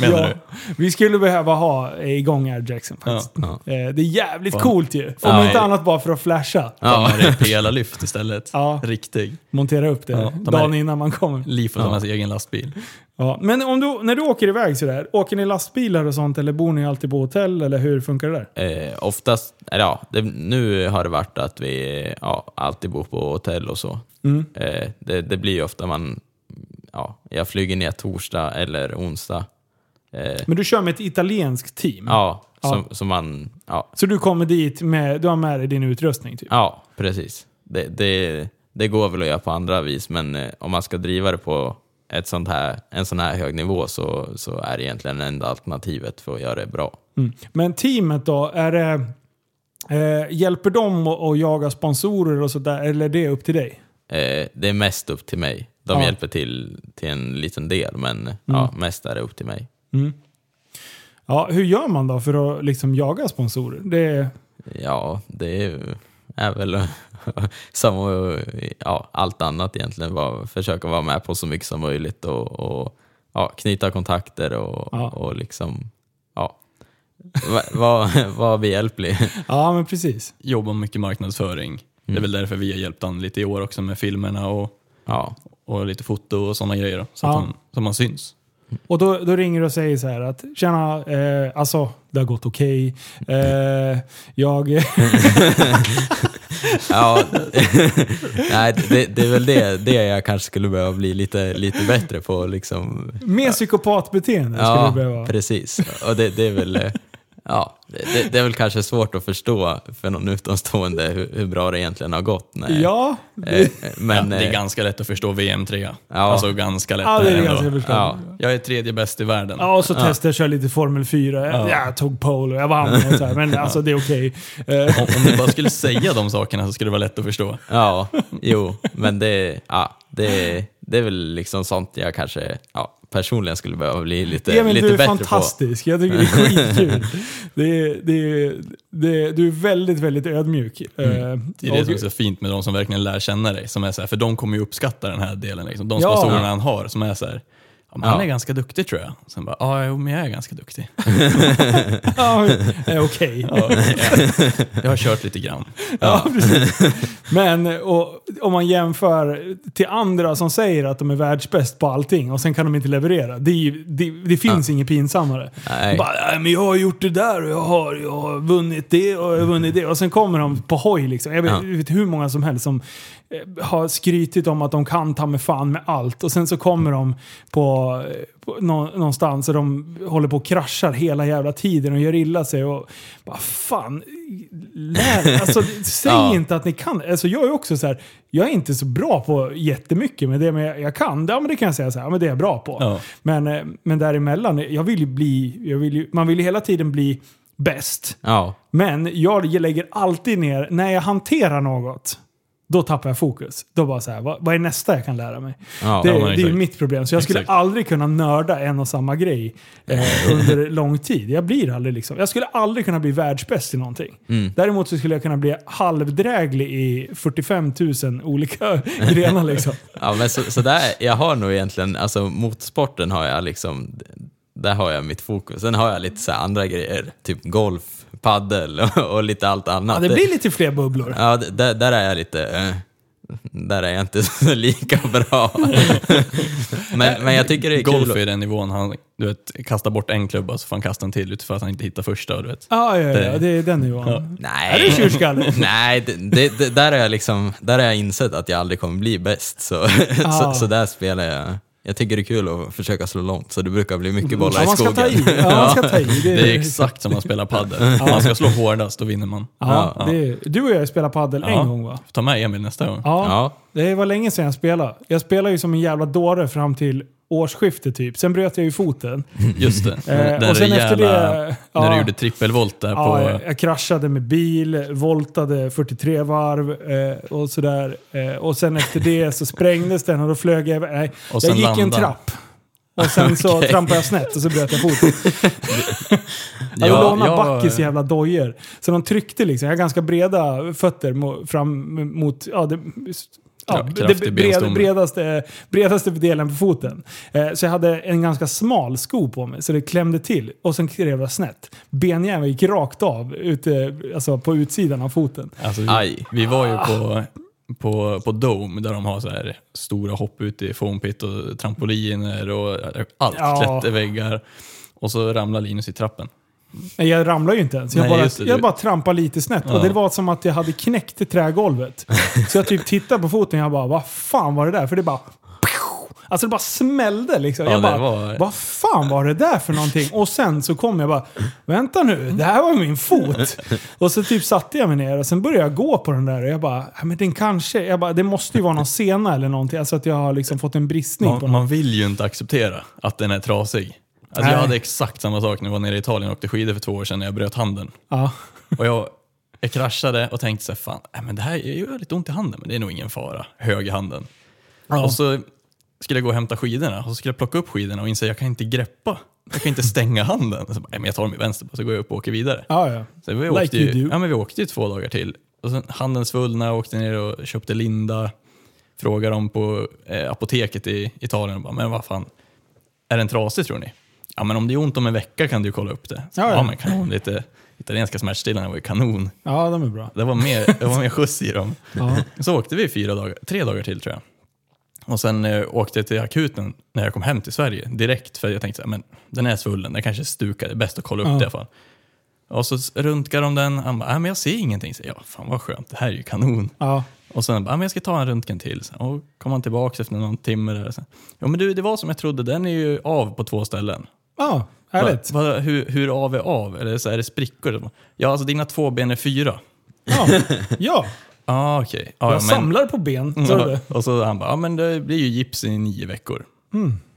Speaker 3: menar
Speaker 1: ja,
Speaker 3: du?
Speaker 1: Vi skulle behöva ha eh, igång airjacksen faktiskt.
Speaker 2: Ja.
Speaker 1: Eh, det är jävligt coolt ju. Om
Speaker 2: Ja.
Speaker 1: inte annat bara för att flasha.
Speaker 3: Ja.
Speaker 2: Ja.
Speaker 3: Ta med dig pelarlyft istället.
Speaker 1: Ja.
Speaker 3: Riktig.
Speaker 1: Montera upp det
Speaker 3: Ja, de
Speaker 1: dagen
Speaker 3: är-
Speaker 1: innan man kommer.
Speaker 3: Liv får ta med sig egen lastbil.
Speaker 1: Ja. Men om du, när du åker iväg sådär, åker ni lastbilar och sånt eller bor ni alltid på hotell eller hur funkar det där?
Speaker 2: Eh, oftast, eller ja, det, nu har det varit att vi ja, alltid bor på hotell och så.
Speaker 1: Mm.
Speaker 2: Eh, det, det blir ju ofta man, ja, jag flyger ner torsdag eller onsdag. Eh,
Speaker 1: Men du kör med ett italienskt team?
Speaker 2: ja,
Speaker 1: Mm. Ja.
Speaker 2: som, som man, ja,
Speaker 1: Så du kommer dit med, du har med dig din utrustning typ?
Speaker 2: ja precis. Det, det, det går väl att göra på andra vis, men eh, om man ska driva det på ett sånt här, en sån här hög nivå så, så är det egentligen enda alternativet för att göra det bra.
Speaker 1: Mm. Men teamet då, är det, eh, hjälper de att att jaga sponsorer och sådär eller är det upp till dig?
Speaker 2: Eh, det är mest upp till mig. De
Speaker 1: Ja.
Speaker 2: hjälper till till en liten del, men eh, ja, mest är det upp till mig.
Speaker 1: Mm. Ja, hur gör man då för att liksom jaga sponsorer? Det,
Speaker 2: Ja, det är, är väl som ja, allt annat egentligen. Bara försöka vara med på så mycket som möjligt och, och ja, knyta kontakter och,
Speaker 1: Ja.
Speaker 2: och liksom, ja, vara va, va behjälplig.
Speaker 1: ja, men precis.
Speaker 3: jobbar mycket marknadsföring.
Speaker 1: Mm.
Speaker 3: Det är väl därför vi har hjälpt han lite i år också med filmerna och,
Speaker 2: Ja,
Speaker 3: och lite foto och sådana grejer. då, Så, att
Speaker 1: Ja.
Speaker 3: han, så man syns.
Speaker 1: Och då, då ringer du och säger så här att tjena, eh, alltså det har gått okej. Eh, jag...
Speaker 2: ja nej, det, det är väl det, det jag kanske skulle behöva bli lite, lite bättre på. Liksom,
Speaker 1: Mer psykopatbeteende skulle du behöva.
Speaker 2: precis. Och det, det är väl... eh, Ja, det, det är väl kanske svårt att förstå för någon utomstående hur, hur bra det egentligen har gått. Nej.
Speaker 1: Ja,
Speaker 2: Eh,
Speaker 3: Ja,
Speaker 2: Men,
Speaker 3: det är
Speaker 2: eh,
Speaker 3: ganska lätt att förstå VM3. Alltså ganska lätt.
Speaker 1: ja det är
Speaker 3: ändå.
Speaker 1: ganska förståeligt.
Speaker 2: ja,
Speaker 3: Jag är tredje bäst i världen.
Speaker 1: Ja, och så testade jag att köra lite Formel 4. Jag,
Speaker 3: Ja.
Speaker 1: jag tog pole och jag vann. Och så här, men alltså det är okej. Eh,
Speaker 3: Om, om du bara skulle säga de sakerna så skulle det vara lätt att förstå.
Speaker 2: ja, jo, men det, ja, det, det är väl liksom sånt jag kanske ja, personligen skulle behöva bli lite,
Speaker 1: Emil,
Speaker 2: lite
Speaker 1: du är
Speaker 2: bättre
Speaker 1: fantastisk. Jag tycker det är skitkul. Det är, det är, det är, du är väldigt, väldigt ödmjuk. Eh,
Speaker 3: Mm. Det är det
Speaker 1: och-
Speaker 3: som är så fint med de som verkligen lär känna dig. Som är så här, för de kommer ju uppskatta den här delen. Liksom. De
Speaker 1: Ja.
Speaker 3: sponsorerna han har som är så här, ja, men han
Speaker 2: Ja.
Speaker 3: är ganska duktig tror jag. Sen bara, ja jo, men jag är ganska duktig.
Speaker 1: ja, eh, okej. Ja.
Speaker 3: Jag har kört lite grann.
Speaker 1: precis. Men eh, och, om man jämför till andra som säger att de är världsbäst på allting och sen kan de inte leverera. Det, är ju- det, det finns inget pinsammare.
Speaker 2: på. Nej,
Speaker 1: Bara, "Nej, men jag har gjort det där och jag har, jag har vunnit det och jag har vunnit det. Och sen kommer de på hoj liksom. Jag vet,
Speaker 2: Ja.
Speaker 1: jag vet hur många som helst som eh, har skrytit om att de kan ta med fan med allt. Och sen så kommer de på, på nå, någonstans och de håller på och kraschar hela jävla tiden och gör illa sig. Och bara fan, lär, alltså, säg
Speaker 2: Ja.
Speaker 1: inte att ni kan. Alltså, jag är också så här, jag är inte så bra på jättemycket, men det men jag, jag kan, ja, men det kan jag säga så här, ja, men det är jag bra på.
Speaker 3: Ja.
Speaker 1: Men, eh, men däremellan, jag vill ju bli, jag vill ju, man vill ju hela tiden bli bäst.
Speaker 2: ja,
Speaker 1: Men jag lägger alltid ner, när jag hanterar något, då tappar jag fokus. Då bara så här, vad, vad är nästa jag kan lära mig?
Speaker 2: ja,
Speaker 1: Det,
Speaker 3: ja, men
Speaker 1: det är ju
Speaker 3: exakt.
Speaker 1: mitt problem. Så jag skulle
Speaker 3: Exakt.
Speaker 1: aldrig kunna nörda en och samma grej eh, under lång tid. Jag blir aldrig liksom. Jag skulle aldrig kunna bli världsbäst i någonting.
Speaker 3: Mm.
Speaker 1: Däremot så skulle jag kunna bli halvdräglig i 45 000 olika grenar liksom.
Speaker 2: ja, men så, så där, jag har nog egentligen, alltså motorsporten har jag liksom, där har jag mitt fokus. Sen har jag lite så här andra grejer, typ golf, paddel och, och lite allt annat.
Speaker 1: Ja, det blir lite fler bubblor.
Speaker 2: Ja, d- där, där är jag lite... eh, Där är jag inte så lika bra. men, men jag tycker det är
Speaker 3: Golf
Speaker 2: kul.
Speaker 3: är den nivån han du vet, kastar bort en klubba så får han kasta en till utifrån att han inte hittar första. Du vet.
Speaker 1: Ja, ja, ja,
Speaker 3: Det-
Speaker 1: det är den nivån. Är det
Speaker 2: Nej,
Speaker 1: tjurskalle?
Speaker 2: nej det, det, det, där har jag liksom... Där har jag insett att jag aldrig kommer bli bäst. Så,
Speaker 1: Ah.
Speaker 2: så, så där spelar jag Jag tycker det är kul att försöka slå långt, så det brukar bli mycket bollar
Speaker 1: Mm. Ja,
Speaker 2: i
Speaker 1: man ska
Speaker 2: skogen.
Speaker 1: ta i. Ja, man ska ta i. Det
Speaker 3: Det är exakt som man spelar padel. Man ska slå hårdast, då vinner man.
Speaker 1: Ja, det är, du och jag spelade padel
Speaker 3: Ja.
Speaker 1: en gång va?
Speaker 3: Ta med Emil nästa gång.
Speaker 1: Ja,
Speaker 2: Ja.
Speaker 1: det var länge sedan jag spelade. Jag spelade ju som en jävla dåre fram till årsskiftet typ. Sen bröt jag ju foten.
Speaker 3: Just det.
Speaker 1: Eh,
Speaker 3: Den
Speaker 1: och sen efter
Speaker 3: rejäla-
Speaker 1: det...
Speaker 3: När
Speaker 1: ja.
Speaker 3: du gjorde trippelvolt där
Speaker 1: Ja,
Speaker 3: på...
Speaker 1: jag, jag kraschade med bil, voltade 43 varv eh, och sådär. Eh, och sen efter det så sprängdes den och då flög jag iväg. Nej,
Speaker 3: Och
Speaker 1: jag
Speaker 3: sen
Speaker 1: gick i en
Speaker 3: landade.
Speaker 1: trapp. Och sen så trampade jag snett och så bröt jag foten. Jag
Speaker 3: Ja,
Speaker 1: lånade
Speaker 3: jag-
Speaker 1: Backis jävla dojor. Så de tryckte liksom. Jag har ganska breda fötter mo- fram mot... Ja, det, Ja,
Speaker 3: Kra-
Speaker 1: det
Speaker 3: kraftig
Speaker 1: breda,
Speaker 3: benstomme.
Speaker 1: bredaste, bredaste delen på foten. Eh, så jag hade en ganska smal sko på mig, så det klämde till. Och sen klev jag snett. Benjäveln gick rakt av ute, alltså på utsidan av foten.
Speaker 3: Alltså, vi,
Speaker 2: Aj.
Speaker 3: vi var ju på, på, på Dome där de har så här stora hopp ute i foam pit och trampoliner och allt.
Speaker 1: Ja.
Speaker 3: Klätterväggar. Och så ramlar Linus i trappen.
Speaker 1: Nej, jag ramlade ju inte ens. Jag,
Speaker 3: Nej,
Speaker 1: bara,
Speaker 3: just det,
Speaker 1: jag
Speaker 3: du-
Speaker 1: bara trampade lite snett. Och
Speaker 3: Ja.
Speaker 1: det var som att jag hade knäckt i trägolvet. Så jag typ tittade på foten och jag bara, vad fan var det där? För det bara... Alltså det bara smällde liksom.
Speaker 3: Ja,
Speaker 1: jag
Speaker 3: det
Speaker 1: bara,
Speaker 3: var-
Speaker 1: vad fan var det där för någonting? Och sen så kom jag bara, vänta nu, det här var min fot. Och så typ satte jag mig ner och sen började jag gå på den där och jag bara, "Ja, men den kanske, jag bara, det måste ju vara någon sena eller någonting. Alltså att jag har liksom fått en bristning på
Speaker 3: Man,
Speaker 1: något.
Speaker 3: man vill ju inte acceptera att den är trasig. Alltså, jag
Speaker 1: Nej.
Speaker 3: hade exakt samma sak när jag var nere i Italien och åkte skidor för två år sedan när jag bröt handen.
Speaker 1: Ja.
Speaker 3: Och jag, jag kraschade och tänkte så här, fan, nej, men det här gör lite ont i handen, men det är nog ingen fara. Högerhanden.
Speaker 1: Ja.
Speaker 3: Och så skulle jag gå och hämta skidorna och så skulle jag plocka upp skidorna och inse att jag kan inte greppa. Jag kan inte stänga handen. Så, bara, nej, men jag tar dem i vänster och så går jag upp och åker vidare.
Speaker 1: Ja, ja.
Speaker 3: Så vi,
Speaker 1: Like
Speaker 3: åkte
Speaker 1: you
Speaker 3: ju,
Speaker 1: do.
Speaker 3: ja, men vi åkte ju två dagar till. Och sen handen svullna, jag åkte ner och köpte Linda. Frågade dem på eh, apoteket i Italien och bara, men vad fan, är den trasig tror ni? Ja men om det är ont om en vecka kan du ju kolla upp det. Så,
Speaker 1: Ja,
Speaker 3: ja,
Speaker 1: ja.
Speaker 3: men kanon, lite italienska smärtstillande var ju kanon.
Speaker 1: ja, de är bra.
Speaker 3: Det var mer, det var mer skjuts i dem.
Speaker 1: Ja.
Speaker 3: Så åkte vi fyra dagar, tre dagar till tror jag. Och sen eh, åkte jag till akuten när jag kom hem till Sverige direkt för jag tänkte så här, men den är svullen, den kanske är stukad, det är bäst att kolla upp
Speaker 1: Ja.
Speaker 3: det i alla fall. Och så s- röntgar de den, han bara, "Äh, men jag ser ingenting. Så jag, ja, fan vad skönt, det här är ju kanon.
Speaker 1: Ja.
Speaker 3: Och sen bara, "Äh, men jag ska ta en röntgen till. Så, och kom han tillbaka efter någon timme där. Så, ja men du, det var som jag trodde, den är ju av på två ställen.
Speaker 1: Ja, härligt.
Speaker 3: Va, va, hur, hur av är av? Eller så är det sprickor? Så bara, Ja, alltså dina två ben är fyra.
Speaker 1: Ja, ja.
Speaker 3: Ah, okej. Ja,
Speaker 1: jag
Speaker 3: men- Mm.
Speaker 1: samlar på ben. Sa du
Speaker 3: Ja,
Speaker 1: det?
Speaker 3: och så han bara, ja men det blir ju gips i nio veckor.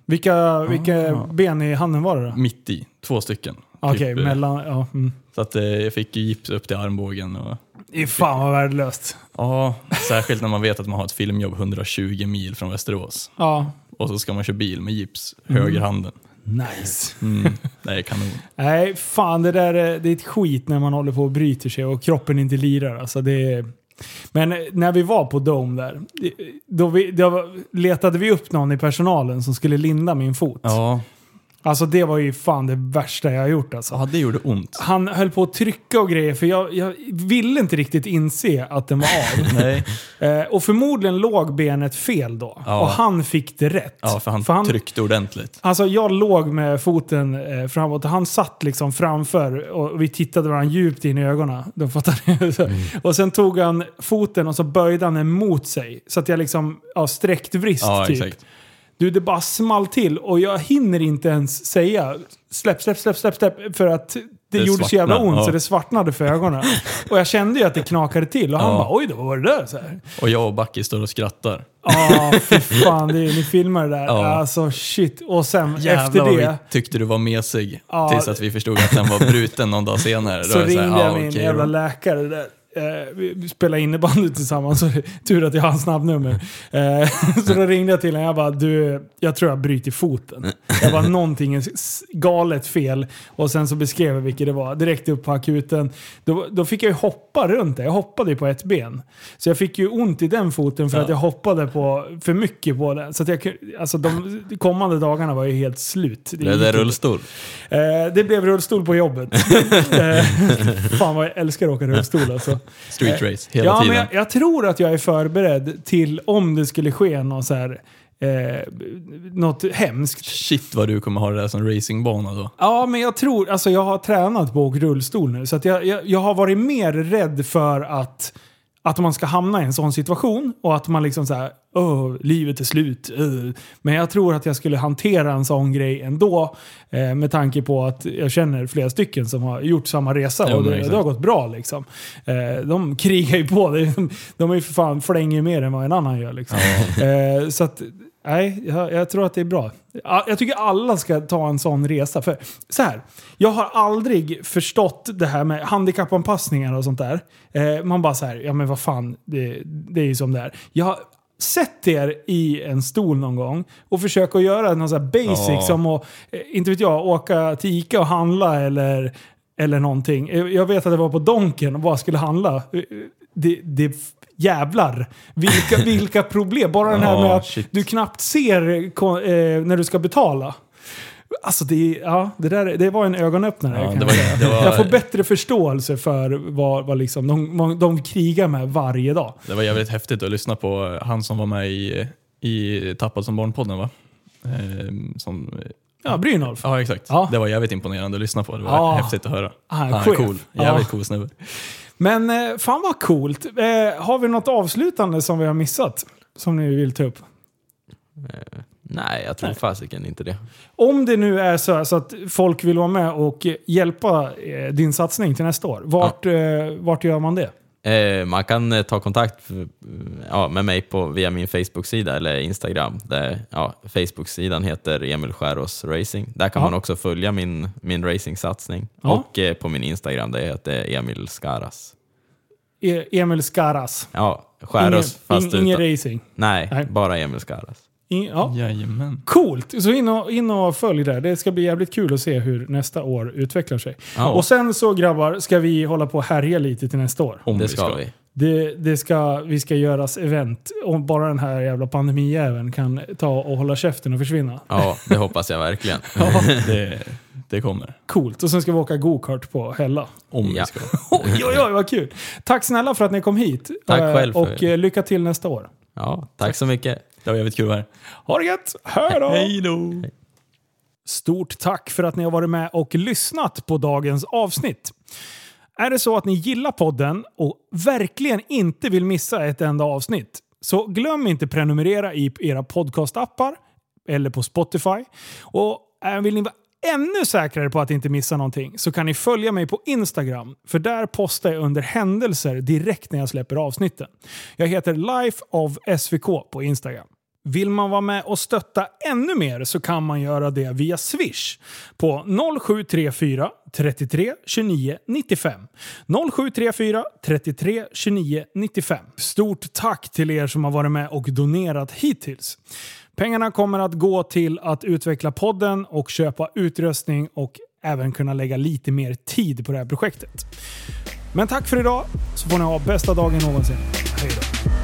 Speaker 1: Vilka, vilka ben i handen var det då?
Speaker 3: Mitt i, två stycken.
Speaker 1: Okej,
Speaker 3: Typ, eh,
Speaker 1: mellan... Ja, mm.
Speaker 3: Så att eh, jag fick ju gips upp till armbågen. Och,
Speaker 1: I fan vad värdelöst.
Speaker 3: ja, särskilt när man vet att man har ett filmjobb 120 mil från Västerås.
Speaker 1: Ja,
Speaker 3: Och så ska man köra bil med gips,
Speaker 1: Mm.
Speaker 3: högerhanden.
Speaker 1: nice.
Speaker 3: Mm. Det är kanon.
Speaker 1: Nej, fan det där är- det är ett skit när man håller på och bryter sig och kroppen inte lirar. Alltså, det är... Men eh, när vi var på Dome där, det- då, vi, då var- letade vi upp någon i personalen som skulle linda min fot.
Speaker 3: Ja.
Speaker 1: Alltså det var ju fan det värsta jag har gjort alltså.
Speaker 3: ja, det gjorde ont.
Speaker 1: Han höll på att trycka och grejer för jag, jag ville inte riktigt inse att den var av.
Speaker 3: Nej.
Speaker 1: Eh, och förmodligen låg benet fel då.
Speaker 3: Ja.
Speaker 1: Och han fick det rätt.
Speaker 3: Ja, för han, tryckte ordentligt.
Speaker 1: Alltså jag låg med foten eh, framåt och han satt liksom framför och vi tittade varandra djupt in i ögonen. De fattade. Så-
Speaker 3: Mm.
Speaker 1: Och sen tog han foten och så böjde han den mot sig. Så att jag liksom, ja, sträckt vrist
Speaker 3: Ja,
Speaker 1: typ.
Speaker 3: exakt.
Speaker 1: Du, det bara small till och jag hinner inte ens säga släpp, släpp, släpp, släpp, släpp för att det,
Speaker 3: Det
Speaker 1: gjorde så jävla
Speaker 3: svartnade,
Speaker 1: ont så
Speaker 3: ja.
Speaker 1: det svartnade för ögonen. och jag kände ju att det knakade till och han
Speaker 3: Ja.
Speaker 1: bara oj då, vad var det där? Så här.
Speaker 3: Och jag och Backe står och skrattar.
Speaker 1: Ja, fy fan. Det, är- ni filmar det där.
Speaker 3: Ja.
Speaker 1: Alltså shit. Och sen
Speaker 3: Jävlar
Speaker 1: efter
Speaker 3: vad
Speaker 1: det
Speaker 3: vi tyckte du var mesig.
Speaker 1: Ja.
Speaker 3: Tills att vi förstod att den var bruten någon dag senare. Då
Speaker 1: så
Speaker 3: är det
Speaker 1: ringde
Speaker 3: här,
Speaker 1: jag
Speaker 3: ja,
Speaker 1: min
Speaker 3: okej
Speaker 1: jävla
Speaker 3: då.
Speaker 1: läkare där. Eh, vi vi spelade innebandy tillsammans, så det är tur att jag har hans snabbnummer. Eh, så då ringde jag till honom jag bara du, jag tror jag bryter foten. Jag bara någonting är s- galet fel. Och sen så beskrev jag vilket det var. Direkt upp på akuten. Då, då fick jag ju hoppa runt det. Jag hoppade ju på ett ben. Så jag fick ju ont i den foten för
Speaker 3: Ja.
Speaker 1: att jag hoppade på för mycket på den. Så att jag, kunde- alltså de, de kommande dagarna var ju helt slut. Det
Speaker 2: Blev
Speaker 1: gick
Speaker 2: det
Speaker 1: inte.
Speaker 2: rullstol?
Speaker 1: Eh, det blev rullstol på jobbet. eh, fan vad jag älskar att åka rullstol alltså.
Speaker 3: Street race hela
Speaker 1: Ja,
Speaker 3: tiden.
Speaker 1: men jag, jag tror att jag är förberedd till om det skulle ske någon så här, eh, något hemskt.
Speaker 3: Shit vad du kommer ha det där som racingbana då.
Speaker 1: Ja, men jag tror, alltså jag har tränat på att åka rullstol nu. Så att jag, jag, jag har varit mer rädd för att Att man ska hamna i en sån situation och att man liksom så här, "Åh, livet är slut. eh." Men jag tror att jag skulle hantera en sån grej ändå eh, med tanke på att jag känner flera stycken som har gjort samma resa
Speaker 3: Jo,
Speaker 1: och
Speaker 3: men
Speaker 1: det,
Speaker 3: exakt.
Speaker 1: det har gått bra liksom. Eh, de krigar ju på. De, de är ju för fan flänger mer än vad en annan gör liksom. Eh, så att, nej, jag, jag tror att det är bra. Ja, Jag tycker alla ska ta en sån resa. För så här, jag har aldrig förstått det här med handikappanpassningar och sånt där. Eh, man bara så här, ja men vad fan, det, det är ju som det är. Jag har sett er i en stol någon gång och försöker att göra någon så här basic
Speaker 3: Ja.
Speaker 1: som att, eh, inte vet jag, åka till Ica och handla eller eller någonting. Eh, Jag vet att jag var på Donken och bara skulle handla. Eh, eh, Det, det jävlar vilka, vilka problem. Bara den här
Speaker 3: Ja,
Speaker 1: med att
Speaker 3: shit.
Speaker 1: du knappt ser eh, ko- eh, när du ska betala. Alltså det, ja, det, där, det var en ögonöppnare.
Speaker 3: Ja,
Speaker 1: kan
Speaker 3: det
Speaker 1: jag
Speaker 3: var-
Speaker 1: säga.
Speaker 3: det var-
Speaker 1: Jag får bättre förståelse för vad, vad liksom de, vad de krigar med varje dag.
Speaker 3: Det var jävligt häftigt att lyssna på han som var med i, i Tappad som barn-podden va? Ehm, som,
Speaker 1: Ja, Brynolf.
Speaker 3: ja exakt.
Speaker 1: Ja.
Speaker 3: Det var jävligt imponerande att lyssna på. Det var
Speaker 1: Ja.
Speaker 3: häftigt att höra.
Speaker 1: Han är
Speaker 3: han är
Speaker 1: chef.
Speaker 3: cool.
Speaker 1: Ja.
Speaker 3: Jävligt cool snubbe.
Speaker 1: Men eh, fan vad coolt. Eh, har vi något avslutande som vi har missat? Som ni vill ta upp?
Speaker 2: Eh, nej, jag tror fasiken inte det.
Speaker 1: Om det nu är så, så att folk vill vara med och hjälpa eh, din satsning till nästa år, vart, eh, vart gör man det?
Speaker 2: Eh, man kan eh, ta kontakt eh, ja, med mig på, via min Facebook-sida eller Instagram. Där, ja, Facebook-sidan heter Emil Skärås Racing. Där kan
Speaker 1: Ja.
Speaker 2: man också följa min, min racingsatsning.
Speaker 1: Ja.
Speaker 2: Och eh, på min Instagram, där heter jag Emil Skaras.
Speaker 1: E- Emil Skaras.
Speaker 2: Ja, Skärås fast
Speaker 1: in, ingen
Speaker 2: utan...
Speaker 1: racing.
Speaker 2: Nej,
Speaker 1: Nej.
Speaker 2: bara Emil Skaras.
Speaker 1: In, ja.
Speaker 3: Jajamän.
Speaker 1: Coolt! Så in och, in och följ där. Det ska bli jävligt kul att se hur nästa år utvecklar sig.
Speaker 2: Ja.
Speaker 1: Och sen så grabbar, ska vi hålla på och härja lite till nästa år.
Speaker 3: Om
Speaker 2: det ska vi.
Speaker 1: Det, det ska, vi ska göras event. Om bara den här jävla pandemijäveln kan ta och hålla käften och försvinna.
Speaker 2: Ja, det hoppas jag verkligen.
Speaker 3: Det, det kommer.
Speaker 1: Coolt! Och sen ska vi åka gokart på Hälla.
Speaker 3: Om
Speaker 2: Ja.
Speaker 3: vi ska.
Speaker 1: Oj, oj, oj, vad kul! Tack snälla för att ni kom hit.
Speaker 2: Tack
Speaker 1: Eh,
Speaker 2: själv för-
Speaker 1: Och eh, lycka till nästa år.
Speaker 2: Ja, tack så mycket.
Speaker 3: Det var jävligt kul att vara här.
Speaker 1: Ha det gött! Hej då!
Speaker 3: Hej då!
Speaker 1: Stort tack för att ni har varit med och lyssnat på dagens avsnitt. Är det så att ni gillar podden och verkligen inte vill missa ett enda avsnitt så glöm inte prenumerera i era podcastappar eller på Spotify. Och eh, vill ni vara ännu säkrare på att inte missa någonting så kan ni följa mig på Instagram för där postar jag under händelser direkt när jag släpper avsnitten. Jag heter Life of SVK på Instagram. Vill man vara med och stötta ännu mer så kan man göra det via Swish på 0734 33 29 95. 0734 33 29 95. Stort tack till er som har varit med och donerat hittills. Pengarna kommer att gå till att utveckla podden och köpa utrustning och även kunna lägga lite mer tid på det här projektet. Men tack för idag så får ni ha bästa dagen någonsin. Hej då!